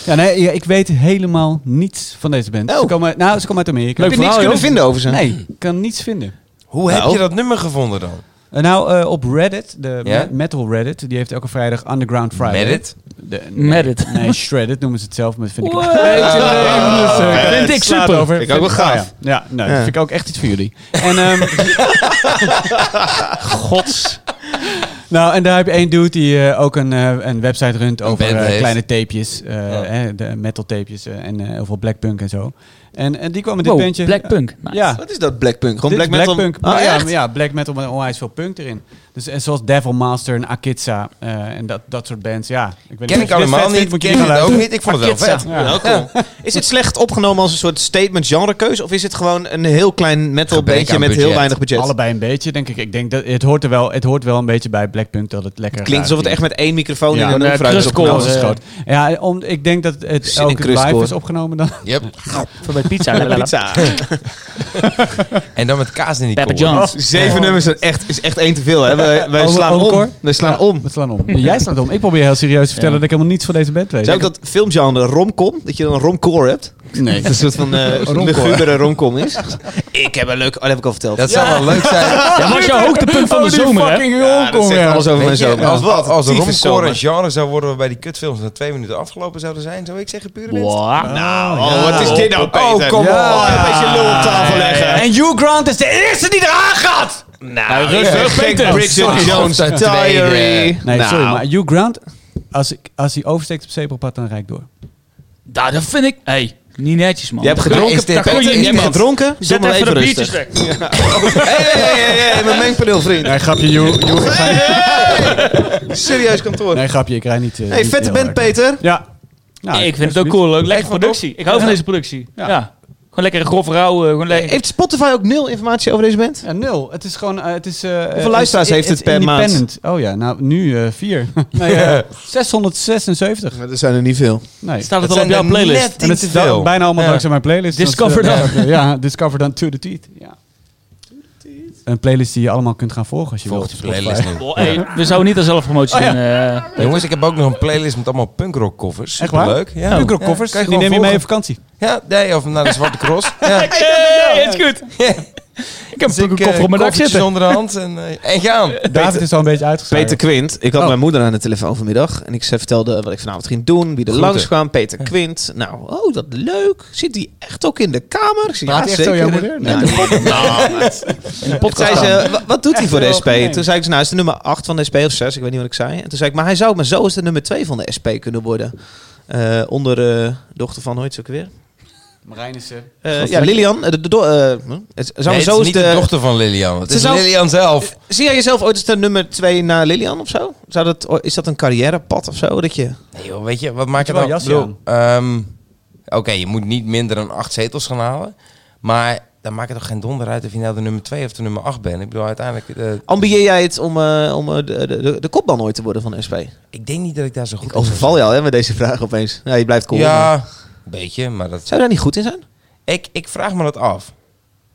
Speaker 4: Ja, nee, ja, ik weet helemaal niets van deze band.
Speaker 2: Oh.
Speaker 4: Ze komen, nou, ze komen uit Amerika.
Speaker 2: Heb je niks kunnen vinden over ze?
Speaker 4: Nee, ik kan niets vinden.
Speaker 5: Hoe heb
Speaker 2: Nou.
Speaker 5: je dat nummer gevonden dan?
Speaker 4: Eh, nou, eh, op Reddit, de
Speaker 5: Ja?
Speaker 4: me- metal Reddit, die heeft elke vrijdag Underground Friday.
Speaker 5: Reddit?
Speaker 4: De, nee,
Speaker 3: Merit.
Speaker 4: nee, Shredded noemen ze het zelf, maar dat vind ik...
Speaker 3: Wow.
Speaker 4: dus, eh,
Speaker 2: Vet.
Speaker 4: vind ik
Speaker 2: Ah. Slaat
Speaker 4: super.
Speaker 2: over. Vind ik ook wel
Speaker 4: Ah,
Speaker 2: gaaf.
Speaker 4: Ja, Ja, nou,
Speaker 2: Ja.
Speaker 4: dat vind ik ook echt iets voor jullie. En,
Speaker 3: [LAUGHS]
Speaker 4: ehm, Gods. Nou, en daar heb je één dude die eh, ook een, eh, een website runt over
Speaker 5: band
Speaker 4: eh,
Speaker 5: heeft.
Speaker 4: kleine tapejes, eh hè, de metal tapejes eh, en eh, heel veel blackpunk en zo. En, en die kwam met dit
Speaker 3: Wow,
Speaker 4: bandje.
Speaker 3: Black Punk. Nice.
Speaker 4: Ja,
Speaker 2: Wat is dat, Blackpunk? Gewoon
Speaker 4: dit
Speaker 2: Black
Speaker 4: is
Speaker 2: Metal?
Speaker 4: Blackpunk.
Speaker 2: Ah,
Speaker 4: Maar ja,
Speaker 2: echt?
Speaker 4: maar ja, black metal met onwijs veel punk erin. Dus en zoals Devil Master en Akitsa eh, en dat, dat soort bands. Ja, ik weet
Speaker 5: Ken
Speaker 4: niet
Speaker 5: ik
Speaker 4: of je dit
Speaker 5: allemaal
Speaker 4: vet vindt,
Speaker 5: niet,
Speaker 4: moet je
Speaker 5: ken
Speaker 4: die
Speaker 5: ik
Speaker 4: gaan
Speaker 5: ook
Speaker 4: luisteren.
Speaker 5: niet. Ik vond het wel vet.
Speaker 4: Ja.
Speaker 2: Ja, cool.
Speaker 4: [LAUGHS]
Speaker 2: Is het slecht opgenomen als een soort statement genrekeuze? Of is het gewoon een heel klein metal
Speaker 5: Gebrek
Speaker 2: bandje
Speaker 5: aan
Speaker 2: met heel
Speaker 5: budget.
Speaker 2: weinig budget?
Speaker 4: Allebei een beetje, denk ik. Ik denk dat het hoort er wel, het hoort wel een beetje bij Blackpunk dat het lekker eh,
Speaker 2: Klinkt alsof het echt met één microfoon
Speaker 4: Ja,
Speaker 2: in
Speaker 4: een,
Speaker 2: een
Speaker 3: eh,
Speaker 2: fruit is
Speaker 3: crustcore,
Speaker 2: opgenomen.
Speaker 3: eh,
Speaker 4: groot. Ja, om, ik denk dat het
Speaker 2: Zin in
Speaker 4: ook live
Speaker 2: crustcore.
Speaker 4: is opgenomen dan. [LAUGHS]
Speaker 5: Yep.
Speaker 3: Voor bij pizza.
Speaker 2: Pizza. [LAUGHS]
Speaker 5: En dan met kaas in die
Speaker 3: Pepper
Speaker 5: kool.
Speaker 3: John's.
Speaker 2: Zeven nummers is echt, is echt één te veel. Hè? Wij, wij
Speaker 4: Over-
Speaker 2: slaan
Speaker 4: encore?
Speaker 2: om. Wij slaan om.
Speaker 4: We slaan om. Jij slaat om. Ik probeer heel serieus te vertellen dat ik helemaal niets van deze band weet.
Speaker 2: Zou ook dat filmgenre romcom, dat je dan een romcore hebt?
Speaker 4: Nee.
Speaker 2: Dat een soort van eh lugubere romcom is. Ik heb een leuk... Oh, dat heb ik al verteld.
Speaker 5: Dat zou wel leuk zijn.
Speaker 3: Dat was jouw hoogtepunt
Speaker 2: Oh,
Speaker 4: Oh,
Speaker 3: van de zomer, hè?
Speaker 4: fucking
Speaker 2: Ja, dat zegt alles over mijn
Speaker 5: Weet je,
Speaker 2: zomer.
Speaker 5: Als, als, als
Speaker 2: Tyfus
Speaker 5: romcore
Speaker 2: zomer.
Speaker 5: een genre zou worden waarbij die kutfilms na twee minuten afgelopen zouden zijn, zou ik zeggen pure winst.
Speaker 3: Wow.
Speaker 2: Nou, oh, wat is dit nou, Peter?
Speaker 5: Oh, kom
Speaker 2: Oh,
Speaker 5: op.
Speaker 2: een beetje lul op tafel leggen.
Speaker 4: En Hugh Grant is de eerste die eraan gaat!
Speaker 2: Nou, rustig, Peter.
Speaker 5: Sorry. Sorry.
Speaker 2: Diary.
Speaker 5: Tweede.
Speaker 4: Nee,
Speaker 2: Nou.
Speaker 4: sorry, maar Hugh Grant, als, ik, als hij oversteekt op zebrapad, dan rijd ik door.
Speaker 3: Nou, dat vind ik... Hey, niet netjes, man.
Speaker 2: Je hebt
Speaker 5: Is
Speaker 2: gedronken,
Speaker 5: dit-
Speaker 2: daar kon je
Speaker 5: Peter,
Speaker 2: niet
Speaker 5: iemand-
Speaker 2: gedronken. Doe
Speaker 3: Zet
Speaker 2: maar
Speaker 3: even
Speaker 2: even
Speaker 3: de biertjes
Speaker 2: rustig.
Speaker 3: weg.
Speaker 2: Hé, hé, hé, hé, mijn mengpaneel, vriend.
Speaker 4: Nee, grapje, [LAUGHS] Hugh.
Speaker 2: Serieus kantoor.
Speaker 4: Nee, grapje, ik rijd niet... eh,
Speaker 2: Hey,
Speaker 4: niet
Speaker 2: vette
Speaker 4: heel
Speaker 2: band,
Speaker 4: hard.
Speaker 2: Peter.
Speaker 4: Ja. Nou,
Speaker 3: ik vind het ook cool. Leuk. Lekker productie. Ik hou van deze productie. Ja. Gewoon lekker grof rauw. eh, Gewoon lekker...
Speaker 2: Heeft Spotify ook nul informatie over deze band?
Speaker 4: Ja, nul. Het is gewoon... eh, het is, eh,
Speaker 2: Hoeveel luisteraars
Speaker 4: is-
Speaker 2: heeft
Speaker 4: is
Speaker 2: het per maand?
Speaker 4: independent. Oh ja, nou, nu eh, [LAUGHS] vier. nee, eh, 676.
Speaker 2: Er zijn er niet veel.
Speaker 4: Nee.
Speaker 3: Staat het
Speaker 5: Dat
Speaker 3: al op
Speaker 5: zijn
Speaker 3: jouw
Speaker 5: er
Speaker 3: playlist?
Speaker 5: net
Speaker 4: En het
Speaker 5: iets
Speaker 4: is
Speaker 5: te
Speaker 4: dan
Speaker 5: veel.
Speaker 4: bijna allemaal
Speaker 3: Ja.
Speaker 4: dankzij mijn playlist.
Speaker 3: Discover
Speaker 4: dan.
Speaker 3: dan.
Speaker 4: ja, Discover dan to the teeth. Ja. Een playlist die je allemaal kunt gaan volgen als je
Speaker 5: Volgt
Speaker 4: wilt.
Speaker 5: de playlist niet.
Speaker 3: Oh, hey, we zouden niet aan zelfpromotie
Speaker 4: Oh, ja.
Speaker 3: doen. eh.
Speaker 5: Jongens, ik heb ook nog een playlist met allemaal punkrock covers.
Speaker 4: Echt waar? Oh.
Speaker 5: Superleuk. Ja.
Speaker 4: Ja. Punkrockkoffers,
Speaker 5: Ja, kan
Speaker 4: die neem
Speaker 5: gewoon
Speaker 4: je mee op
Speaker 5: volgen.
Speaker 4: vakantie.
Speaker 5: Ja, nee, of naar de Zwarte Cross. Ja.
Speaker 3: Hey, het is goed. Ik heb een koffer op mijn dak
Speaker 5: Dus eh, koffertjes
Speaker 3: zitten.
Speaker 5: onder de hand en, eh, en [LAUGHS] gaan.
Speaker 4: David is al een beetje uitgeslagen.
Speaker 2: Peter Quint. Ik had
Speaker 4: Oh.
Speaker 2: mijn moeder aan de telefoon vanmiddag. En ik ze vertelde wat ik vanavond ging doen. Wie er
Speaker 5: Groeten.
Speaker 2: langs kwam. Peter Quint. Nou, oh, dat leuk. Zit die echt ook in de kamer? Ik zeg,
Speaker 4: Praat
Speaker 2: ja,
Speaker 4: die echt zo,
Speaker 2: zeker.
Speaker 4: jouw moeder?
Speaker 2: Nou, nee. Nou, maar- Zei ze, "Wa- wat doet hij voor de SP?
Speaker 4: gemeen.
Speaker 2: Toen zei ik, nou, hij is de nummer 8 van de SP of 6. Ik weet niet wat ik zei. En toen zei ik, maar hij zou maar zo eens de nummer 2 van de SP kunnen worden. Eh, onder eh, dochter van, nooit zo ook weer?
Speaker 4: Marijn is er.
Speaker 2: Eh, ja, Lilian. eh, De, de, do- eh, hm? het zou maar
Speaker 5: Nee, het
Speaker 2: zo
Speaker 5: is
Speaker 2: eens
Speaker 5: niet
Speaker 2: de,
Speaker 5: de dochter van Lilian. Het
Speaker 2: Ze
Speaker 5: is
Speaker 2: zou-
Speaker 5: Lilian zelf.
Speaker 2: Zie jij jezelf ooit als de nummer 2 na Lilian of zo? Zou dat, o- is dat een carrièrepad of zo? Dat je...
Speaker 5: Nee joh, weet je, wat maakt
Speaker 4: je
Speaker 5: het
Speaker 4: wel
Speaker 5: nou?
Speaker 4: jasje
Speaker 5: Ik bedoel, ehm, Oké, je moet niet minder dan acht zetels gaan halen. Maar dan maakt het toch geen donder uit of je nou de nummer 2 of de nummer 8 bent. Ik bedoel, uiteindelijk... eh,
Speaker 2: Ambieer jij het om, eh, om eh, de, de, de, de kopman ooit te worden van de SP?
Speaker 5: ik denk niet dat ik daar zo goed in zou
Speaker 2: Overval je al hè, met deze vraag opeens. Ja, je blijft cool.
Speaker 5: zijn.
Speaker 2: maar-
Speaker 5: Ja, een beetje, maar dat...
Speaker 2: Zou je daar niet goed in zijn?
Speaker 5: Ik, ik vraag me dat af.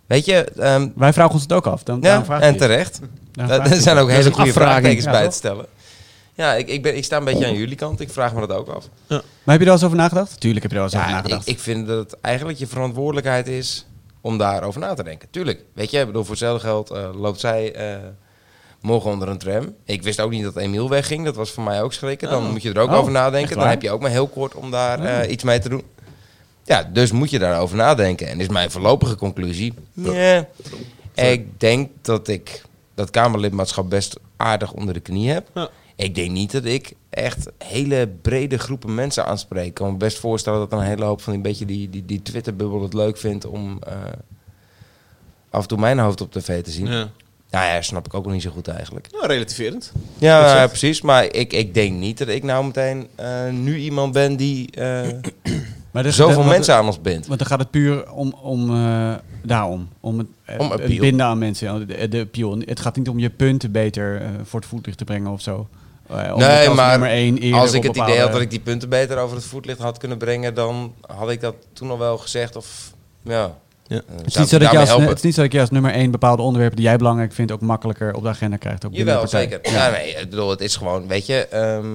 Speaker 5: Weet je, ehm,
Speaker 4: Wij vragen ons het ook af. Dan, daarom
Speaker 5: ja,
Speaker 4: vraag ik
Speaker 5: en
Speaker 4: je.
Speaker 5: terecht.
Speaker 4: Daarom
Speaker 5: Er
Speaker 4: Nou, vraag ik je.
Speaker 5: zijn ook hele goede vraagtekens
Speaker 4: Ja,
Speaker 5: bij
Speaker 4: toch?
Speaker 5: het stellen. Ja, ik, ik, ben, ik sta een beetje aan jullie kant. Ik vraag me dat ook af.
Speaker 4: Maar heb je daar eens over nagedacht? Tuurlijk heb je daar eens over
Speaker 5: Ja, ik,
Speaker 4: nagedacht.
Speaker 5: ik vind dat het eigenlijk je verantwoordelijkheid is om daarover na te denken. Tuurlijk, weet je, ik bedoel, voor hetzelfde geld eh, loopt zij eh, morgen onder een tram. Ik wist ook niet dat Emiel wegging. Dat was voor mij ook schrikken. Dan moet je er ook
Speaker 4: Oh,
Speaker 5: over
Speaker 4: echt
Speaker 5: nadenken. Dan
Speaker 4: waar? Oh.
Speaker 5: heb je ook maar heel kort om daar eh, iets mee te doen. Ja, dus moet je daarover nadenken. En is mijn voorlopige conclusie. ja, Ik denk dat ik dat Kamerlidmaatschap best aardig onder de knie heb. Ik denk niet dat ik echt hele brede groepen mensen aanspreek. Ik kan me best voorstellen dat een hele hoop van die, beetje die, die, die Twitterbubbel het leuk vindt om eh, af en toe mijn hoofd op tv te zien. Nou ja, snap ik ook nog niet zo goed eigenlijk.
Speaker 2: Nou, relativerend.
Speaker 5: Ja,
Speaker 2: Dat is
Speaker 5: ja,
Speaker 2: het.
Speaker 5: precies. Maar ik, ik denk niet dat ik nou meteen eh, nu iemand ben die eh,
Speaker 4: Maar dus-
Speaker 5: zoveel
Speaker 4: want-
Speaker 5: mensen aan ons bindt.
Speaker 4: Want dan gaat het puur om, om eh, daarom. Om het, eh,
Speaker 5: Om
Speaker 4: het
Speaker 5: appeal.
Speaker 4: binden aan mensen. De, de appeal. Het gaat niet om je punten beter eh, voor het voetlicht te brengen of zo. Eh, omdat
Speaker 5: Nee,
Speaker 4: als
Speaker 5: maar
Speaker 4: nummer één eerder
Speaker 5: als ik
Speaker 4: op
Speaker 5: het
Speaker 4: bepaalde-
Speaker 5: idee had dat ik die punten beter over het voetlicht had kunnen brengen, dan had ik dat toen al wel gezegd. Of ja.
Speaker 2: Ja.
Speaker 5: Eh,
Speaker 4: Het is,
Speaker 5: zou
Speaker 4: niet zo dat
Speaker 5: daarmee
Speaker 4: je als,
Speaker 5: helpen.
Speaker 4: het is niet zo dat je als nummer één bepaalde onderwerpen die jij belangrijk vindt ook makkelijker op de agenda krijgt. Ook binnen de
Speaker 5: Jawel,
Speaker 4: partij.
Speaker 5: zeker. Ja, nee, ik bedoel, het is gewoon, weet je, ehm,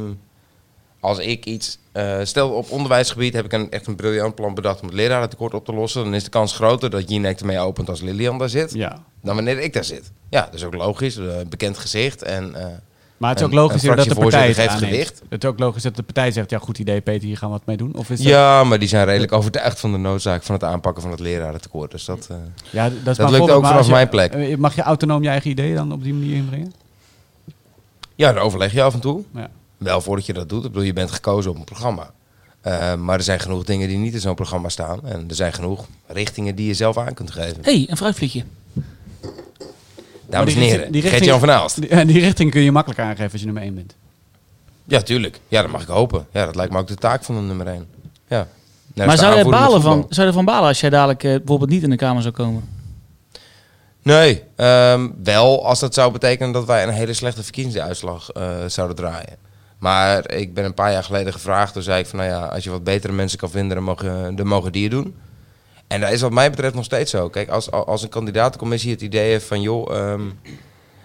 Speaker 5: als ik iets. eh, stel op onderwijsgebied heb ik een, echt een briljant plan bedacht om het lerarentekort op te lossen. Dan is de kans groter dat Jinek ermee opent als Lilian daar zit.
Speaker 4: Ja.
Speaker 5: Dan wanneer ik daar zit. Ja, dat is ook logisch. Een bekend gezicht. En, eh,
Speaker 4: Maar het is ook
Speaker 5: Een-
Speaker 4: logisch
Speaker 5: een
Speaker 4: dat de partij het
Speaker 5: fractievoorzitter geeft
Speaker 4: aanneemt.
Speaker 5: gewicht.
Speaker 4: Het is ook logisch dat de partij zegt, ja goed idee Peter, hier gaan we wat mee doen. Of is dat-
Speaker 5: ja, maar die zijn redelijk overtuigd van de noodzaak van het aanpakken van het lerarentekort. Dus dat. eh,
Speaker 4: ja, d- dat, is
Speaker 5: Dat
Speaker 4: maar
Speaker 5: lukt
Speaker 4: voorbeeld.
Speaker 5: ook
Speaker 4: Maar
Speaker 5: vanaf
Speaker 4: als je-
Speaker 5: mijn plek.
Speaker 4: eh, Mag je autonoom je eigen ideeën dan op die manier inbrengen? Nou
Speaker 5: ja, daar overleg je af en toe.
Speaker 4: Ja.
Speaker 5: Wel voordat je dat doet. Ik bedoel, je bent gekozen op een programma. Eh, maar er zijn genoeg dingen die niet in zo'n programma staan. En er zijn genoeg richtingen die je zelf aan kunt geven.
Speaker 3: Hé, hey, een fruitvliegje.
Speaker 5: Dames en
Speaker 4: die
Speaker 5: heren,
Speaker 4: richting- die
Speaker 5: Gert-Jan van Aalst.
Speaker 4: Die, ja, die richting kun je makkelijk aangeven als je nummer één bent.
Speaker 5: Ja, tuurlijk. Ja, dat mag ik hopen. Ja, dat lijkt me ook de taak van de nummer 1. Ja. Nou, is
Speaker 3: maar
Speaker 5: de
Speaker 3: zou je,
Speaker 5: aanvoerder met
Speaker 3: balen
Speaker 5: voetbal.
Speaker 3: van, zou je ervan balen als jij dadelijk eh, bijvoorbeeld niet in de Kamer zou komen? Dus
Speaker 5: Nee, ehm, wel als dat zou betekenen dat wij een hele slechte verkiezingsuitslag eh, zouden draaien. Maar ik ben een paar jaar geleden gevraagd, toen zei ik van nou ja, als je wat betere mensen kan vinden, dan mogen, dan mogen die het doen. En dat is wat mij betreft nog steeds zo. Kijk, als, als een kandidatencommissie het idee heeft van joh, ehm,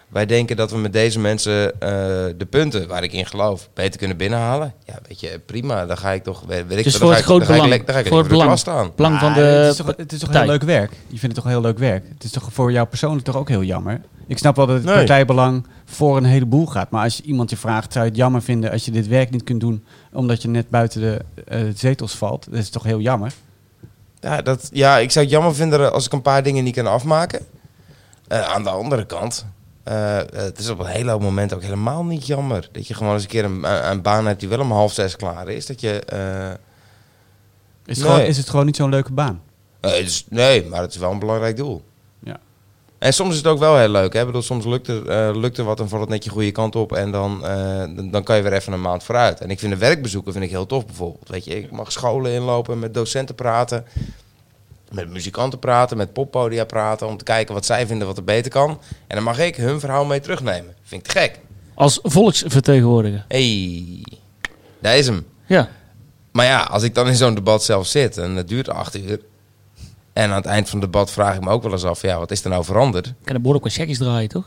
Speaker 5: wij denken dat we met deze mensen eh, de punten waar ik in geloof beter kunnen binnenhalen. Ja, weet je, prima, dan ga ik toch, weet, weet ik
Speaker 3: Dus
Speaker 5: veel,
Speaker 3: voor
Speaker 5: dan
Speaker 3: het
Speaker 5: ga ik-
Speaker 3: groot
Speaker 5: dan ga ik
Speaker 3: belang.
Speaker 5: le- dan ga ik
Speaker 3: Voor het
Speaker 5: lekker in
Speaker 3: belang.
Speaker 5: de klas staan.
Speaker 3: Belang van
Speaker 4: Maar het is
Speaker 3: de
Speaker 4: toch, het is toch heel
Speaker 3: partij.
Speaker 4: leuk werk? Je vindt het toch heel leuk werk? Het is toch voor jou persoonlijk toch ook heel jammer? Ik snap wel dat het
Speaker 5: Nee.
Speaker 4: partijbelang voor een heleboel gaat. Maar als je iemand je vraagt, zou je het jammer vinden als je dit werk niet kunt doen omdat je net buiten de eh, zetels valt? Dat is toch heel jammer?
Speaker 5: Ja, dat, ja, ik zou het jammer vinden als ik een paar dingen niet kan afmaken. Eh, aan de andere kant, eh, eh, het is op een hele hoop moment ook helemaal niet jammer. Dat je gewoon eens een keer een, een- een baan hebt die wel om half zes klaar is. Dat je, eh,
Speaker 4: Is het,
Speaker 5: Nee.
Speaker 4: gewoon, is het gewoon niet zo'n leuke baan?
Speaker 5: eh, het is- nee, maar het is wel een belangrijk doel.
Speaker 4: Ja.
Speaker 5: En soms is het ook wel heel leuk. Hè? Ik bedoel, soms lukt er, eh, lukt er wat en valt het net je goede kant op. En dan, eh, dan, dan kan je weer even een maand vooruit. En ik vind de werkbezoeken vind ik heel tof bijvoorbeeld. Weet je, ik mag scholen inlopen, met docenten praten. Met muzikanten praten, met poppodia praten. Om te kijken wat zij vinden wat er beter kan. En dan mag ik hun verhaal mee terugnemen. Vind ik te gek.
Speaker 3: als volksvertegenwoordiger.
Speaker 5: hey, daar is hem.
Speaker 3: Ja.
Speaker 5: Maar ja, als ik dan in zo'n debat zelf zit en het duurt acht uur. En aan het eind van het debat vraag ik me ook wel eens af, ja, wat is er nou veranderd?
Speaker 3: Ik kan de bord ook wat checkies draaien, toch?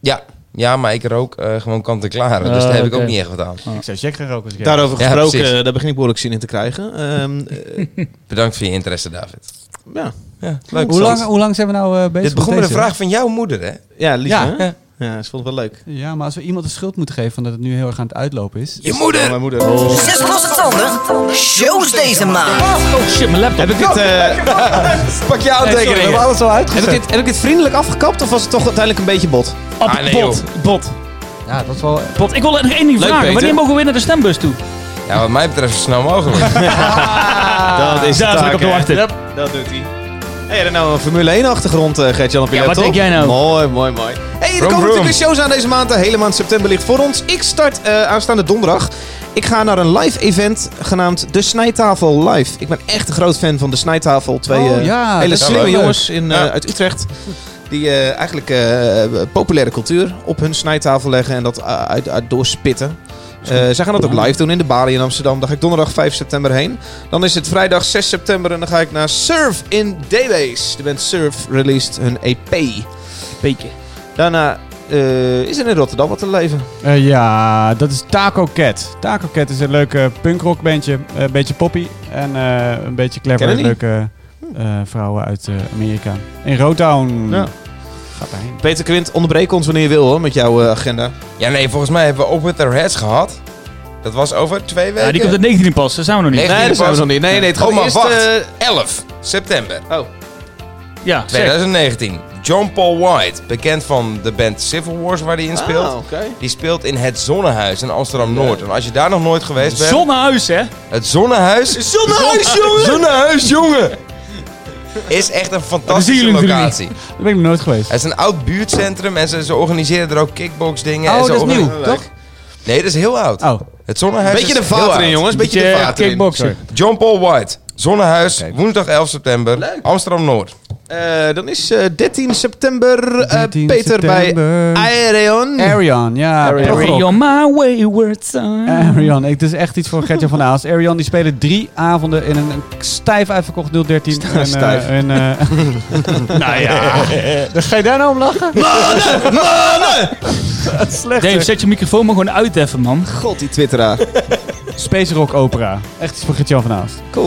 Speaker 5: Ja, ja maar ik rook eh, gewoon kant-en-klaar. Dus
Speaker 3: Oh,
Speaker 5: daar heb ik
Speaker 3: oké.
Speaker 5: ook niet echt wat aan.
Speaker 4: Ik zou check gaan roken als ik
Speaker 2: Daarover
Speaker 5: Ja,
Speaker 2: gesproken,
Speaker 5: precies.
Speaker 2: eh, daar begin ik behoorlijk zin in te krijgen. Ehm, eh,
Speaker 5: Bedankt voor je interesse, David.
Speaker 2: ja.
Speaker 5: Ja, leuk.
Speaker 4: Hoe lang,
Speaker 5: Sam.
Speaker 4: hoe lang zijn we nou eh, bezig
Speaker 5: Dit begon met
Speaker 4: deze?
Speaker 5: een vraag van jouw moeder, hè?
Speaker 2: ja, lief
Speaker 4: Ja,
Speaker 2: hè?
Speaker 5: ja.
Speaker 2: Ja, ze vond het wel leuk.
Speaker 4: Ja, maar als we iemand de schuld moeten geven van dat het nu heel erg aan het uitlopen is.
Speaker 5: Je moeder! Oh.
Speaker 2: Mijn moeder.
Speaker 9: Zes losse tanden. Shows deze maand.
Speaker 3: Oh shit, mijn laptop.
Speaker 2: Heb ik dit, eh,
Speaker 5: Pak je aantekeningen.
Speaker 4: alles al
Speaker 2: heb, ik dit, heb ik dit vriendelijk afgekapt of was het toch uiteindelijk een beetje bot?
Speaker 3: Op
Speaker 5: Ah, nee,
Speaker 3: bot, bot,
Speaker 2: Ah,
Speaker 4: Ja, dat is wel...
Speaker 3: bot. Ik wil nog één ding
Speaker 5: Leuk,
Speaker 3: vragen.
Speaker 5: Peter.
Speaker 3: Wanneer mogen we weer naar de stembus toe?
Speaker 5: Ja, wat mij betreft zo snel mogelijk. [LAUGHS]
Speaker 2: dat is de
Speaker 3: daar zat ik
Speaker 2: taak,
Speaker 3: op te
Speaker 2: hè?
Speaker 3: wachten.
Speaker 2: Yep, dat doet hij. Hey, er nou een Formule 1-achtergrond, eh Gert-Jan op je
Speaker 3: Ja, wat
Speaker 2: laptop.
Speaker 3: denk jij nou?
Speaker 2: Mooi, mooi, mooi. Hey, er
Speaker 5: Vroom,
Speaker 2: komen natuurlijk
Speaker 5: vroom.
Speaker 2: weer shows aan deze maand. De hele maand september ligt voor ons. Ik start eh, aanstaande donderdag. Ik ga naar een live event genaamd De Snijtafel Live. Ik ben echt een groot fan van De Snijtafel. Twee
Speaker 4: Oh,
Speaker 2: eh,
Speaker 4: ja,
Speaker 2: hele
Speaker 4: dat is
Speaker 2: slimme
Speaker 4: wel leuk.
Speaker 2: jongens in, eh,
Speaker 5: Ja.
Speaker 2: uit Utrecht. Die eh, eigenlijk eh, populaire cultuur op hun snijtafel leggen en dat eh, uit, uit doorspitten. Eh, zij gaan dat ook live doen in de Bali in Amsterdam. Daar ga ik donderdag 5 september heen. Dan is het vrijdag 6 september en dan ga ik naar Surf in Daybase. De band Surf released hun EP.
Speaker 3: Beetje.
Speaker 2: Daarna eh, is er in Rotterdam wat te leven.
Speaker 4: Eh, ja, dat is Taco Cat. Taco Cat is een leuke punkrockbandje. eh, Een beetje poppy en eh, een beetje
Speaker 2: Ken
Speaker 4: clever.
Speaker 2: ik
Speaker 4: Leuke eh, vrouwen uit eh, Amerika. In Rotown.
Speaker 2: Ja.
Speaker 4: Gaat daarheen.
Speaker 2: Peter Quint, onderbreek ons wanneer je wil hoor, met jouw eh, agenda.
Speaker 5: ja, nee, volgens mij hebben we ook met Their Heads gehad. Dat was over twee weken.
Speaker 3: Ja, die komt op 19 pas, daar zijn we nog niet.
Speaker 5: Nee.
Speaker 2: Nee, dat zijn we nog niet. Nee, nee, het gaat
Speaker 5: Oh, maar
Speaker 2: eerst...
Speaker 5: wacht.
Speaker 2: eh,
Speaker 5: 11 september
Speaker 2: oh,
Speaker 3: Ja, zeg.
Speaker 5: 2019. John Paul White, bekend van de band Civil Wars waar hij in speelt.
Speaker 2: Ah, oké.
Speaker 5: Die speelt in het Zonnehuis in Amsterdam-Noord. En als je daar nog nooit geweest bent...
Speaker 3: Zonnehuis, hè?
Speaker 5: Het Zonnehuis...
Speaker 2: Zonnehuis, jongen!
Speaker 5: Zonnehuis, jongen! Is echt
Speaker 3: zien
Speaker 5: een fantastische
Speaker 3: jullie natuurlijk
Speaker 5: locatie.
Speaker 4: Daar ben ik nog nooit geweest.
Speaker 5: Het is een oud buurtcentrum en ze, ze organiseren er ook kickboxdingen. en
Speaker 4: oh,
Speaker 5: ze
Speaker 4: dat is
Speaker 5: organi-
Speaker 4: nieuw, toch?
Speaker 5: Nee, dat is heel oud.
Speaker 4: Oh. eh,
Speaker 5: Het Zonnehuis
Speaker 2: Beetje
Speaker 5: is
Speaker 2: de
Speaker 5: heel
Speaker 2: vaat erin
Speaker 5: oud.
Speaker 2: jongens, beetje de vaat erin.
Speaker 3: kickboxen.
Speaker 5: John Paul White. Zonnehuis,
Speaker 4: Kijk.
Speaker 5: woensdag 11 september, Amsterdam-Noord.
Speaker 2: Eh, dan is eh, 13 september eh,
Speaker 4: 13
Speaker 2: Peter
Speaker 4: september.
Speaker 2: bij Aereon.
Speaker 4: Arian, ja.
Speaker 2: Arian.
Speaker 4: Arian.
Speaker 3: Carry on my wayward son. [LAUGHS]
Speaker 4: Arian, Eh, ik- het is echt iets voor Gertje van Aals. Arian die spelen drie avonden in een stijf uitverkocht 013. En, eh,
Speaker 2: Stijf.
Speaker 4: en, eh,
Speaker 5: [LAUGHS]
Speaker 4: nou ja, Dan ga je daar nou om lachen? Slecht.
Speaker 3: Dave, zet je microfoon maar gewoon uit even, man.
Speaker 2: God, die twitteraar.
Speaker 4: Space Rock Opera. Echt iets voor Gertje van Aals.
Speaker 2: Cool.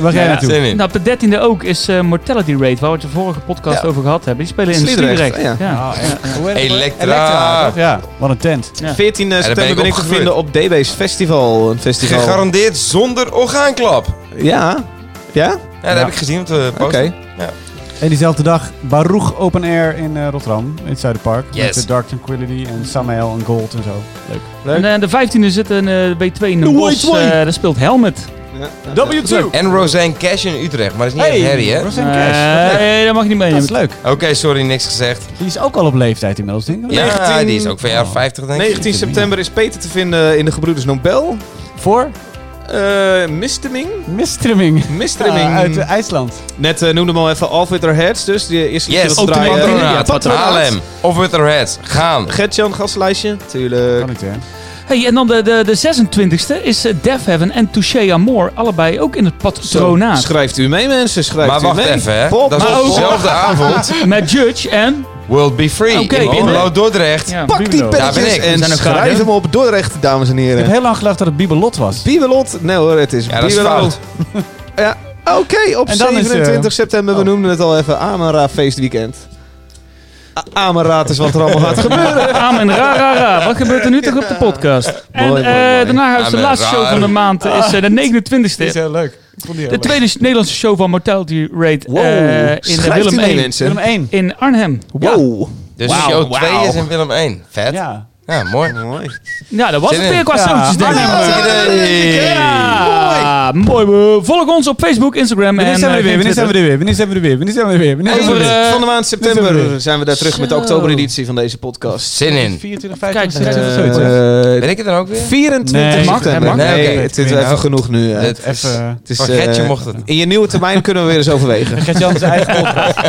Speaker 4: Waar ga jij naartoe?
Speaker 5: Zin in.
Speaker 3: Nou, op de dertiende ook is eh, Mortality Rate, waar we het de vorige podcast
Speaker 5: Ja.
Speaker 3: over gehad hebben. Die spelen in
Speaker 2: Sliedrecht,
Speaker 3: Sliedrecht.
Speaker 2: ja.
Speaker 3: Ja.
Speaker 4: Oh, en- hoe heet het?
Speaker 5: Elektra.
Speaker 4: toch? Ja, wat een tent.
Speaker 2: [LAUGHS]
Speaker 3: Ja.
Speaker 2: 14 eh, september ben ik,
Speaker 5: ben ik
Speaker 2: te
Speaker 5: opgegroeid.
Speaker 2: vinden op DB's Festival. Een festival.
Speaker 5: Gegarandeerd zonder orgaanklap. Ja,
Speaker 2: Ja. Ja?
Speaker 5: dat heb ik gezien op de
Speaker 2: Oké.
Speaker 5: post.
Speaker 4: En diezelfde dag Baruch Open Air in eh, Rotterdam, in het Zuiderpark. Met
Speaker 5: Yes.
Speaker 4: de Dark Tranquility en Samael en Gold en zo. Leuk.
Speaker 3: En eh, de vijftiende zit een eh, B2 in de
Speaker 2: De
Speaker 3: bos.
Speaker 2: White
Speaker 3: eh,
Speaker 2: Way.
Speaker 3: daar speelt Helmet.
Speaker 4: W2!
Speaker 5: En Roseanne Cash in Utrecht, maar dat is niet
Speaker 4: Hey,
Speaker 5: echt Harry, hè?
Speaker 4: Rosanne Cash. Wat leuk.
Speaker 3: Nee, dat mag Eh, je niet
Speaker 4: Dat is
Speaker 3: meenemen.
Speaker 4: leuk.
Speaker 5: Oké, sorry, niks gezegd.
Speaker 4: Die is ook al op leeftijd inmiddels, denk ik.
Speaker 5: Ja,
Speaker 2: 19
Speaker 5: die is ook van jaar 50, denk ik.
Speaker 2: 19 september is Peter te vinden in de Gebroeders Nobel.
Speaker 4: Voor
Speaker 2: Eh Mistemming?
Speaker 4: Mistrimming.
Speaker 2: Mistemming.
Speaker 4: Ah, uit eh, IJsland.
Speaker 2: Net eh, noemde hem al even Alfred Heads, dus die is
Speaker 5: Yes,
Speaker 2: op
Speaker 5: op de
Speaker 2: draaien.
Speaker 3: Ja,
Speaker 5: patronaat.
Speaker 3: patronaat.
Speaker 5: Haarlem. Of with their heads. Gaan.
Speaker 2: Gertjan, gastlijstje. Tuurlijk.
Speaker 4: Kan niet, hè?
Speaker 3: Hey, en dan de, de, de 26e is eh, Def Heaven en Touche Amour. Allebei ook in het
Speaker 2: Zo,
Speaker 3: patronaat.
Speaker 2: Schrijft u mee, mensen. Schrijft
Speaker 5: Maar
Speaker 2: u
Speaker 5: wacht
Speaker 2: mee.
Speaker 5: even, hè.
Speaker 2: Pop,
Speaker 5: Dat is
Speaker 2: maar
Speaker 5: op
Speaker 2: ook-
Speaker 5: dezelfde avond.
Speaker 3: Met Judge en...
Speaker 5: World Be Free.
Speaker 3: Oké,
Speaker 5: in
Speaker 3: binnen.
Speaker 5: Low Dordrecht.
Speaker 3: Ja.
Speaker 2: Pak die
Speaker 4: Daar ben
Speaker 2: pennetjes
Speaker 5: ik.
Speaker 2: en
Speaker 5: We
Speaker 3: zijn ook graag,
Speaker 2: schrijf
Speaker 3: hè?
Speaker 2: hem op Dordrecht, dames en
Speaker 4: Ik heb
Speaker 2: heren.
Speaker 4: heel lang gedacht dat het Bibelot was.
Speaker 2: Bibelot? Nee hoor, het is
Speaker 5: Ja, dat is
Speaker 2: Bibelot.
Speaker 5: fout.
Speaker 2: Ja, Oké, op
Speaker 4: En dan is, eh,
Speaker 2: 27 september, we
Speaker 4: oh.
Speaker 2: noemden het al even Amara feestweekend. A- Amara is wat er allemaal gaat gebeuren.
Speaker 3: Amen, ra, ra, ra. Wat gebeurt er nu toch op de podcast? En
Speaker 2: Mooi, mooi,
Speaker 3: eh,
Speaker 2: mooi.
Speaker 3: daarna is de
Speaker 5: Amen,
Speaker 3: laatste show
Speaker 5: ra.
Speaker 3: van de maand eh, is eh, de 29e.
Speaker 4: heel leuk. Ik vond die
Speaker 3: De tweede Nederlandse show van Mortality Rate
Speaker 2: Wow,
Speaker 3: eh, in de
Speaker 2: schrijft u
Speaker 3: Willem
Speaker 2: mee,
Speaker 3: 1
Speaker 2: mensen.
Speaker 4: Willem 1.
Speaker 3: in Arnhem.
Speaker 2: Wow.
Speaker 5: Dus
Speaker 2: Wauw,
Speaker 5: show 2
Speaker 2: wauw.
Speaker 5: is in Willem 1. Vet. Ja,
Speaker 4: Ja.
Speaker 5: mooi.
Speaker 2: Mooi.
Speaker 3: Ja, dat was
Speaker 5: Zin
Speaker 3: het
Speaker 5: in.
Speaker 3: weer qua
Speaker 4: Ja.
Speaker 3: soundjes, denk ik. Ja,
Speaker 5: Ja,
Speaker 3: mooi. mooi. Volg ons op Facebook, Instagram en eh,
Speaker 4: Wanneer zijn we er weer? Wanneer zijn we er weer? Wanneer zijn we er weer? Wanneer zijn we er weer? Wanneer zijn we er
Speaker 3: Over,
Speaker 4: weer?
Speaker 3: eh,
Speaker 2: van de maand september zijn we daar terug met de
Speaker 3: Zo.
Speaker 2: oktobereditie van deze podcast.
Speaker 5: Zin in.
Speaker 4: 24,
Speaker 3: Kijk,
Speaker 4: 25,
Speaker 3: eh,
Speaker 4: 26, zoiets. hè?
Speaker 5: Ben
Speaker 2: Eh,
Speaker 5: ik het dan ook weer?
Speaker 2: 24
Speaker 4: Nee,
Speaker 2: september.
Speaker 3: mag-
Speaker 2: Nee,
Speaker 5: mag- oké.
Speaker 2: het is even genoeg nu. hè.
Speaker 5: Het is-
Speaker 4: Even... eh,
Speaker 5: Het is,
Speaker 2: eh,
Speaker 5: Getje mocht het.
Speaker 2: In je nieuwe termijn kunnen we weer eens overwegen.
Speaker 4: Gert-Jan zijn eigen podcast.
Speaker 5: [LAUGHS]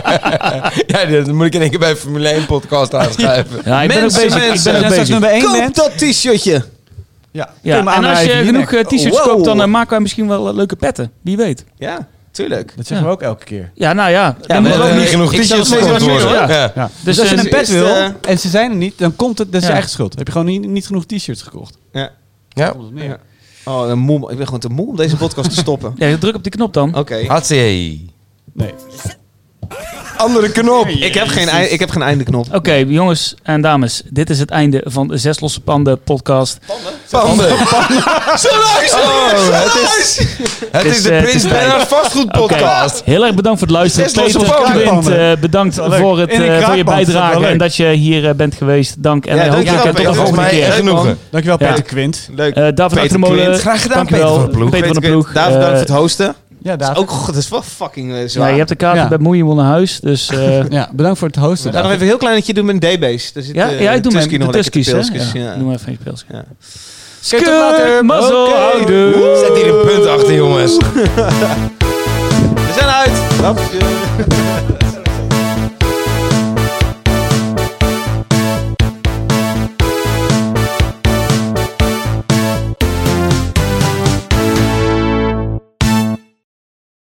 Speaker 5: Ja, dan moet ik in één keer bij Formule 1 podcast aanschuiven.
Speaker 3: Ja, ik ben ook
Speaker 2: Mensen,
Speaker 3: bezig. Ik
Speaker 2: mensen.
Speaker 3: ben
Speaker 4: Als
Speaker 3: ook
Speaker 4: je straks
Speaker 3: bezig.
Speaker 4: nummer 1
Speaker 2: Koop
Speaker 4: bent...
Speaker 2: dat t-shirtje.
Speaker 4: Ja,
Speaker 3: Ja, en als je genoeg eh, t-shirts
Speaker 2: Wow.
Speaker 3: koopt, dan eh, maken wij misschien wel eh, leuke petten. Wie weet.
Speaker 2: Ja, tuurlijk.
Speaker 4: Dat zeggen we ook elke keer.
Speaker 3: Ja, nou ja. Dan
Speaker 4: maar
Speaker 3: moet
Speaker 4: dat
Speaker 3: ook
Speaker 5: Eh,
Speaker 3: niet-
Speaker 5: genoeg
Speaker 2: ik zou
Speaker 5: t-shirts
Speaker 2: het steeds
Speaker 5: verkocht
Speaker 2: wat
Speaker 5: worden.
Speaker 2: meer doen,
Speaker 5: Ja.
Speaker 3: Ja.
Speaker 4: Dus,
Speaker 3: Dus
Speaker 4: als je
Speaker 3: eh,
Speaker 4: een pet
Speaker 2: is,
Speaker 4: wil
Speaker 2: eh,
Speaker 4: en ze zijn er niet, dan komt het, dat is
Speaker 3: Ja.
Speaker 4: je eigen schuld. Heb je gewoon niet, niet genoeg t-shirts gekocht.
Speaker 2: Ja.
Speaker 5: Ja.
Speaker 4: Komt het neer.
Speaker 2: Ja. Oh, dan moe, ik ben gewoon te moe om deze podcast te stoppen.
Speaker 3: ja, druk op die knop dan.
Speaker 2: Oké.
Speaker 5: Hatsie.
Speaker 4: Nee.
Speaker 2: Andere knop. Ik heb geen, ei- ik heb geen eindeknop.
Speaker 3: Oké, jongens en dames. Dit is het einde van de Zes Losse Panden podcast.
Speaker 5: Panden. Oh, het is, het is
Speaker 3: is,
Speaker 5: de
Speaker 3: eh, het
Speaker 5: Prins
Speaker 3: is
Speaker 5: Bernhard Vastgoed podcast.
Speaker 3: Heel erg bedankt voor het luisteren.
Speaker 5: Zes losse
Speaker 3: Peter
Speaker 5: panden.
Speaker 3: Quint, eh, bedankt
Speaker 4: wel leuk.
Speaker 3: voor, het,
Speaker 4: In een
Speaker 3: eh, voor je
Speaker 4: kraakpand, dat is wel
Speaker 3: bijdrage
Speaker 4: leuk.
Speaker 3: en dat je hier eh, bent geweest. Dank en
Speaker 2: Ja,
Speaker 3: eh, hopelijk
Speaker 2: dankjewel,
Speaker 3: eh, tot
Speaker 2: Peter.
Speaker 3: de
Speaker 5: Dat is
Speaker 3: volgende keer.
Speaker 5: mij een genoegen.
Speaker 4: Dankjewel
Speaker 3: Ja.
Speaker 4: Peter Quint.
Speaker 2: Leuk.
Speaker 3: Eh, David
Speaker 2: Peter
Speaker 3: achter de molen.
Speaker 2: Quint.
Speaker 5: Graag gedaan,
Speaker 3: Dankjewel,
Speaker 5: Peter van de Ploeg.
Speaker 3: Peter van de
Speaker 2: Quint.
Speaker 3: Ploeg.
Speaker 2: David,
Speaker 3: Eh,
Speaker 2: bedankt voor het hosten.
Speaker 4: Ja,
Speaker 2: Dat is
Speaker 4: David.
Speaker 2: ook goed. Dat is wel fucking eh,
Speaker 3: ja,
Speaker 2: zwaar.
Speaker 3: je hebt de kaarten
Speaker 4: Ja.
Speaker 3: bij Moeienwon naar huis. Dus eh,
Speaker 4: Ja, bedankt voor het hosten.
Speaker 2: Laten we even een heel klein netje doen met een D-base. Daar zit,
Speaker 3: ja,
Speaker 2: eh,
Speaker 3: ja, ik doe mijn
Speaker 2: Tusky
Speaker 3: de
Speaker 2: nog lekker te
Speaker 3: tuskies. hè?
Speaker 2: pilskes,
Speaker 3: Ja,
Speaker 2: ja.
Speaker 3: Doe maar even een pilsje.
Speaker 2: Ja.
Speaker 3: Skut,
Speaker 2: later.
Speaker 3: mazzel,
Speaker 2: Oké.
Speaker 3: houden.
Speaker 5: Zet hier een punt achter, jongens.
Speaker 2: We zijn uit. Dat, eh,